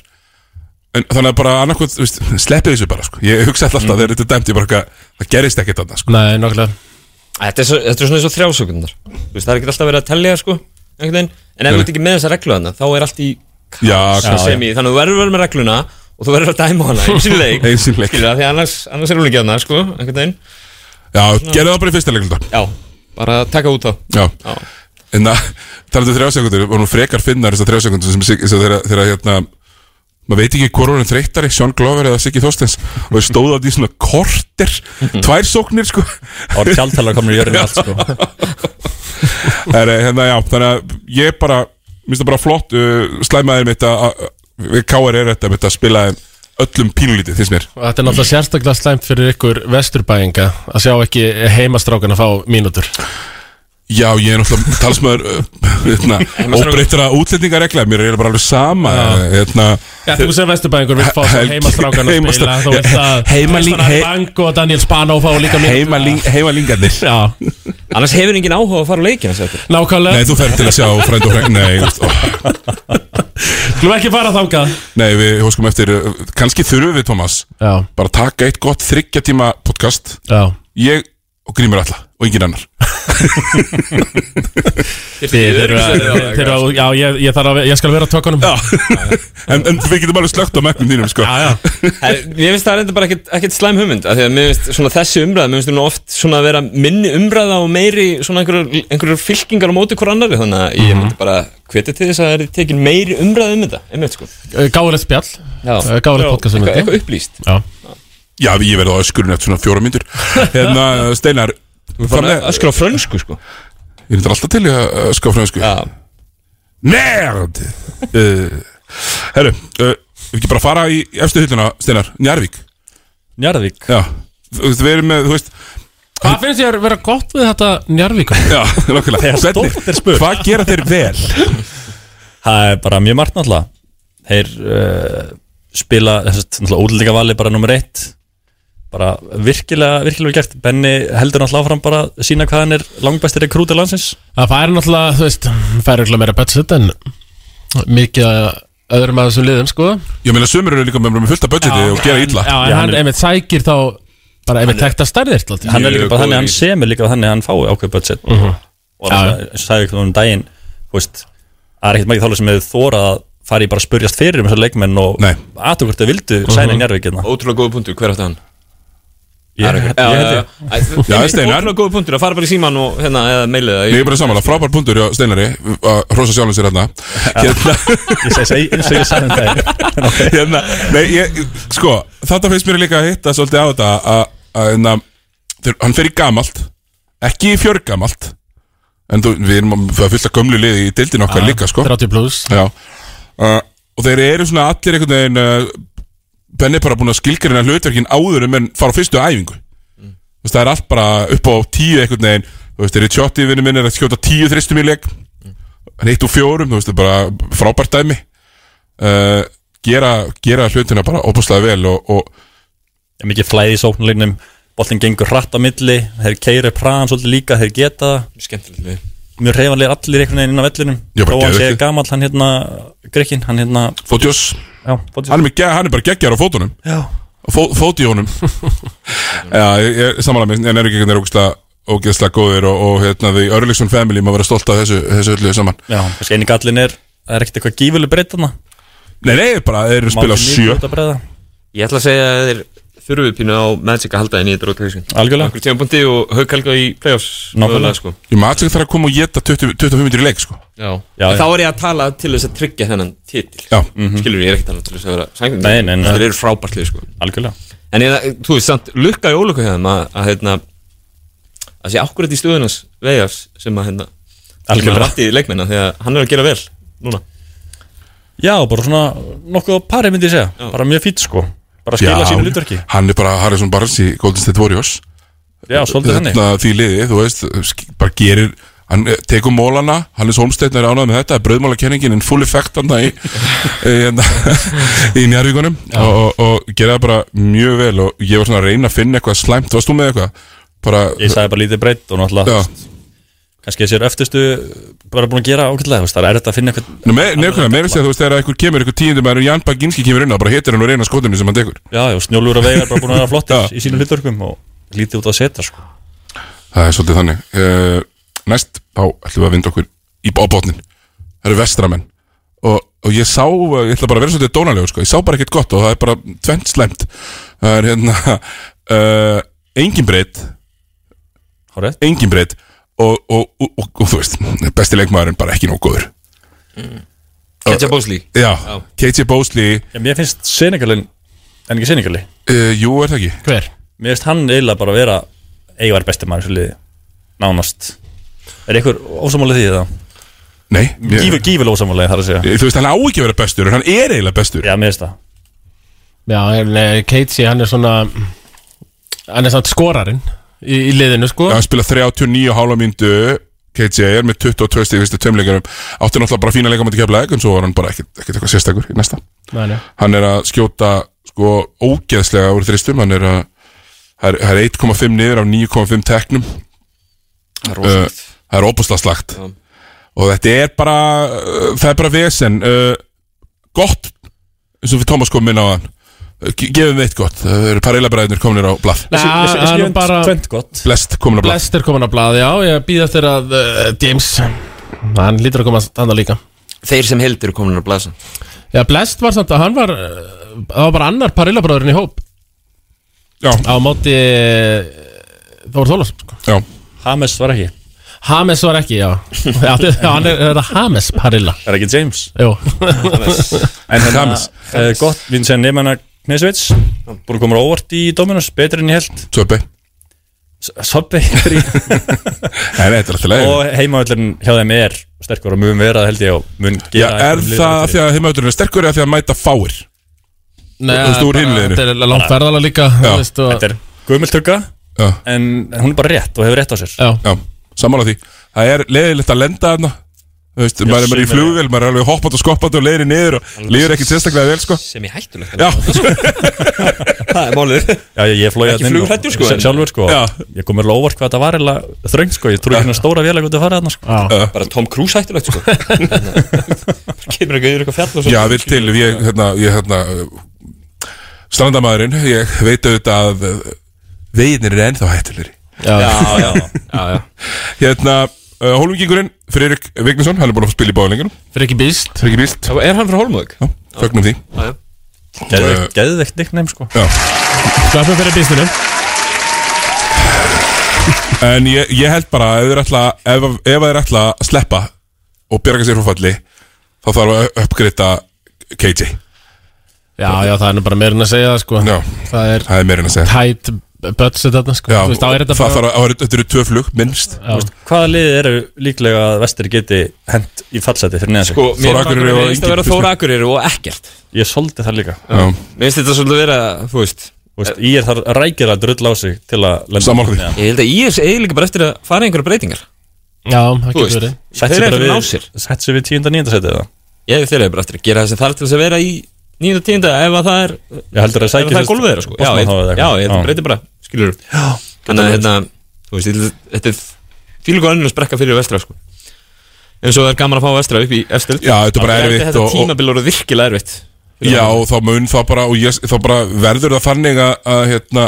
A: en, Þannig að bara annarkvæmt, þú veist, sleppið þessu bara sko. Ég hugsa alltaf þegar þetta er dæmt Ég bara, eitthvað, það gerist ekkert annað sko.
B: Nei, nokkulega
C: Þetta er, svo, þetta er svona eins og þrjásökundar Það er ekki alltaf verið að tellja sko einhvern veginn. En ef
A: Nei.
C: þú ert ekki með þessa reglu þarna Þá er allt í
A: Já,
C: sem
A: já,
C: sem í, þannig að þú verður verið með regluna og þú verður að dæma hana eins og leik,
A: Einu sinni í leik.
C: skilur það, því annars, annars er hún ekki aðna, sko, einhvern veginn
A: Já, gerðu það bara í fyrsta leiklunda
C: Já, bara taka út þá
A: Já, en uh, það talandu þrjá sekundur og nú frekar finnar þessar þrjá sekundur sem, Sig- sem þeirra, þeirra hérna maður veit ekki hvort hún er þreyttari, Sean Glover eða Siggi Þorstens og þeir stóðu á því svona korter tvær sóknir sko
P: Það voru tjaldtalar komnir í jörðinni allt, sko.
A: er, hérna, já, Þannig að ég bara mér finnst það bara flott uh, slæmaðir mitt að að- við KR er þetta mitt að spila þeim öllum pínulítið finnst mér
B: Og Þetta er náttúrulega sérstaklega slæmt fyrir ykkur vesturbæinga að sjá ekki heimastrákan að fá mínútur
A: Já, ég er náttúrulega talsmaður hérna, óbreyttra útlendingaregla Mér er bara alveg sama eh, hérna,
B: Já, þú sem vesturbæðingur vill fá
A: Helgi-
B: heimastrákan að spila
A: heimastrákana.
B: Þú vilt að
A: Heimaling-
B: Kristján
A: he-
B: Bang og Daniel Spano fá líka mínútur.
A: Heimaling- Heimalingarnir
C: Annars hefur enginn áhuga á að fara á leikina sættur
B: Nákvæmlega
A: Nei, þú ferð til að sjá frænd og frænd Nei, ó,
B: Skulum ekki fara þangað
A: nei við hóskum eftir eh, kannski þurfum við, Thomas
B: Já.
A: Bara taka eitt gott þryggja tíma podcast
B: Já.
A: Ég og Grímur alla og engin annar
B: Þið eru að- þið eru að- Já, ég, ég, þarf að, ég skal vera á tökunum
A: en, en við getum alveg slögt á megnum þínum sko.
B: já, já.
C: Mér finnst það reynda bara ekkert, ekkert slæm hugmynd af því að mér finnst svona þessi umræða mér finnst hún oft svona að vera minni umræða og meiri svona einhverjur, einhverjur fylkingar á móti hver annari þannig að
B: Mhm.
C: ég myndi bara hvetja til þess að það er tekin meiri umræða um þetta einmitt sko
B: Gáðilegt spjall Eh, Gáðilegt podcast um
C: Eitthvað-
B: þetta.
C: Eitthvað upplýst
B: Já
A: Já, ég verði á öskurinn eftir svona fjóra myndur Hérna, Steinar
C: að öskra á frönsku, sko
A: Ég er þetta alltaf til í að öskra á frönsku Já Nerd uh, Herru, uh, ef ekki bara fara í efstu hilluna, Steinar, Njarvík
P: Njarvík?
A: Já, þú veist, við erum með, þú veist
B: Hvað finnst ég að vera gott við þetta Njarvík?
A: Já, nokkulega
P: Þegar stórt er spurt.
A: Hvað gera þeir vel?
P: Það er bara mjög margt náttúrulega Þeir uh, spila útlendingavali bara nummer eitt bara virkilega, virkilega vel gert Benni heldur náttúrulega áfram bara að sína hvað hann er langbæstir rekrúti landsins
B: Það færi náttúrulega, þú veist, færi náttúrulega meira budget en mikið af öðrum að þessum liðum, sko
A: Ég meina, sömur eru líka með með fullt af budgeti og gera illa
B: Já, en hann einmitt sækir þá bara einmitt tekta stærðir til
P: hann er líka bara þannig, hann semur líka þannig að hann fái ákveð budget
B: Mhm.
P: og það eins og sagði eitthvað um daginn þú veist, það er ekkert margir þálega sem hefur þórað að fara í bara að spurjast fyrir um þessar leikmenn og aðtúr hvort þau vildu mm -hmm. sæna í Njarvík hérna.
C: Ótrúlega góð punktur, hver átti hann?
P: Ég-
C: Það er einhver-
P: ég
C: Já,
P: held
C: já,
P: ég.
C: já. Æ, þú-
A: Já,
C: ég meina,
A: Steinar.
C: Ótrúlega góð punktur, að fara bara í síman og hérna, eða meilið það
A: Ég er bara samanlega, frábær punktur hjá Steinari að hrósa sjálfum sér hérna Hérna
P: Ég segi- segi eins og ég sagði um daginn.
A: hérna, Nei, ég, sko, þetta finnst mér líka að hitta svolítið á þetta að, að, hérna, þeir- hann fer í gamalt ekki í fjörgamalt en þú, við erum að fullt að gömlu liði í dildin okkar
B: Já,
A: líka, sko
B: 30 plus
A: Já, uh, og þeir eru svona allir einhvern veginn uh, Benni er bara búin að skilgrina hlutverkin áður en menn fara á fyrstu æfingu Þú veist, það er allt bara upp á tíu einhvern veginn Þú veist, þeir eru tjótti vinnu minn er að skjóta tíu þristum í leik Hann eitt úr fjórum, þú veist, það er bara frábært dæmi uh, gera, gera hlutina bara opaslega vel og, og
P: er mikið flæði í sóknulegnum boltin gengur hratt á milli þeir keiri praðan svolítið líka, þeir geta það
C: Skemmtilegt lið.
P: mjög reyfanlega allir einhvern veginn inn á vellinum
A: Já, bara
P: Róan sé
A: geðveikt.
P: gamall, hann hérna Grekkin, hann hérna
A: Fótiós
P: Já,
A: hann, er með ge- hann er bara geggjar á fótunum
P: Já.
A: Fó, Fóti í honum Já, ég, ég samanlega með En er ekki hvernig er ógeðslega góðir Og, og hérna, The Örlíksson Family Má vera stolt af þessu, þessu öllu saman
P: Já, kannski eini gallin er, það er ekkert eitthvað gífuleg breytt þarna
A: Nei, nei, bara þeir eru að spila á
P: Margir
A: sjö
P: nýr út að breiða.
C: Ég ætla að segja að þeir þurfið pínu á Magic að halda henni í þetta rót hausinn
P: Algjörlega.
C: Okkur tímabundi og haug helga í playoffs mögulega, sko.
A: Ég maður ekki þarf að koma og geta 20, 25 minnir í leik sko.
C: Já, En Þá er ég að tala til þess að tryggja þennan titil
A: Já.
C: Skilur, ég er ekki að tala til þess að vera sængjum
P: Nei, nei, nei.
C: Þeir eru frábært lið sko
P: Algjörlega
C: En ég, þú veist, samt, lukka í ólukku hefðum að, að hérna að sé akkurat í stöðunars vegas sem að hérna sem
P: Algjörlega.
C: að rætti leikmenna þegar hann er að gera vel núna
P: Já, bara svona nokkuð á pari myndi ég segja bara mjög fýtt sko, bara skila sínu hlutverki
A: Hann er bara Harrison Barnes í Golden State Warriors
P: Já, svolítið þannig.
A: Hérna, Því liði, þú veist, sk- bara gerir Hann eh, tekur mólana, Hannes Holmsteinn er ánægð með þetta Brauðmálakenningin in full effect hann í, í, hérna, í njárvíkunum og, og, og gera það bara mjög vel Og ég var svona að reyna að finna eitthvað slæmt Varst þú með eitthvað? Bara,
P: Ég sagði bara lítið breytt og náttúrulega kannski þessir öftustu bara búin að gera ákveðlega, það er þetta að finna eitthvað
A: Nei, með- nei, okkurlega, meira að segja þú veist, þegar einhver kemur einhver tíundum að Jan Baginski kemur inn og bara hittir hann og reyna skotinu sem hann tekur
P: Já, já, snjólugur að veigar bara búin að vera flottir í sínum hlutverkum og lítið út að setja sko
A: Það er svolítið þannig uh, Næst þá ætlum við að vinda okkur í bóbotnin Það eru vestramenn og, og ég sá, eh, ég ætla bara að vera svolítið dónalegur sko. Ég sá bara ekkert gott og það er bara tvennt slæmt Það er hérna uh, Engin breytt Engin breytt og, og, og, og, og þú veist, besti leikmaðurinn bara ekki nóg góður
C: Ketja Bósli
A: Já, KJ Bósli
P: Já, mér finnst Senegalin, en ekki Senegali
A: uh, Jú, er það ekki?
B: Hver?
P: Mér finnst hann eiginlega bara að vera eiginlega besti maður í þessu liði, nánast Er einhver ósamálið því það?
A: Nei
P: Gífur, gífur ósamálið þar að segja
A: Þú veist, hann á ekki að vera bestur en hann er eiginlega bestur
P: Já, mér finnst það
B: Já, en eh, Keitsi, hann er svona Hann er samt skorarinn í, í liðinu, sko
A: Já, hann spila 39 hálfa myndu KJ er með 22 stíð fyrstu tömleikarum átti náttúrulega bara fína leikamöndi keflaðið en svo var hann bara ekkert, ekkert eitthvað sérstakur í næsta
B: Nei, nei.
A: hann er að skjóta sko ógeðslega úr þristum hann er að það er- það er 1,5 niður af 9,5 teknum Uh, það er óbúslega slagt og þetta er bara uh, það er bara vesen uh, gott, eins og við Tómas komum inn á hann Uh, ge- gefum við eitt gott, það eru parillabræðinir kominir á blað
B: Nei, Þessi- þessi- það er nú bara- tvennt
A: gott blest komin á blað
B: Blest er komin að blaði, já, ég býð eftir að uh, James, hann lítur að koma þannig líka
C: Þeir sem heldur er komin að blasa
B: Já, Blest var samt að hann var, uh, það var bara annar parillabróðurinn í hóp
A: Já
B: Á móti eh, Þór Þólas sko.
A: Já
P: Hames var ekki
B: Hames var ekki, já Já, þið- já, hann er, er það Hames parilla
P: Er ekki James?
B: Jú
P: En hérna,
B: James.
P: eh, gott, Vincent Neymanna Knesevits Búin að koma á óvart í Dominus, betur en ég held
A: Söpbi
P: Söpbi Nei,
A: þetta er alltaf leið
P: Og heimavöllurinn hjá þeim er sterkur og mun vera, held ég, og mun
A: Já,
P: gera
A: er það af því að heimauturinn er sterkur eða af því að mæta fáir
B: Nei,
A: Þú veist, úr
B: bara-
A: hinliðinu
B: þetta er langt ferðalag líka, þú
A: Já.
B: veist, og- Þetta
P: er Guðmjöld tugga
A: en
P: hún er bara rétt og hefur rétt á sér
B: Já,
A: já sammála því Það er leiðilegt að lenda þarna Þú veist, maður er bara í
P: sumir-
A: flugvél, maður er alveg hoppandi og skoppandi og leiðir niður og líður ekkert sérstaklega vel, sko
C: Sem er hættulegt
A: Já
C: Það er málið
P: Já, ég, ég flói hérna
C: Ekki flughræddur, sko, en-
P: Sjálfur sko
C: Já.
P: Ég kom mér alveg á óvart hvað þetta var eða þröng sko Ég trúi ekki hérna stóra vélag út að fara þarna sko
B: Já.
C: Bara Tom Cruise hættulegt sko Kemur ekki yfir eitthvað fjall og svo
A: Já, vill til, ég, hérna, ég, hérna uh, strandamaðurinn, ég veit auðvitað að uh, veginir er ennþá hættulegri
B: Já,
C: Já, já, já, já.
A: Hérna, uh, Hólmvíkingurinn, Friðrik Vignesson, hann er búin að fá spila í báðlingunum
B: Friki Bíst
A: Friki Bíst
C: Er hann frá Hólmvík?
A: Já, fögnum því
C: Já, já
A: Geðveikt-
P: Geðveikt nickname sko
A: Já
B: Klappum fyrir bístunum
A: En ég, ég held bara að ef þeir ætla, ef, ef þeir ætla að sleppa og bjarga sér frá falli þá þarf að uppgritta KJ
B: Já, já, það er nú bara meirin að segja það, sko
A: Já,
B: það er,
A: það er meirin að segja
B: Tæt budget þarna, sko
A: Já,
B: Þú veist, þá
A: það
B: er þetta
A: þarf
B: bara-
A: að, að, þetta eru tvö flug, minnst
B: Já.
P: Vist, Hvaða liði eru líklega að vestir geti hent í fallseti fyrir neðan sig?
C: Sko, mér finnst að vera Þóra Akureyri og ekkert
P: Ég soldi það líka
C: Já. Mér finnst þetta svolítið að vera, þú veist
P: Vist, Ég er þar rækir að drull á sig til að lenda
A: Sammála því.
P: neðan.
C: Ég held að ég er eiginlega bara eftir að fara í einhverja breytingar
B: Já, það
C: Þú
B: getur
C: veist,
B: verið
P: Sett
C: Þeir eru
P: sig bara
C: eftir að
P: við-
C: ná sér.
P: Sett sér við 10. 9. setið það
C: Ég þeir eru bara eftir að gera það sem þarf til þess að vera í 9. og 10. ef að það er
P: Ég heldur að
C: ef
P: sækja
C: það er gólfið þeirra sko Já, ég, já, ég þetta breytir bara, skilur Þannig að hérna, þú veist, ég- þetta er fílíku önnur sprekka fyrir vestra sko En svo er gaman að fá vestra upp í eftir
A: Já, þetta er bara erfitt
C: Þetta
A: og- og-
C: tímabil voru virkilega erfitt
A: Já, og þá mun þá bara, og ég, þá bara verður það fannig að, að hérna,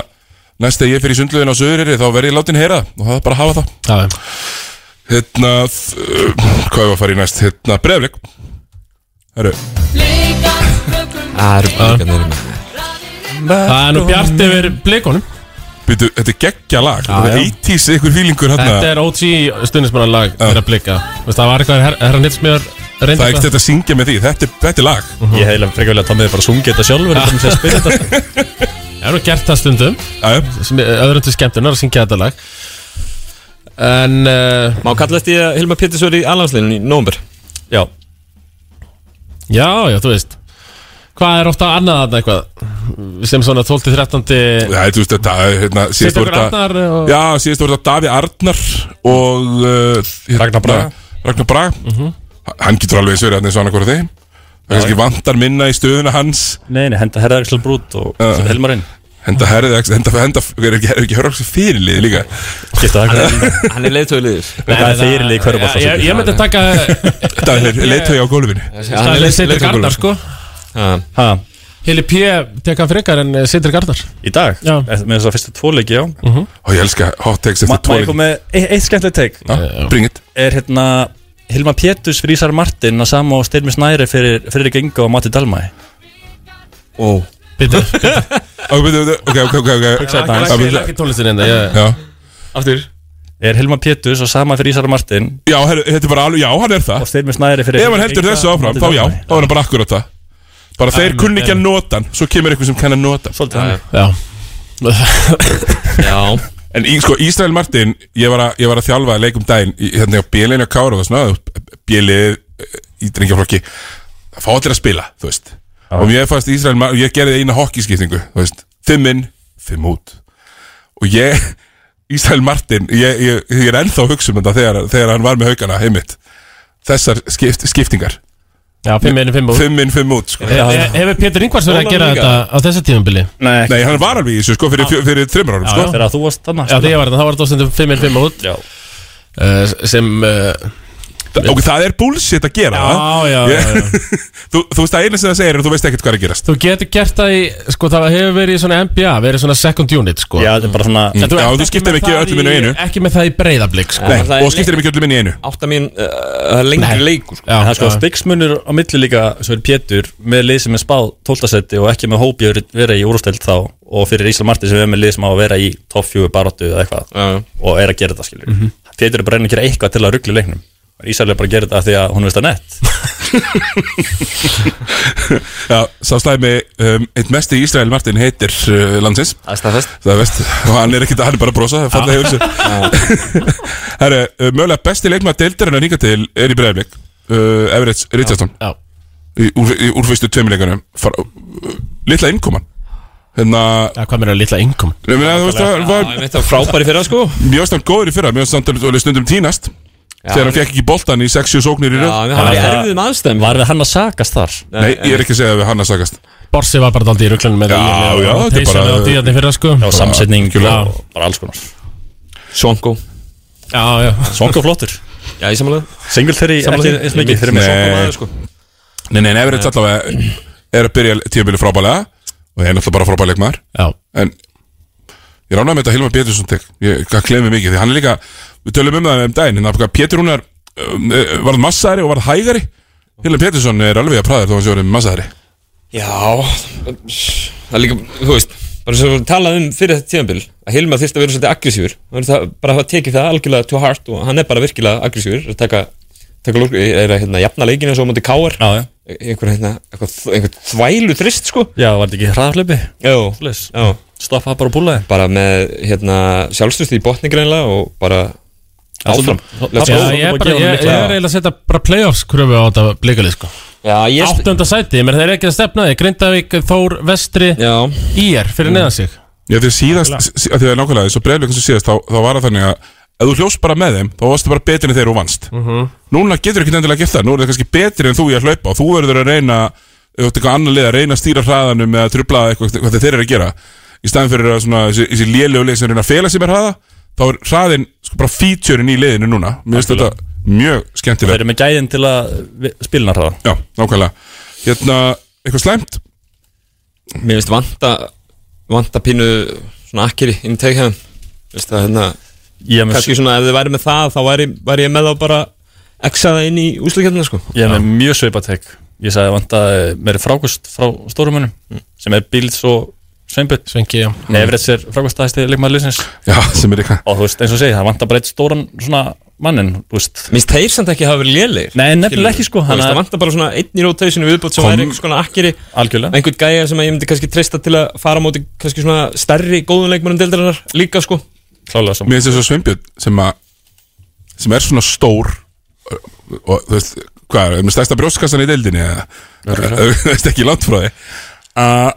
A: næst að ég fyrir sundlöðin á Söðuriri, þá verð ég látin heyra það og það er bara að hafa
B: það
A: Hérna, þ- hvað er að fara í næst? Hérna, breyflik Herru,
C: Það eru blikarnir
B: Það er nú bjart yfir blikunum
A: Býtu, þetta er geggja lag
B: Já,
A: Þetta er
B: já.
A: 80s einhver fílingur hérna
B: Þetta er OG stundismannarlag fyrir að blika Veist, Það var eitthvað her, herra nýttsmjör
A: Það er ekkert að syngja með því, þetta, er- þetta er lag
P: Ég hefði frekar vilja að Tommi bara sungi þetta sjálfur en Tommi sé að spila þetta
B: Ég hef nú gert það stundum sem er öðrum til skemmtunar að syngja þetta lag En uh,
C: Má kalla eftir að Hilma Péturs verið í alhansleinu í nómber
P: Já
B: Já, já, þú veist Hvað er ofta annað þarna eitthvað sem svona 12-13
A: Já, þú veist þetta, hérna, síðast
B: Sittur
A: voru
B: okkur
A: þetta
B: annar og...
A: Já, síðast voru þetta Davi Arnar og uh, hérna, Ragnar Braga Ragnar Braga Hann getur alveg eins verið hann eins og annarkvara þeim Það
P: Já,
A: er kannski
P: já.
A: vantar minna í stöðuna hans
P: Nei, nei, henda herða Axel Brút og setja Hilmar inn
A: Henda herðið, henda, henda, er ekki, er ekki hörða þessi fyrirlið líka
P: Geta
C: Hann er leiðtöðliður
P: Hvað er fyrirlið í
B: Já,
P: hverjum
B: ég, ég myndi taka
A: Þetta er leiðtögi á gólfinu
B: Það er Sittur Gardar sko
P: Ha,
B: Hili P. teka hann frekar en eh, Sittur Gardar
P: í dag? Já Með þess að fyrstu tvoleiki, já
B: Mhm.
A: Og ég elska hot takes eftir
P: Má ég
A: tvo
P: koma með e- eitt skemmtilegt teik?
A: Já, bring it.
P: Er hérna Hilma Péturs fyrir Ísar Martin að sama og Styrmi Snæri fyrir Friðrik Inga og Matti Dalmæ
C: Ó
B: Bitur
A: Ok, bitur, bitur, ok, ok, ok, ok
P: Hugsaði
A: Já,
P: þetta
A: ég
P: aðeins.
A: skil ekki tónlistina hérna, ég- Já.
C: Aftur
P: Er Hilma Péturs og sama fyrir Ísar Martin
A: Já, herru, þetta er bara alveg, já, hann er það
P: Og Styrmi Snæri fyrir
A: Ef hann heldur
P: Inga
A: þessu
P: og
A: áfram,
P: Matti
A: þá já,
P: Dalmæ.
A: þá er hann bara akkur á það Bara þeir
P: Alveg,
A: kunni ekki að
P: alveg.
A: nota hann, svo kemur eitthvað sem kann að nota hann.
P: Svolítið
B: Já
C: Já
A: En í, sko, Ísrael Martin, ég var að, ég var að þjálfa að leikum daginn í, hérna á bjölinu á Kára og svona, bjölið eh, í drengjaflokki, það fá allir að spila, þú veist. Og mér fannst Ísrael Martin, ég gerði eina hockeyskiptingu, þú veist, fimm inn, fimm út. Og ég, Ísrael Martin ég, ég, ég er ennþá að hugsa um þetta þegar, þegar hann var með haugana heimitt Þessar skipt, skiptingar
B: Já, fimm inn, fimm út.
A: Fimm inn, fimm út sko.
B: He- he- Hefur Pétur Ingvars verið að gera þetta á þessu tímabili?
A: Nei, hann var alveg í þessu sko fyrir, fjö- fyrir þreymur árum
B: Já,
A: sko
B: já. Þegar
P: þú varst þarna
B: Já, þegar ég var þarna, þá var þetta ástundum 5 inn 5 út Já Sem uh,
A: Ok, það er bullshit að gera
B: Já, já, já, já.
A: þú, þú veist að eina sem það segir er að þú veist ekkert hvað er að gerast
B: Þú getur gert það í, sko það hefur verið í svona MBA, verið svona second unit sko
P: Já, þetta er bara svona
A: Já, þú skiptir ekki öllum inn í einu.
B: Ekki með það í breyðablík sko
A: Nei, og skiptir ekki öllum inn í einu
C: Átta mín uh, lengri leikur sko.
P: Það er sko stiksmunur á milli líka sem er Pétur með lið sem er spáð 12. seti og ekki með hópi að vera í úrústeld þá og fyrir Ísla Marti sem er með lið sem á að vera í topp fjögur baróttu eða eitthvað og er að gera þetta skilur
C: Mhm.
P: Pétur er bara að reyna að gera eitthvað til að ruggla í leiknum Ísla er bara að gera þetta af því að hún veist að nett
A: Já, sá slæmi um, Eitt mesti í Ísrael Martin heitir uh, landsins
C: Það er staðfest
A: Það er vest Og hann er ekki, hann er bara að brosa Það falla hefur
C: sér
A: Herru, uh, mögulega besti leikmaður deildarinn að hingað til er í bregðarleik uh, Everett Richardson
B: Já
A: Í, úr, í úr fyrstu tveimileikunum uh, Lilla innkoman Hérna
B: Já, hvað meira litla innkoman?
A: Nei, menn að þú veist það var
C: Þetta var frábær í fyrra sko
A: Mjög stann góður í fyrra Mjög stann stundum tínast Þegar hann fekk ekki boltan í 60 sóknir í röð
C: Já, hann var í erfiðum aðstæðum.
P: Var það hann að sakast þar?
A: Nei, ég er ekki að segja að við hann að sakast
B: Borsi var bara aldrei í rugglunum með
A: Já,
B: það
A: já, þetta er bara-
B: Það var fyrir það sko
A: Já, samsetning og
P: bara alls konar
C: Sonko
B: Já, já
P: Sonko flottur
C: Já, ég samanlega
P: Singletary ekki eins mikið fyrir mig
A: Nei. Nei, nei, nei, Everett allavega er að byrja tímabili frábælega og er náttúrulega bara frábælega leikmaður
B: Já.
A: En ég ránaði með þetta Hilmar Pétursson tek Ég klemi mikið því hann er líka Við tölum um það um daginn Hérna hvað Pétur hún er um, eh, Varð massari og varð hægari Hilmar Pétursson er alveg að praða þér þó hann sé orðið massari
C: Já Það er líka, þú veist bara sem við talaði um fyrir þetta tíðanbíl að Hilma þyrst að vera svolítið aggressífur bara hafa tekið það algjörlega to heart og hann er bara virkilega aggressífur að taka, taka lók, er að hérna, jafna leikinu svo á móti káar einhver, hérna, einhver, einhver þvælu þrist sko
P: Já, var þetta ekki hraðarlöpi?
C: Já, já
P: Stoppa bara og búla þeim
C: Bara með hérna, sjálfstöðst í botni greinlega og bara
P: Já, þú-
C: áfram Let's
B: Já,
C: go.
B: ég er bara, ég, ég er eiginlega að setja bara playoffs kröfu á þetta blikalið sko
C: Já, ég
B: Áttunda sæti, ég meina þeir eru ekki að stefna því Grindavík, Þór, Vestri,
C: Já.
B: IR fyrir neðan sig
A: Já, því að síðast, sí- að því að nákvæmlega þessu breyðleikum sem síðast þá, þá var það þannig að ef þú hljóst bara með þeim, þá varstu bara betri en þeir og vannst
B: Mhm.
A: Núna getur ekki endilega gert það, nú er það kannski betri en þú í að hlaupa og þú verður að reyna, ef þú ert eitthvað annað lið að reyna að stýra hraðanum eða trubla eitthvað hvað þeir eru að gera í staðan fyrir að svona, þessi, þessi lélegu lið sem reyna að fela sér með hraða þá er hraðin sko, bara featurein í liðinu núna Mér finnst þetta mjög skemmtilega
P: Þeir eru með gæðin til að vi- spilna hraða
A: Já, nákvæmlega Hérna, eitthvað slæmt?
C: Mér finnst vanta vanta pínu svona akkeri inn í teghefum Veist það hérna
P: Ég með-
C: Kanski svona ef þið væri með það þá væri, væri ég með þá bara exaða inn í úsleikjarnina sko
P: Ég er með mjög svipað tek Ég sagði vant að mér er frákust frá stórumönum
B: Mm.
P: sem er bíl svo sveimböld
B: Svengi, já
P: Nei, Everett er frákust aðeins leikmaður liðsins
A: Já, sem er eitthvað
P: Og þú veist, eins og ég segi, það vant að bara eitt stóran svona mannin, þú veist
C: Minnst þeir samt ekki hafa verið lélegir
P: Nei, nefnilega ekki sko
C: Þú veist, Það vantar bara svona einn í rotation viðbót sem
P: Kom-
C: væri einhvers konar akkeri
P: Algjörlega
C: Einhvern gæja sem ég myndi kannski treysta til að fara á móti kannski svona stærri góðum leikmennum deildarinnar líka sko
P: Klálega
A: Mér finnst þessu sveimbjörn sem að sem er svona stór uh, og þú veist, hvað er, með stærsta brjóstkassan í deildinni eða þú veist ekki langt frá því að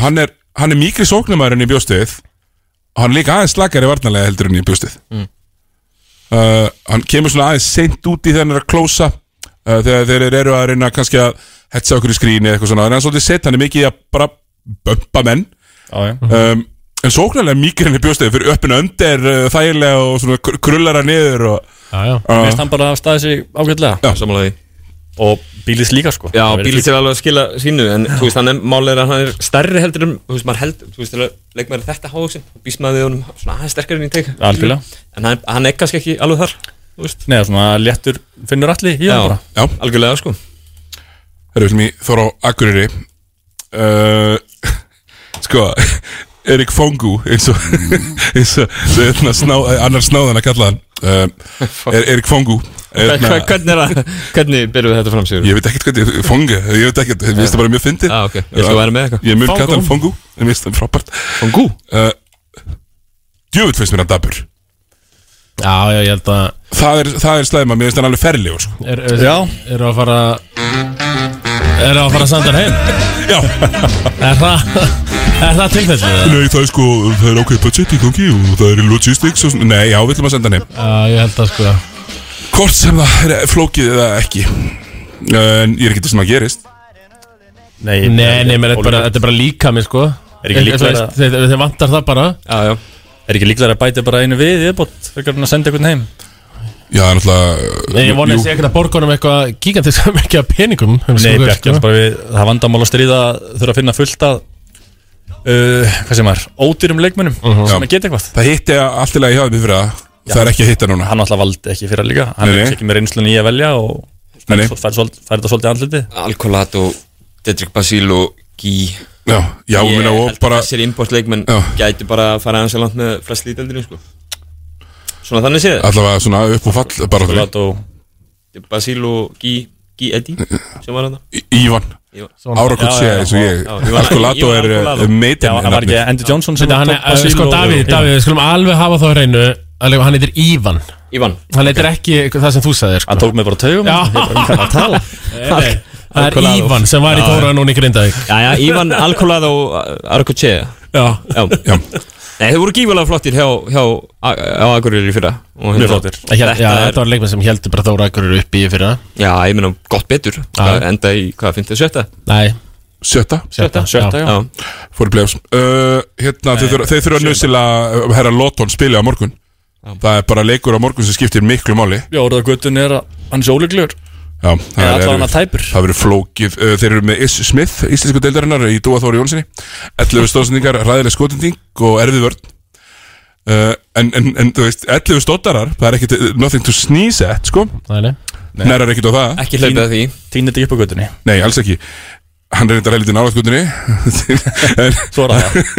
A: hann er, hann er mikri sóknumæðurinn í bjóstuð og hann er líka aðeins slakari varnalega heldur en í bjóstuð
C: Mm.
A: uh, hann kemur svona aðeins seint út í þegar hann er að klósa uh, þegar þeir eru að reyna kannski að hetsa okkur í skríni eða eitthvað svona en hann er svolítið sett, hann er mikið í að bara bömpa menn
P: Já, já.
A: um, en sóknarlega mikið henni bjóstið fyrir öppin öndir uh, þægilega og svona kr- krullar hann niður og,
B: Já, já
P: Mér finnst hann bara að staði sig ágætlega
C: Samanlega
P: Og bílis líka sko
C: Já,
P: Það verður
C: bílis
P: fínt.
C: er alveg að skila sínu en þú veist, hann er málega að hann er stærri heldur en, þú veist, maður held, þú veist, leikmaður er þetta hávaksin og býst maður við honum svona aðeins sterkari en í teik
P: Algjörlega.
C: En hann, hann er kannski ekki alveg þar, þú veist
P: Nei, svona léttur finnur allir í hann bara
A: Já,
C: algjörlega sko
A: Herru, viljum ég þóra á Akureyri uh, Sko Erik Fongu eins og, eins og eðna, sná, eh, annar snáðan að kalla hann uh, er, Erik Fongu Hérna,
C: Hva-
P: hérna-
C: hva- Hvernig er það, hvernig byrjuðu þetta fram sigur?
A: Ég veit ekkert hvernig, Fongu, ég veit ekkert, mér finnst það bara mjög fyndið
C: Já, Ah, ok, ég ætla að vera með eitthvað.
A: Ég mun
C: Fongu.
A: kalla hann Fongu, mér finnst það frábært
C: Fongu?
A: Uh, Djöfull finnst mér hann dabur
B: Já, já, ég held að
A: Það er, það er slæma, mér finnst hann alveg ferlegur sko.
B: er, er, Já Er að fara Er það að fara að senda hann heim?
A: Já
B: Er það, er það tilfellið?
A: Nei, það er sko, það er ákveðið budget í gangi og það er logistics og svona Nei, já, við ætlum að senda hann heim
B: Já, ég held að sko
A: Hvort sem það er flókið eða ekki En ég er ekki til sem að gerist
B: Nei, nei, nei, menn, þetta er bara- þetta er bara líka mig sko
P: Er ekki líklegra-
B: Þeir, þeir vantar það bara
P: já, já. Er ekki líklega að bæta bara einu við viðbót Þegar hann að senda einhvern heim
A: Já, það er náttúrulega
B: Nei, ég vonið sé ekkert að borgunum eitthvað gigantisk mikið af peningum um
P: Nei,
B: sko,
P: Bjarki,
B: sko.
P: það er bara við, það er vandamál að stríða að þurfa að finna fullt að uh, hvað sem er, ódýrum leikmönnum sem að geta eitthvað
A: Það hitti allt í lagi hjá þeim í fyrra Það er ekki að hitta núna
P: Hann alltaf valdi ekki fyrir líka Hann
A: Nei,
P: er
A: nei.
P: kannski ekki með reynslunni í að velja og
A: Nei, nei.
P: fær, fær, svol- fær þetta svolítið andlitið
C: Alkolat og Dedrick Basíl og Gí
A: Já, já,
C: ég
A: meina, og
C: held bara Þessir importleikmenn gæti bara að fara aðeins að langt með flest líteldinu sko. Svona þannig séð
A: Allavega svona upp og fall bara því.
C: Alkolat og Basíl og Gí Gí Eddi sem var hann
A: Ívan Árakot sé eins og ég Alkolato er uh, meitin
B: Þetta, hann er- uh, Sko, Davíð, Davíð, við skulum alveg hafa þá á hreinu að leika- Hann heitir Ívan
C: Ívan
B: Hann heitir ekki það sem þú sagðir sko. Hann
P: tók mig bara taugum
B: Já Nei, Það er Ívan sem var í Tóra núna í Grindavík
C: Já, já, Ívan Alkolað og Arkoche
B: Já,
C: já. Nei, þeir voru gífulega flottir hjá, hjá, hjá Akureyri í fyrra og
B: Mjög
C: hérna-
B: flottir Já, þetta var leikmenn sem heldur bara Þóra Akurur upp í fyrra
C: Já, ég meina gott betur
B: Já.
C: Enda í, hvað, 50 sjötta?
B: Nei
A: Sjötta
B: Sjötta,
C: Sjötta, já.
A: Fór í play-offs uh, Hérna, þeir þurfa- þeir þurfa nöðsilega Herra Lóton spila á morgun Það er bara leikur á morgun sem skiptir miklu máli
P: Já, orðað guttun er að hann sé óleiklegur
A: Já,
P: Eða
A: er-
P: allavega tæpur.
A: Það verður flókið uh, Þeir eru með Iss Smith, íslensku deildarinnar Í Dúa Þóri Jónssoni 11 stóðsendingar, ræðileg skotending og erfið vörn uh, en, en, en þú veist 11 stóttarar, það er ekkit Nothing to sneeze at, sko
B: Nei, nei.
A: Nærar ekkit á það
C: Ekki hlaupið að því
P: Týnir þetta ekki upp á guttunni
A: Nei, alls ekki Hann er reyndar helviti nálaðt guttunni
P: Svara það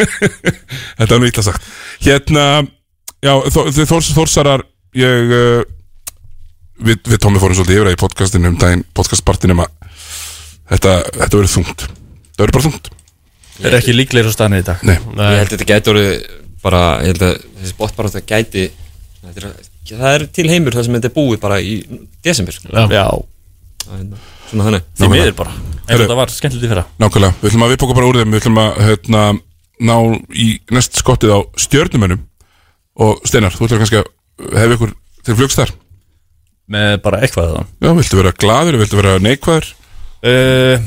A: Þetta er nú ítla sagt Hérna, já, þó- þið Þórs, Þórsarar Ég uh, Við, við Tómi fórum svolítið yfir það í podcastinu um daginn Podcastpartinum að Þetta, þetta verður þungt Það verður bara þungt
P: Er ekki líklegur á staðinu í dag
A: Nei.
C: Ég held að þetta gæti orðið bara, ég held að þessi botbarátta gæti þetta er, það er til heimur það sem þetta er búið bara í desember hérna
B: Já. Já.
C: Svona þannig
P: Því miður bara Eins og þetta var skemmtilegt í fyrra
A: Nákvæmlega, við ætlum að viðbóka bara úr þeim Við ætlum að hérna, ná í næst skottið á stjörnumönnum Og Steinar, þú ætlar kannski að hefði ykkur til flugst þar
P: Með bara eitthvað það
A: Já, viltu vera gladur, viltu vera neikvæður
P: uh,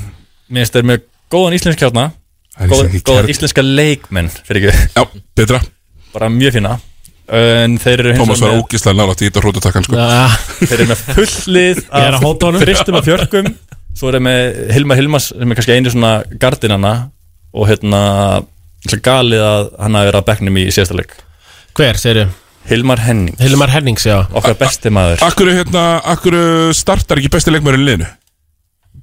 P: Mér finnst þeir með góðan íslensk hjarna
A: Það er
P: góð,
A: íslenski
P: Góðan
A: kjarn.
P: íslenska leikmenn fyrir ekki
A: Já, betra
P: Bara mjög fína En þeir eru hins
A: Tómas
P: vegar
A: var
P: með-
A: ógislega nálægt í þetta hrótutakkan sko.
P: Þeir eru með fullið
B: Ég er að hóta honum.
P: Fristum að fjörgum Svo eru með Hilma Hilmas sem er kannski einu svona gardinana Og hérna ég ætla Galið að hann hafi verið að bekknum í síðasta leik
B: Hver, segirðu?
P: Hilmar Henning
B: Hilmar Hennings, já
P: Okkar besti maður
A: Akkur, hérna, akkur startar ekki besti leikmæri í liðinu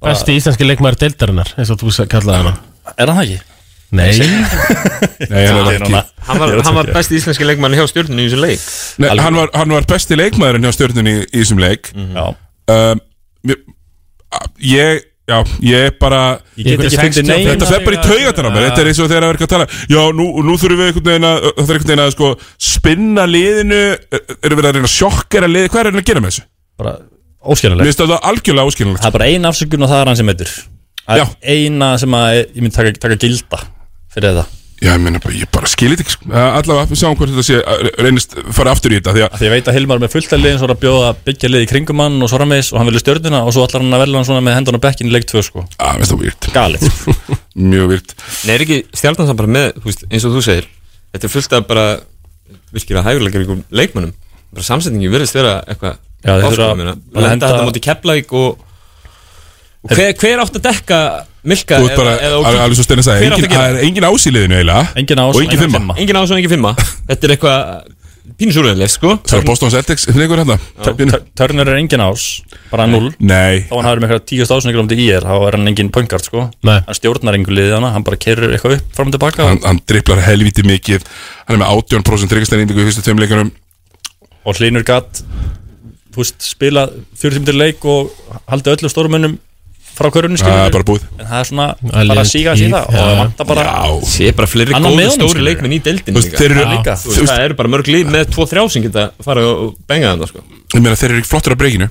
B: Besti íslenski leikmaður deildarinnar eins og þú sa- kallaði hana
P: Er hann það ekki?
B: Nei
A: Nei, hann er það ekki
C: Hann var, hann var besti íslenski leikmann hjá stjórninu í þessum leik
A: Nei, hann, var, hann var besti leikmæðurinn hjá stjörnunni í í þessum leik
P: Mm.
A: um, ég, ég Já, ég bara
P: Ég get ekki fundið neina-
A: Þetta fer bara í taugatana mér Þetta er eins og þegar að vera ekki að tala Já, nú, nú þurfum við einhvern veginn að Það er einhvern veginn að sko Spinna liðinu Erum við að reyna að sjokkera liði Hvað er að reyna að gera með þessu?
P: Bara
A: Mér
P: óskiljanlegt
A: finnst þetta algjörlega óskiljanlegt
P: Það er bara eina afsökun og það er hann sem meitur Það er eina sem að ég myndi taka, taka gilda fyrir það
A: Já, ég meina bara, ég bara skilit ekki sko. Eh, Allavega, við sjáum hvort þetta sé eh, Reynist fara aftur í þetta Því að
P: Því ég veit að Hilmar er með fullt að liðin svo er að bjóða að byggja lið í kringum hann og svo rammeis og hann vilja stjörnina og svo allar hann að velja hann svona með hendan á bekkin í leik 2 sko
A: ah, veist það výrt
P: Galið
A: Mjög výrt
C: Nei, er ekki stjálfnansan bara með, þú veist, eins og þú segir Þetta er fullt af bara virkilega hæguleikar ykkur leikmannum bara samsetningi virðist vera eitthvað
P: Já, þeir þurfa
C: áskoðum,
P: að-
C: meina. Lenda þetta móti Keflavík og, og hver, hver átt að dekka Milka
A: Þú ert bara, al- alveg svo stein að segja
C: Hver átti
A: engin-
C: að gera
A: Það er engin ás í liðinu eiginlega
P: Engin ás
A: Og engin fimma
C: Engin ás og engin fimma Þetta er eitthvað pínusúröðileg sko
A: Það er Boston Celtics, finnir ykkur hérna
P: Törnur er engin ás, bara 0
A: Nei
P: Þá hann hafði með eitthvað tíu stásningir um til í er, þá er hann engin pöngart sko
A: Nei.
P: Hann stjórnar engu liðið hana, hann bara kerur eitthvað upp fram og tilbaka
A: hann, hann driblar helviti mikið Hann er með 18% tryggastæningu í fyrstu tveim leikunum
P: og Hlynur gatt þú veist, spila 40 minnir leik og haldi öllu stórumönnum frá körunni skilur
A: Það
P: við.
A: er bara búið
P: en það er svona
A: Að
P: bara
A: liðið
P: að síga að síða
A: tíð,
P: og það
A: já.
P: vantar bara
C: Sé bara fleiri
P: Hann á
C: góðir
P: miðunum,
C: stóri
P: skilur við.
C: leikminn í deildinu
A: Þú veist, þeir eru-
C: líka
A: Já.
C: Þú veist, Það eru bara mörg lið með 2-3 sem geta farið og benga þannig sko
A: Ég meina þeir eru ekki flottir á breyginu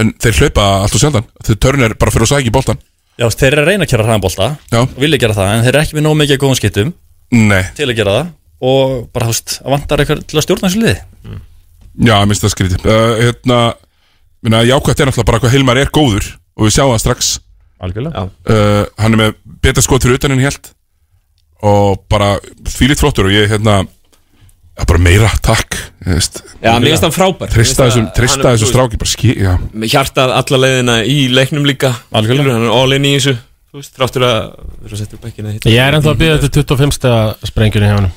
A: En þeir hlaupa allt og sjaldan Þeir törn er bara fyrir að sækja í boltan
P: Já, veist, þeir eru að reyna að kera hraðanbolta og vilja gera það, en þeir eru ekki með nóg mikið af góðum skiptum
A: Nei.
P: til að gera það og bara, þú veist, að vantar eitthvað til að stjórna þessu liði
A: Já, mér finnst það skrítið uh, hérna, minna, Jákvæmt er náttúrulega bara hvað Hilmar er góður og við sjáum það strax
P: Algjörlega
A: uh, Hann er með betra skot fyrir utan en held og bara þvílitt flottur og ég hérna já, bara meira, takk ég veist.
C: Já, mér finnst hann frábær.
A: Treysta
C: Mér finnst
A: þessum,
C: að-
A: treysta
C: hann er-
A: þessum stráki bara ský, já
C: með hjartað alla leiðina í leiknum líka Algjörlega Hann er all in í þessu Þú veist, þráttur að Þú veist, þetta er bekkina hitt
B: Ég er ennþá að bíða eftir 25. stiga sprengjunni hjá hann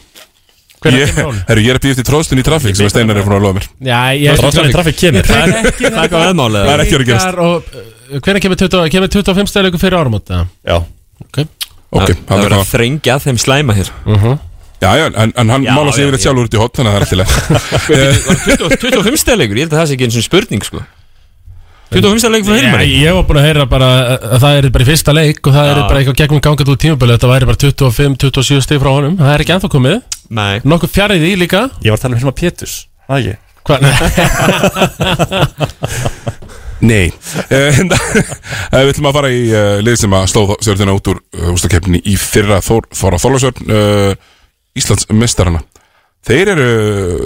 A: Ég, herru, ég er að býja eftir tróðstun í trafík sem að Steinar er frá að lofa mér
B: Já, ég
A: Tróðstun í trafík kemur
B: Það
A: ekki Það
B: er ekki
A: er ekki að gerast
B: Hvernig eh, kemur, 20, kemur 25 stæðleikur fyrir áramót? eða?
P: Já
B: Ok
A: Ok,
C: Það verður að þrengja að þeim slæma hér
A: Já, já, en, en hann
C: Já,
A: mála sig
C: já,
A: yfir þetta sjálfur út í Eh, hot þannig að það er alltaf leið
C: 25 stæðleikur, ég held að það sé ekki eins og spurning sko 25 stæðleikur frá
B: Já,
C: Hilmari
B: Ég var búin að heyra bara eh, að það er bara í fyrsta leik og það er
C: Já.
B: bara eitthvað gegnum gangað úr tímabölu Þetta væri bara 25-27 stig frá honum Það er ekki ennþá komið
C: Nei
B: Nokkuð fjarið í líka
P: Ég var að tala um Hilmar Péturs, það ekki
B: Hvað?
A: Nei Eh, en- eh, Við ætlum að fara í uh, lið sem að sló stjórnina út úr ústakefni í fyrra Þór, Þóra Þorlásvörn uh, Íslands mestarana Þeir eru uh,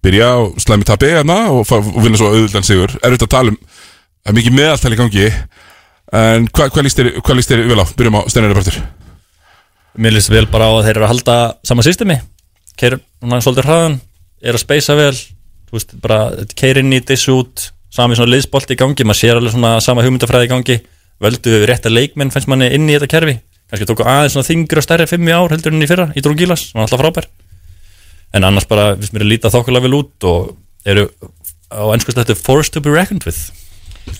A: byrja á slæmi tabi hérna og, fá- og vinna svo auðvöldan sigur Er þetta að tala um það er mikið meðaltal í gangi En hvað hva líst þér hva vel á? Byrjum á Steinar Röpartur
P: Mér líst vel bara á að þeir eru að halda sama systemi Keir núna svolítið hraðan Er að speysa vel Þú veist, bara keir inn í dissu út Sami svona liðsbolt í gangi Maður sér alveg svona sama hugmyndafræði í gangi Völdu rétta leikmenn fannst manni inn í þetta kerfi Kannski tóku aðeins svona þingur og stærri fimm í ár heldur enn í fyrra Í Drúgilas, var alltaf frábær En annars bara, við mér er lítið þokkulega vel út Og eru á ennsku slættu Forced to be reckoned with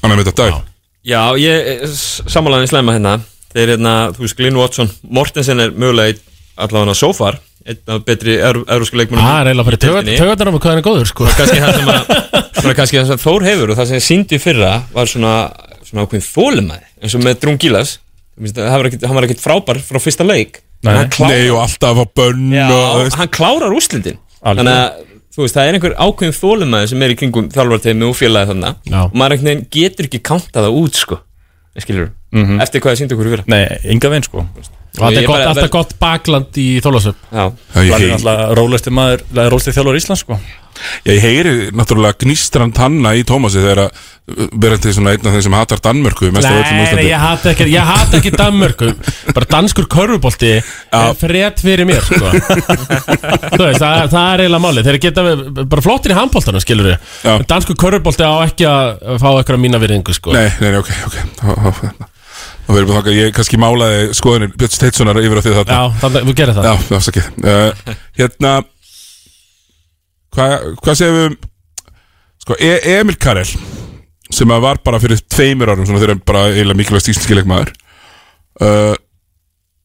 A: Hann er með þetta dag
C: Já, ég eh, samanlæðin slæma hérna Þeir hérna, þú veist, Glyn Watson Mortensen er mögulega einn- allavega so far Einn af betri eurósku leikmennum
B: Það er eiginlega
C: í
B: bara
C: deildinni.
B: tögarnar á mig hvað hann er góður sko
C: kannski það sem að svona kannski það sem Þór hefur og það sem ég síndi í fyrra var svona, svona ákveðin þólumæði eins og með Drungilas hann var ekkit- hann var ekkit frábær frá fyrsta leik
A: Nei.
C: En hann klárar-
A: Nei, og alltaf á bönn
C: Já,
A: og-
C: hann klárar úslindin þannig að þú veist, það er einhver ákveðin þólumæði sem er í kringum þjálfarteimi og félagi þannig
P: Já.
C: og maður einhvern veginn getur ekki kanta það út sko, skilur
P: Mhm.
C: eftir hvað það síndi okkur í fyrra
P: Nei, enga veginn sko
B: Og þetta er gott, alltaf gott bakland í Þólasöp
C: Já,
A: ég
P: Hann er
A: heyri-
P: alltaf rólegstir maður, rólegstir þjálfur Íslands sko
A: Já, ég heyri náttúrulega gnístrand hanna í Tómasi þegar að uh, vera til svona einn af þeim sem hatar Danmörku mest af öllum á
B: Nei, nei,
A: Íslandi.
B: ég hata ekki, ég hata ekki Danmörku Bara danskur körfubolti er frétt fyrir mér sko. Þú veist, það, það er eiginlega máli Þeir geta við- bara flottir í handboltanum, skilur við Danskur körfubolti á ekki að fá eitthvað mína virðingu sko.
A: Nei, nei, nei, ok, ok Það verður bara þangað, ég kannski málaði skoðinir Björn Steitssonar yfir á því þetta
B: Já, þannig, þú gerir það
A: Já, afsakið uh, Hérna Hvað hva segir við um Sko, e Emil Karel sem að var bara fyrir tveimur árum svona þegar hann bara eiginlega mikilvægt íslenskileikmaður uh,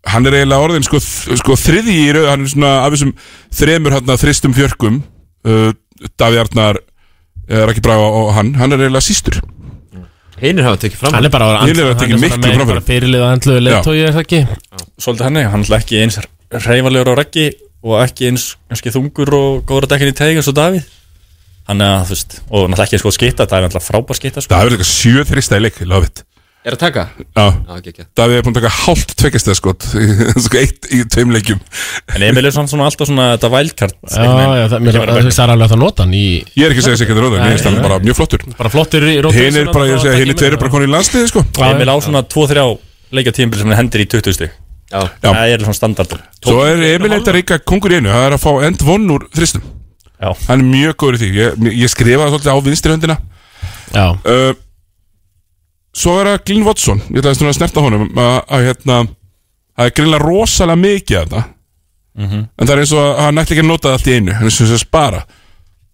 A: Hann er eiginlega orðin sko, þ- sko þriði í rauð hann er svona af þessum þremur hann þristum fjörkum uh, Daví Arnar uh, Raki Braga og hann hann er eiginlega sístur
C: Hinn er hafa tekið fram
B: Hann er bara
A: Hinn er að tekið miklu framfyrir
B: Fyrirlið að handluðu leiðtói er það ekki
P: Svolítið hann er, hann er ekki eins reyfalegur á reggi og ekki eins kannski þungur og góður að dekkin í teig eins og Davíð hann er að þú veist og náttúrulega ekki eins góð skita, það er náttúrulega frábær skita sko.
A: Það er eitthvað sjö þrista í leik, ég love it
C: Er að taka?
A: Já,
C: Já, gekkja.
A: Davíð er búin að taka hálft tveggjastæð skot Sko eitt í tveim leikjum
P: En Emil er samt svona alltaf svona þetta vælkart
B: Já, já, það, mér, það, það er alveg að það nota hann í
A: Ég er ekki að segja sikkert róðan, ég finnst hann
B: Nei,
A: bara mjög flottur
B: Bara flottur í rótun
A: Hinn er bara, ég segja, hinn er tveir er bara konið í landsliði sko
P: Emil á svona 2-3 leikja tímbil sem hann hendir í 20 stig
C: Já.
P: Það er svona standard
A: Svo er Emil eitthvað ríka kongur í einu Það er að fá end vonn úr þristum
P: Já.
A: Hann er mjög góður í því Ég, ég skrifaði svolítið á vinstri höndina
B: Já
A: uh, Svo er það Glyn Watson Ég ætlaði svona að snerta á honum að, að hérna Það er grilla rosalega mikið af þetta En það er eins og að hann ætla ekki að nota það allt í einu Hann er svona að spara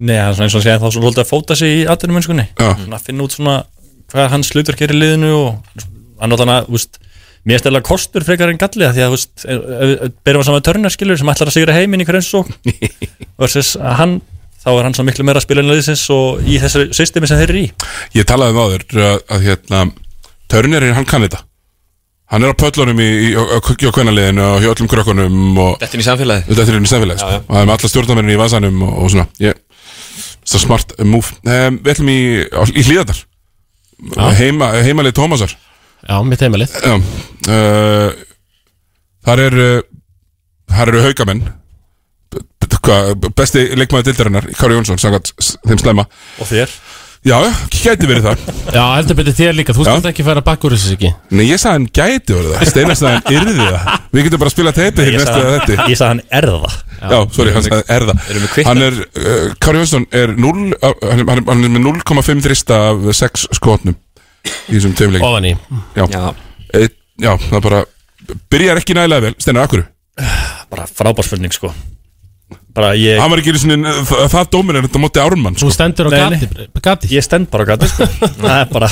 P: Nei, hann er svona eins og að segja þá svona svolítið að fóta sig í atvinnum mennskunni
A: Já.
P: að finna út svona hvað hans hlutverk er í liðinu og hann átt hann að, þú veist mér er stæðilega kostur frekar en gallið af því að, þú veist, ef- ef- ef- berum við saman törna skilur sem ætlar að sigra heiminn í hverjum svo versus að hann, þá er hann svo miklu meira að spila en liðsins og í þessu systemi sem þeir eru í
A: Ég talaði um áður að, að hérna, Törnirinn, hann kann þetta Hann er á pöllunum í, í, á, á, á kvennaliðinu og hjá öllum krökkunum og
C: Dettur inn í samfélagið.
A: Dettur inn í samfélagið, sko.
C: Já, já.
A: og það er með alla stjórnarmennin í vasanum og, og svona ég, Það er smart move um, Við ætlum í, á- í hlíðarnar heima, Heimalið Tómasar
B: Já, mitt heimilið
A: Já, uh, þar eru þar eru haugamenn B- b- hvað, besti leikmaður dildarinnar Kári Jónsson, sangat þeim slæma
P: Og þér?
A: Já, gæti verið það
B: Já, heldur betur þér líka, þú skalt ekki færa bakk úr þessu ekki
A: Nei, ég sagði hann gæti verið það Steinar sagði hann yrði það Við getum bara að spila teipið hér næstu að þetta
P: Ég sagði hann erða
A: Já, sorry, hann sagði erða Hann er, uh, Kári Jónsson er 0 uh, hann, er- hann er með 0,5 þrista af 6 skotnum í þessum tveimleikum
B: Ofan í.
A: Já, já. já það bara byrjar ekki nægilega vel Steinar, akkur
P: Bara frábárspilning, sko Bara ég
A: Hann var ekki einu sinni, það, það dómur er þetta móti árumann sko.
B: Þú stendur á
P: Nei, nei.
B: gati, eh, gati
P: Ég stend bara á gati sko. Það er bara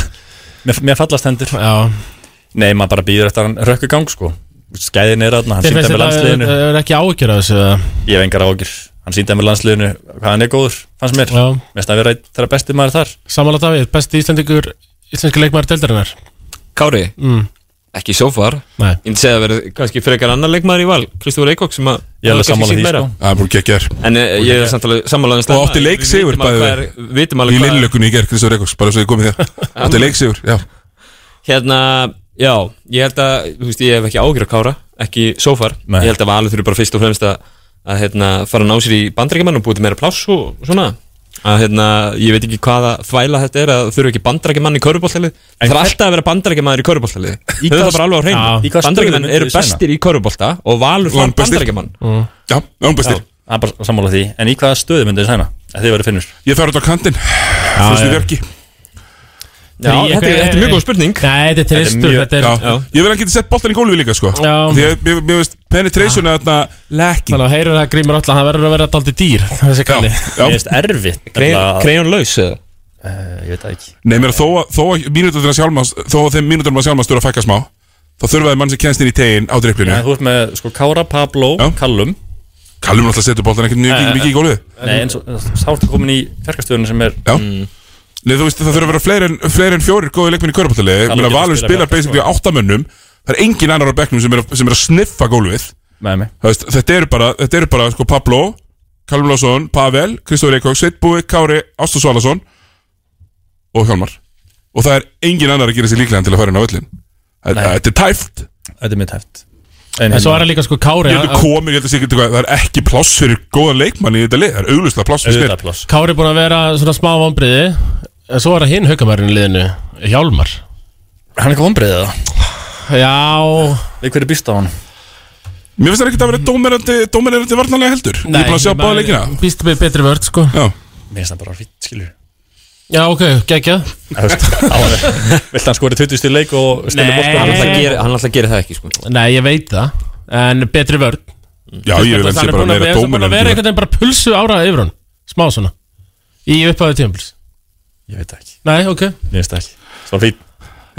P: Mér, mér fallast hendur
B: Já.
P: Nei, maður bara býður eftir að hann rökku gang sko. Skæðin er aðna, hann
B: Þér
P: sýndi
B: finnst
P: hann með
B: þetta
P: landsliðinu
B: er, er ekki áhyggjur af þessu eða?
P: Ég hef engar ágjur Hann sýndi hann með landsliðinu Hvað hann er góður, fannst mér
B: Já.
P: Mest að vera einn þeirra besti maður þar
B: Samanlega Davíð, besti íslendingur íslenski leikmaður deildarinnar
C: Kári,
B: mm.
C: ekki so far
B: Nei.
C: Ég myndi segja að vera kannski frekar annar leikmaður í val Kristofur Eikók sem að
P: Ég er alveg
C: hefur kannski sýnt meira.
P: sammála því, sko.
A: Það er bara geggjær
C: En eh, ég er samtalið sammálaðin
A: Og átti leiksigur bæði
C: Við vitum alveg
A: Í
C: hvað
A: lillökunni í gerð, Kristofur Reykjavíks, bara svo ég komið þér Átti leiksigur, já
C: Hérna, já, ég held að Þú veist, ég hef ekki ágjur að kára, ekki so far
P: Nei.
C: Ég held að Valur þurfi bara fyrst og fremst að, að hérna, fara að ná sér í bandrækjumann og búið til meira pláss og og svona að hérna, ég veit ekki hvaða þvæla þetta er að þurfi ekki bandrækjumann í körubóllalið Það er alltaf að vera bandrækjumann í körubóllalið
P: Í
C: Þau það
P: hvað-
C: bara alveg á
P: Já. Í
C: hreinu
P: hvað stöðu
C: Bandrækjumann
P: myndirðu
C: eru
P: segja hana?
C: bestir í körubólta og Valur fann bandrækjumann
A: Já, hann bestir
P: Það sko. er bara sammála því En í hvaða stöðu myndið þið sæna? Ef Þið verið finnur
A: Ég fer út á kantinn Fyrstu Björki
C: Já, þetta er- þetta er mjög góð spurning
B: Nei, þetta er tristur,
A: mjög-
B: þetta er
A: Já. Ég vil að geta sett boltan í gólfi líka sko
B: Já.
A: Því að mér- mér veist penetration
P: Ah,
A: er þarna Lekki
B: Þannig að heyrur það grímur alltaf, hann verður að vera daldi dýr Þessi kalli
A: Já.
P: Mér finnst erfitt Eh,
A: Kre-
C: Krejónlaus eða?
P: Ég veit það ekki
A: Nei, mér þó að- þó að mínúturnar sjálfmans Þó að þeim mínúturnar sjálfmans þurfa að fækka smá Þá þurfaði mann sem kennst inn í tegin á dripplinu
P: Nei, Þú ert með sko, Kára, Pablo, Kallum
A: Kallum alltaf setur boltan ekkert mjög mikið í gólfið
P: Nei, en svo Sárt er komin í ferkastöðunum sem er
A: Já Nei, þú veist, það þurfa að vera fleiri en, fleiri en fjórir góði leikmenn í körbáttaliði Ég
P: Kalli
A: meina,
P: getur
A: Valur
P: spilað sko.
A: spilar
P: með alla,
A: basically á áttamönnum Það er engin annar á bekknum sem er, að- sem er að sniffa gólfið
P: Nei, nei.
A: Það veist, Þetta eru bara, þetta eru bara sko, Pablo, Kalmur Lásson, Pavel, Kristofur Eikók, Sveitbúi, Kári, Ásta Svalason og Hjálmar Og það er engin annar að gera sér líklegan til að fara inn á öllin Þetta er tæft
P: Þetta er mitt hæft
B: En svo er
P: hérna,
B: það líka sko Kári
A: Ég heldur
B: að-
A: komin, ég heldur sér ekki Það er ekki pláss fyrir góðan leikmann í þetta lið Það er auglustlega pláss fyrir
P: Auðvitað
A: mér.
P: pláss.
B: Kári búin að vera svona smá vombriði En svo er það hinn haukamærin í liðinu Hjálmar
P: Hann er ekki vombriðið það?
B: Já
P: Við hverju býst á hann?
A: Mér finnst það ekki að vera dómerandi, dómerandi varnarlega heldur Ég er búin að sjá báða leikina
B: Býst með betri vörð sko
A: Já
P: Mér finnst það bara fýtt, skilur
B: Já, ok, geggjað
P: Vilt hann skori 20 stíl leik og
B: Nei.
P: stila bósta
B: Hann alltaf gerir-
C: Hann alltaf gerir það ekki sko
B: Nei, ég veit það En betri vörð
A: Já, ég vil helst ég bara meira
B: Það er búin að vera
A: dómerandi
B: einhvern veginn bara pulsu áraða yfir hann Smá svona Í upphæðu tímpils
P: Ég veit það ekki
B: Nei, ok
P: Mér finnst það ekki Svo fýtt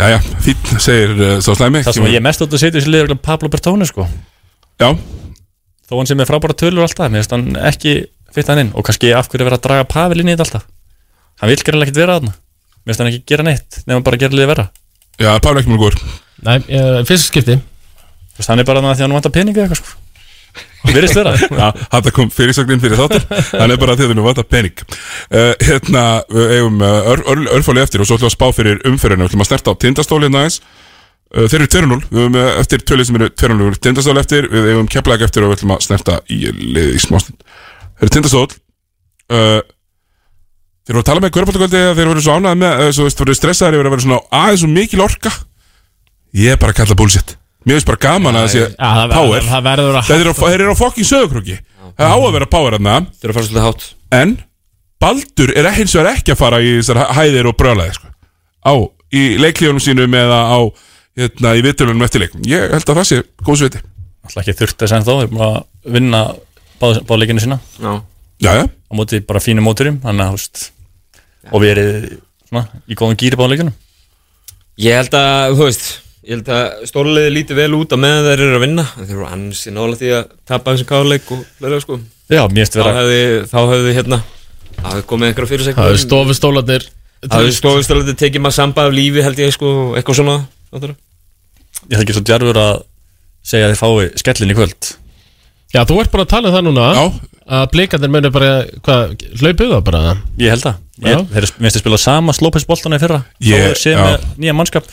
A: Jæja, fín, segir uh, svo slæmi
P: Það sem ég er mest átt að setja í þessu liður er Pablo Bertone sko
A: Já
P: Þó hann sem er frábæra tölur alltaf Mér finnst hann ekki fyrta hann inn Og kannski af hverju er verið að draga Pavel inn í þetta alltaf Hann vil gerðilega ekkert vera þarna Mér finnst hann ekki gera neitt Nefnum bara að gera liðið vera
A: Já, Pablo ekki mjög góður
B: Nei, eh, fyrsta skipti
P: Þú veist, hann er bara þannig að því að hann vantar peningu eitthvað sko Virðist vera
A: Þetta kom fyrirsögnin fyrir þáttir Hann er bara að þið nú vata pening uh, Hérna, við eigum uh, ör, ör, örfáli eftir og svo ætlum við að spá fyrir umferðinu Við ætlum að snerta á tindastóli hérna aðeins uh, Þeir eru 2-0, við höfum uh, eftir tölið sem eru 2-0 Við eru tindastóli eftir, við eigum keflæk eftir og við ætlum að snerta í liði í smástund Þeir eru tindastól uh, Þeir voru að tala með kvörbáttakvöldi að þeir voru svo ánægð með, eh, svo veist, voru stressaðir yfir að vera svona aðeins og mikil orka Ég er bara að kalla bullshit Mér finnst bara gaman að það sé
B: Já, það verður-
A: power
B: það verður að-
A: Þeir eru á- þeir eru á fokkin sögurkrúki Það er á að vera power þarna
C: Þeir eru að fara svolítið hátt
A: En Baldur er hins vegar ekki að fara í þessar hæ- hæðir og brjálæði sko. Á, í leiklíðunum sínum eða á, hérna, í vittulunum eftir leik Ég held að það sé góðs viti
P: Alltaf ekki þurft þess að þó Við erum bara að vinna báðleikinu sína
C: Já
A: Jæja
P: Á móti bara fínum móturum Þannig að, þú veist Og við erum svona í góðum gýri báðleikinu
C: Ég held að, þú veist Ég held að stórliði líti vel út að meðan þeir eru að vinna en Þeir eru ansi nála því að tapa þessum káleik og fleira sko
P: Já, mér finnst vera-
C: Þá hefði, þá hefði hérna þá hefði komið einhverja fyrir sig
B: Það er stofustólarnir
C: Það hefði stofustólandi tekið maður samba af lífi held ég sko og eitthvað svona náttúrulega.
P: Ég held ekki svo djarfur að segja að þið fái skellin í kvöld
B: Já, þú ert bara að tala um það núna Já Að blikarnir munu bara, hvað, hlaupu það bara
P: Ég held það Ég- Þeir eru- mér finnst að spila sama slópins boltana í fyrra
B: Ég-
P: Þó þeir séu
B: já.
P: með nýja mannskap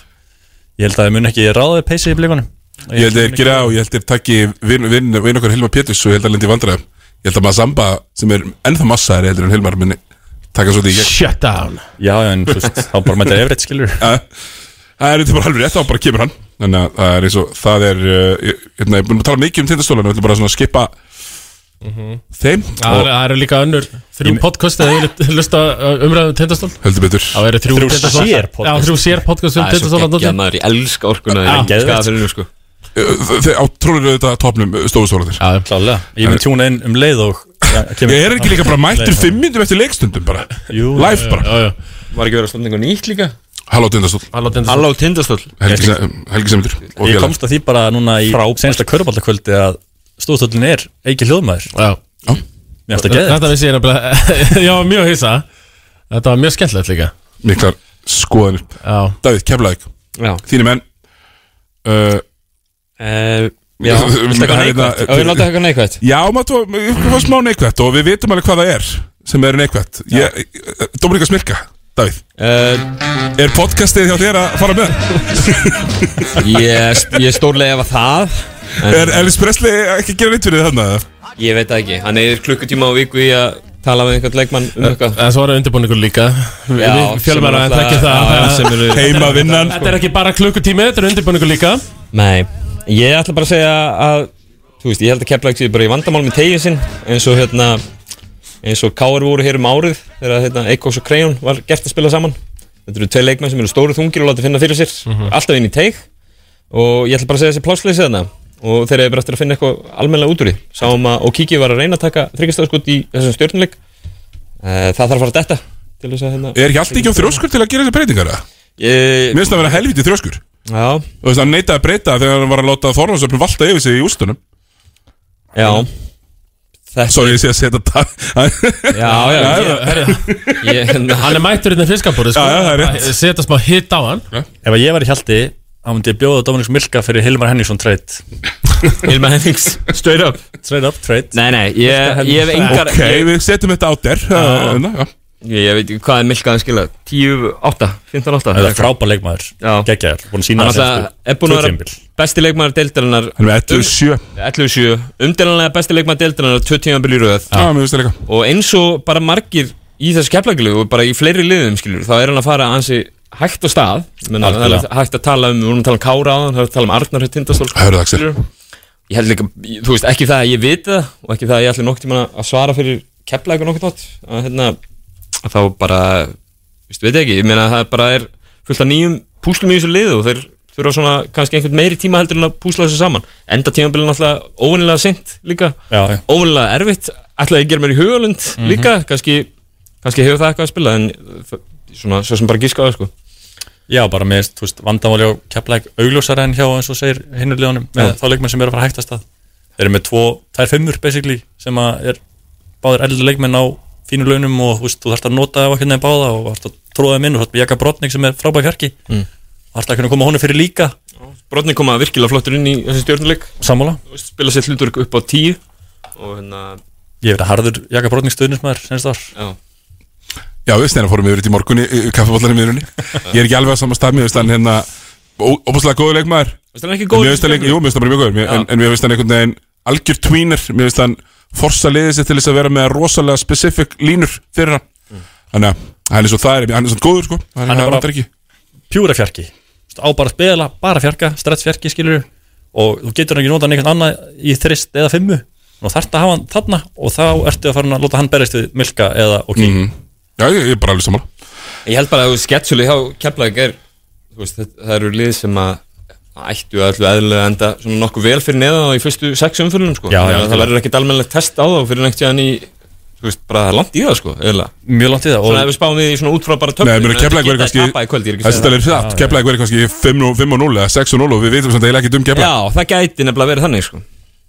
P: Ég held að það mun ekki ráðið peysi í blikunum
A: Ég held að þeir gera og ég held að þeir takki vinn vin, vin okkar Hilmar Péturs og ég held að lendi vandræðum Ég held að maður Samba sem er ennþá massaðir heldur en Hilmar minni taka svo því
B: Shut down
P: Já, já, en þú veist, þá bara mættir Everett skilur
A: Það er þetta bara alveg rétt, þá bara kemur hann Þannig að það er eins og, það er uh, ég- Hérna, ég búin að tala mikið um tindastólan og ætlum bara svona að skipa þeim
B: Það eru- það eru líka önnur þrjú podcast eða ég lusta umræðum uh, um tindastól
A: Heldur betur
B: Það eru þrjú
C: Þrjú
B: Tindastólar.
C: sér podcast.
B: Já, þrjú sér podcast um
C: Það er svo
B: tindastólan
C: geggjað maður, ég elska orkuna
A: Já.
C: þér Skafirinu sko
A: og Þeir Eh, á trónir auðvitað eh, topnum stóðstólanir
B: Já,
P: klálega Ég mun tjúna inn um leið og
A: Ég er ekki líka bara mættur fimm myndum eftir leikstundum bara
P: Jú,
A: Live bara
B: já, já.
C: Var ekki verið að stofna einhver nýtt líka?
A: Halló Tindastóll
B: Halló
C: Halló Tindastóll
A: Helgi, Helgi Semundur og
P: Ég
A: félagar.
P: komst að því bara núna í sensta körbáltakvöldi að stóðstöldin er ekki hljóðmaður
B: Já
P: Mér fannst að geða
B: Þetta vissi ég nefnilega Ég var mjög hissa Þetta var mjög skemmtilegt líka
A: Miklar skoðanir
B: Já.
A: Davíð, keflaðið
C: Já
A: Þínu menn uh,
C: uh, Já,
A: Viltu
C: eitthvað
A: taka
C: neikvætt?
A: hérna-
C: Já, við látum eitthvað neikvætt.
A: Já, maður var smá neikvætt og við vitum alveg hvað það er sem er neikvætt Ég- eh, Dómaríka Smirka, Davíð
C: Eh,
A: Er podcastið hjá þér að fara með?
C: Ég, ég stórlega efa það
A: Er Elvis Presley ekki að gera neitt fyrir þarna?
C: Ég veit það ekki, hann eðir klukkutíma á viku í að tala við einhvern leikmann um eitthvað
B: En Eh, svo var undirbúningur líka
C: Já,
B: Fjölmæra
C: sem
B: en þekkir það
C: náttúrulega- já, já,
B: það-
C: sem eru- Heimavinnan.
B: Þetta er ekki bara klukkutími Þetta er undirbúningur líka
C: Nei, ég ætla bara að segja að Þú veist, ég held að Keflavík séu bara í vandamál með tegið sinn eins og hérna eins og Káar voru hér um árið þegar hérna, Eikos og Kreyon var gert að spila saman Þetta eru tvei leikmenn sem eru stóru þungir og láta finna fyrir sér
B: Mhm.
C: alltaf inn í teig og ég ætla bara að segja þessi plásleysið þarna og þeir eru bara eftir að finna eitthvað almennilega út úr því Sáum að Okiki var að reyna að taka þryggastöðskot í þessum stjórnuleik Eh, Það þarf að fara að detta til þess að hérna
A: Er ekki allt ekki á þrjóskur til að gera þessi breytingar? eða?
C: Ég-
A: Mér finnst það að vera helviti þrjóskur
C: Já
A: Og þess að hann neitaði að breyta þegar hann var að láta Þorvarsöfnum valta yfir sig í ústunum
C: Já
A: Sorry, ég sé að setja dag
C: Já, já,
A: já.
C: ég,
B: Hann er mættur hérna fiskabúri sko.
P: Já, já, það er rétt.
B: Setja smá hitt á hann
P: Ef að ég var í hjaldi, þá myndi ég bjóða Dominik Milka fyrir Hilmar Henningsson trade
C: Hilmar Hennings, straight up
P: Straight up trade
C: Nei, nei, ég, ég hef engar
A: Ok,
C: ég,
A: við setjum þetta á Eh, hérna, þér
C: Já. ég, ég veit ekki hvað er Milka að skila 10, 8, 15, 8
P: Það er frábær leikmaður, geggjaður, búin að sína
C: Hann
P: það
C: alltaf er
P: síðustu
C: búin að
P: tvö
C: vera besti leikmaður deildarinnar
A: Hann er 11-7
C: 11-7 Umdelanlega besti leikmaður deildarinnar 20 ámbil í röð
A: Já, mér finnst það líka
C: Og eins og bara margir í þessu keflagilu og bara í fleiri liðum skilur þá er hann að fara ansi hægt á stað Menna, það er
A: Algjörlega. hægt
C: að tala um, við vorum að tala um Kára á hann það er að tala um Arnar hér tindastól
A: Hörðu, Axel.
C: skilurðu. Ég held líka, ég- þú veist, ekki það að ég viti það og ekki það að ég ætli nokkuð tíma að svara fyrir kefla eitthvað nokkuð tótt að hérna, að þá bara, veist, veit ég ekki, ég meina að það bara er fullt af nýjum púslum í þessu liðu og þeir þurfa svona kannski einhvern meiri tíma heldur en að púsla þessu saman enda tímabilið náttúrulega óvenilega sent líka
P: Já, já.
C: óvenilega erfitt ætlaði að gera mér í hugalund
P: Mhm.
C: líka kannski, kannski hefur það eitthvað að spila en f- svona, svo sem bara gískaða sko.
P: Já, bara með, þú veist, vandamáli á keppleik augljósara en hjá, eins og segir hinnur liðanum, með
C: Já.
P: þá leikmenn sem eru að fara hægt að stað Þeir eru með tvo, tær fimmur, basically, sem að er báður eldur leikmenn á fínu launum og, þú veist, þú þarft að nota á einhvern veginn báða og þarft að tróða þeim inn og þarft að jaka brotning sem er frábæk herki
C: Mm.
P: og þarft að kunna koma honum fyrir líka
C: Brotni koma virkilega flottur inn í þessi stjórnuleik
P: Sammála.
C: Þú veist, Spila sér hlutur upp á tíu og hérna
P: Ég hef verið harður jaka brotning stuðnismæður, senst þar
C: Já.
A: Já, við snæðum fórum yfir þetta í morgunni, kaffabóllarum yfirunni Ég er ekki alveg að sama stað, mér finnst hann hérna ó- Óbúslega góður leikmaður
C: Finnst hann ekki góður
A: Mér finnst hann
C: í
A: líka- Jú, mér finnst hann bara mjög góður mér- en, en mér finnst hann einhvern veginn algjör tweener Mér finnst hann forsa liðið sér til þess að vera með rosalega specific línur fyrir hann Þannig að hann er svo það er, hann er svo góður sko Hann,
P: hann er
A: vantar
P: bara pjúra fjarki Þú veist, á bara að spila, bara fjarka, stretch fjarki skilur og þú getur hann ekki notað einhvern annað í þrist eða fimmu og þarft að hafa hann þarna og þá ertu að fara að láta hann berist við Milka eða ok
A: Mhm. Já, ég, ég er bara alveg saman
C: Ég held bara að sketsuli hjá Keflavík er þú veist, þetta- það eru lið sem að ættu að öllu eðlilega enda svona nokkuð vel fyrir neða í fyrstu sex umfyrlunum sko.
P: Já, já,
C: Þannig að það
P: algjörlega.
C: verður ekkit almennilegt test á þá fyrir neitt séðan í þú veist, bara langt í það sko, eðlilega
P: Mjög langt í það og-
C: Svona ef við spáum við í svona út frá bara töflum
A: Nei, mér er keflæk verið kannski Þessi stælir
C: það
A: hratt, keflæk verið kannski 5 og 5 og 0 eða 6 og 0 og við vitum samt eiginlega ekki um keflæk
C: Já, það gæti nefnilega verið þannig sko.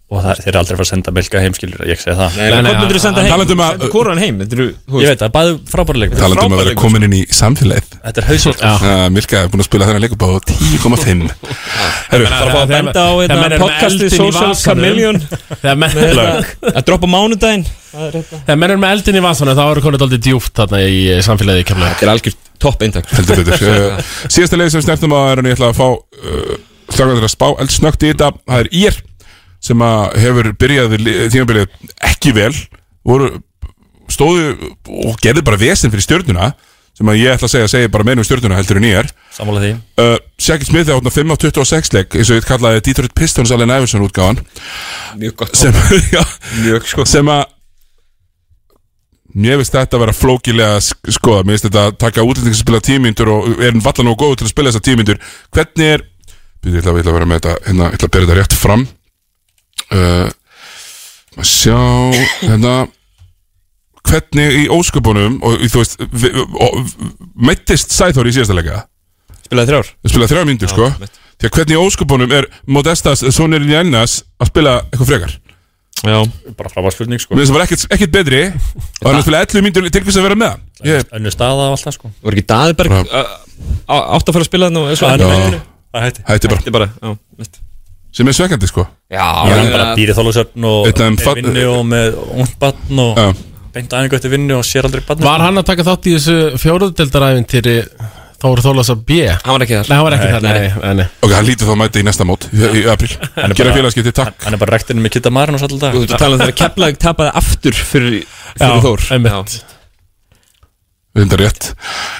P: og það, þeir eru aldrei að fara að senda Milka heim skilur ég segi það
C: Nei, nei, hvort myndirðu senda heim? Talandi um að- Senda hvoran heim, þetta eru- þú veist-
P: Ég veit það, bæðu frábæra leikmenn
A: Talandi um að vera komin inn í samfélagið Ah,
P: Þetta er sko. hausvöld
A: Milka er búin að spila þennan leikum á 10,5 Herru,
C: Það er að fá að benda á
B: þegar menn
C: hérna,
B: eru með
C: podcastið
B: eldinn í
C: Social
B: vasanum.
C: Chameleon
B: Þegar menn-
C: Með hérna- þetta- Að droppa mánudaginn
B: Þegar menn er með eldin í vasanum Þá eru konið aldrei djúft þarna í samfélagi Þetta
C: er algjört topp eintak
A: Heldur betur Eh, Síðasta leið sem snertum að er en ég ætla að fá uh, Strákandur að spá eldsnögt í þetta Það er ír sem að hefur byrjað li- tímabilið ekki vel voru, stóðu og gerði bara vesen fyrir stjörnuna sem að ég ætla að segja, segja bara meina um stjörnuna heldur en ég er
P: Sammála því
A: uh, Sjaki Smith átna 5 á 26 leik eins og ég kallaði Detroit Pistons Allen Iverson útgáfan
C: Mjög gott
A: sem, já,
C: Mjög sko
A: sem að mér finnst þetta að vera flókilega sk- skoða, mér finnst þetta að taka útlending sem spila tímyndur og er hann vallan og góð til að spila þessa tímyndur hvernig er Býðu, ég ætla, ég ætla að vera með þetta, hérna, ég ætla að bera þetta rétt fram uh, að sjá hérna hvernig í ósköpunum og í- þú veist, vi- og- meittist Sæþór í síðasta leika
C: spilaði þrjár
A: spilaði þrjár myndir, sko því að hvernig í ósköpunum er Modestas sonur í ennas að spila eitthvað frekar
P: Sko.
C: já,
P: bara frábær spurning sko
A: Mér finnst það var ekkert, ekkert betri og hann er spilaði 11 myndir til hvers að vera með hann. ég,
P: Önnu staða og alltaf sko
C: Var ekki Daðberg átt að fara að spila þannig og svo
P: Já.
C: enn
P: Það hætti
A: Hætti bara,
C: Þetta er bara, já, mitt
A: sem er svekkandi sko
C: Já,
P: Ég er bara býrið þólusöfn og
A: Þetta er um
P: er
A: fa-
P: vinnu og með ungt batn og
A: Já.
P: beint aðeins gott í vinnu og sér aldrei batn
B: Var hann að taka þátt í þessu fjóruðdeldaræfintýri Þóru Þólas að B? Hann
C: var ekki þar
B: Nei, hann var ekki þar, nei, nei, nei.
A: ok, hann lítur þá að mæta í næsta mót í, í april,
P: Hann er
A: gera
P: bara-
A: félagskipti, takk
P: Hann er bara rektinni með kitta marinn og svolítið dag
C: Þú ert að tala um þegar Keflavík tapaði aftur fyrir,
P: Já,
C: fyrir Þór
B: einmitt.
A: þetta er rétt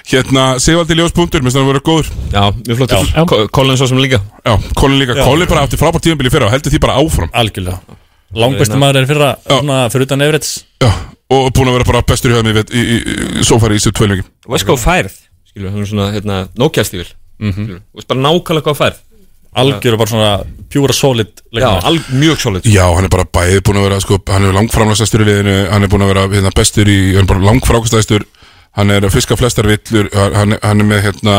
A: hérna, Sigvaldi Ljóspunktur, minnst hann að vera góður
C: Já, mjög flottur Ko- Colin svo sem líka
A: Já, Colin líka,
P: Já.
A: Colin bara átti frábært tíðanbili fyrra og heldur því bara áfram
P: Algjörlega Langbæstu maður er fyrra svona fyrir utan Everett
A: Já, og búin að vera bara bestur í höfum í, í, í, í sófari í sér tveilegin
C: Vesco færð, skilur, hann er svona, hérna, nókjastífil mm -hmm. Þú veist bara nákvæmlega hvað færð
P: Algjör og bara svona pjúra solid
C: Já, al, mjög solid
A: Já, hann er bara bæði búin að vera, sko, hann er langframlæstastur í liðinu, hann er búin að vera hérna, bestur í, hann er bara langfrákastæstur, hann er að fiska flestar villur, hann, hann er með, hérna,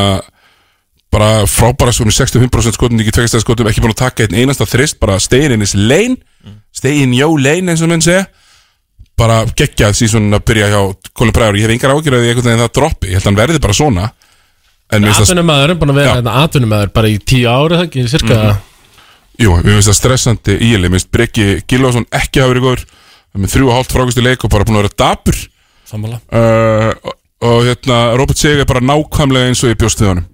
A: bara frábæra sko með 65% skotum, ekki 2% skotum, ekki búin að taka einn einasta þrist, bara steyin in his lane, steyin jó lane eins og menn segja, bara geggjað síðan að byrja hjá Colin Pryor, ég hef engar ágjörðið einhvern veginn það droppi, ég held að hann verði bara svona, en mér finnst það
B: Atvinnumæður, búin að vera hérna atvinnumæður bara í tíu ári, það ekki, cirka
A: Jú, mér finnst það stressandi íli Mér finnst Breki Gilvason ekki hafa verið góður Hann er Með þrjú og hálft frákustu leik og bara búin að vera dapur
P: Sammála.
A: uh, og, og hérna, Robert Sig er bara nákvæmlega eins og ég bjóst við honum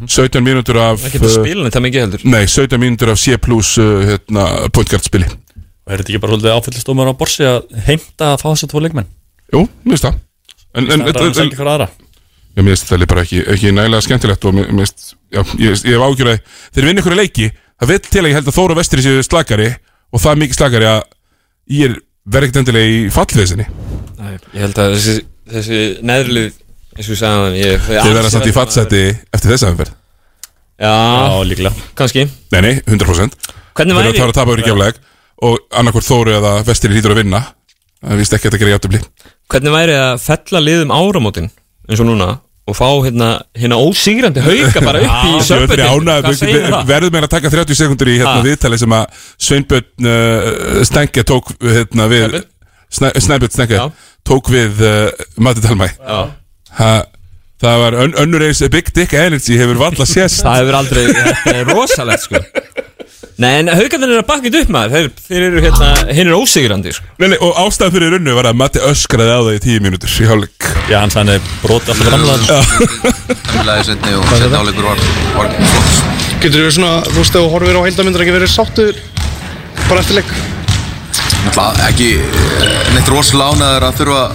A: 17 mínútur af uh,
C: Það getur spilin þetta mikið heldur
A: Nei, 17 mínútur af C plus uh, hérna, pointgard spili
P: Og er þetta ekki bara svolítið áfællistómar á borsi að heimta að fá þess að tvo leikmenn
A: Jú, mér finnst það En, en, en,
P: Það er
A: en,
P: ekki hver aðra
A: Já, mér finnst þetta bara ekki, ekki nægilega skemmtilegt og mér mér finnst, já, ég, ég hef ágjörði þeir vinna ykkur leiki, það vill til að ég held að Þóra Vestri séu slakari og það er mikið slakari að ég er verið ekkert endilega í fallveðsinni
C: Nei, Ég held að þessi, þessi neðrlið eins og ég sagði hann ég,
A: þeir verða samt í fallseti eftir þessa umferð
C: Já,
P: Já, líklega
C: kannski
A: Nei, nei, 100% Þeir
C: Hvernig væri-
A: eru að tara að tapa yfir í gefleik og annarkvort Þóru eða Vestri hlýtur að vinna það víst ekki að um þetta gerir játtöfli
C: Hvernig væri að fella liðum áramótin eins og núna og fá hérna, hérna ósýrandi hauka bara upp í söpbötin
A: Verðum meira að taka 30 sekundur í hérna
C: Ha.
A: viðtali sem að Sveinbjörn uh, Stengja tók hérna við Snæbjörn Stengja tók við uh, Matti Talmæ
C: Já.
A: ha, Það var ön, önnur eins Big Dick Energy hefur valla sést
C: Það hefur aldrei, þetta er rosalegt sko Nei, en haukarnir eru að bakka þetta upp maður Þeir, þeir eru hérna, hinn er ósýrandi sko
A: Nei, nei, og ástæðan fyrir runnu var að Matti öskraði á það í 10 mínútur í hálfleik
P: Já, hann sann er brot alltaf
F: Framlæði setni og setni áleikur var, var flott
Q: Getur þú svona, þú veist, þegar þú horfir á heildamindar ekki verið sáttur bara eftir leik?
F: Náttúrulega ekki eh, neitt rosalega ánæður að þurfa að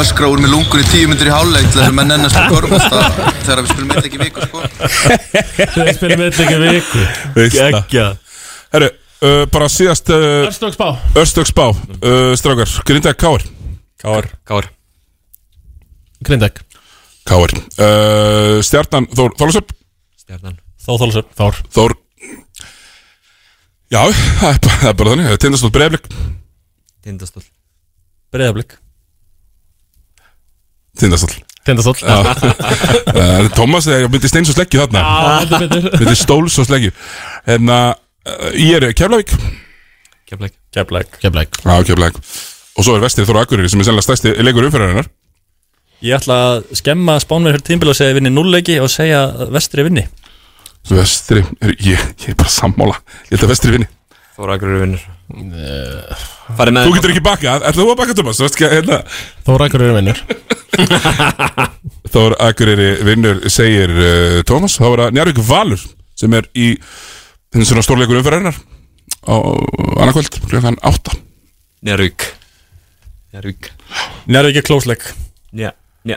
F: öskra úr með lungur í tíu myndir í hálfleik til þess að menn ennast á körfasta þegar við spilum eitthvað ekki viku sko
B: Þeir spilum við ekki viku
A: Gekja Herru, uh, bara síðast uh,
B: Örstöks bá
A: Örstöks bá, uh, strákar Grindag Káar
P: Káar
C: Káar
B: Grindag
A: Káar uh, Stjarnan Þór Þólasöp
C: Stjarnan
P: Þó Þólasöp
B: Þór
A: Þór Já, það er bara, það er bara þannig Tindastótt breyflik
C: Tindastóll
P: Breiðablik
A: Tindastótt
B: Tindastóll
A: Uh, Thomas er myndi steins og sleggju þarna
B: Já, heldur betur.
A: Myndi stóls og sleggju Hérna, uh, ég er Keflavík
C: Keflæk
P: Keflæk
B: Keflæk
A: Já, Keflavík Og svo er Vestir Þóra Akureyri sem er sennilega stærsti leikur umferðarinnar
P: Ég ætla að skemma spánverð fyrir tímbil og segja vinni nullleiki og segja að vestri vinni
A: Vestri, er, ég, ég er bara sammála Ég held að Vestri vinni
C: Þóra Akureyri vinnur Farið með
A: Þú getur ekki bakað, ætlaðu að baka Thomas Þú veist ekki að hérna
B: Þóra Akureyri vinnur
A: Þór Akureyri vinnur segir uh, Tómas, þá er það Njarvík Valur sem er í þinn svona stórleikur umferðarinnar á annarkvöld, klukkan 8
C: Njárvík Njárvík
P: Njárvík er klósleik
C: Já, já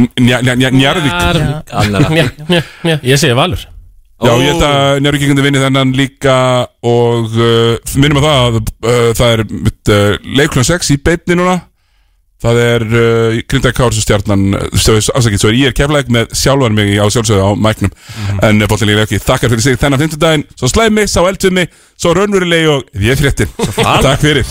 A: Njarvík
B: Njá, njá, njá. Ég segi valur
A: Já, ég held að Njárvíkingandi vinni þennan líka og uh, minnum að það að uh, það er uh, leiklun 6 í beinni núna það er uh, Grinda Kárs og stjarnan afsakið, svo er ég er keflæk með sjálfan mig í- á sjálfsögðu á mæknum en uh, bóttinlega ekki, þakkar fyrir sig þennan 50 daginn svo slæmi, sá eldfimi, svo raunverulegi og ég fréttin, takk fyrir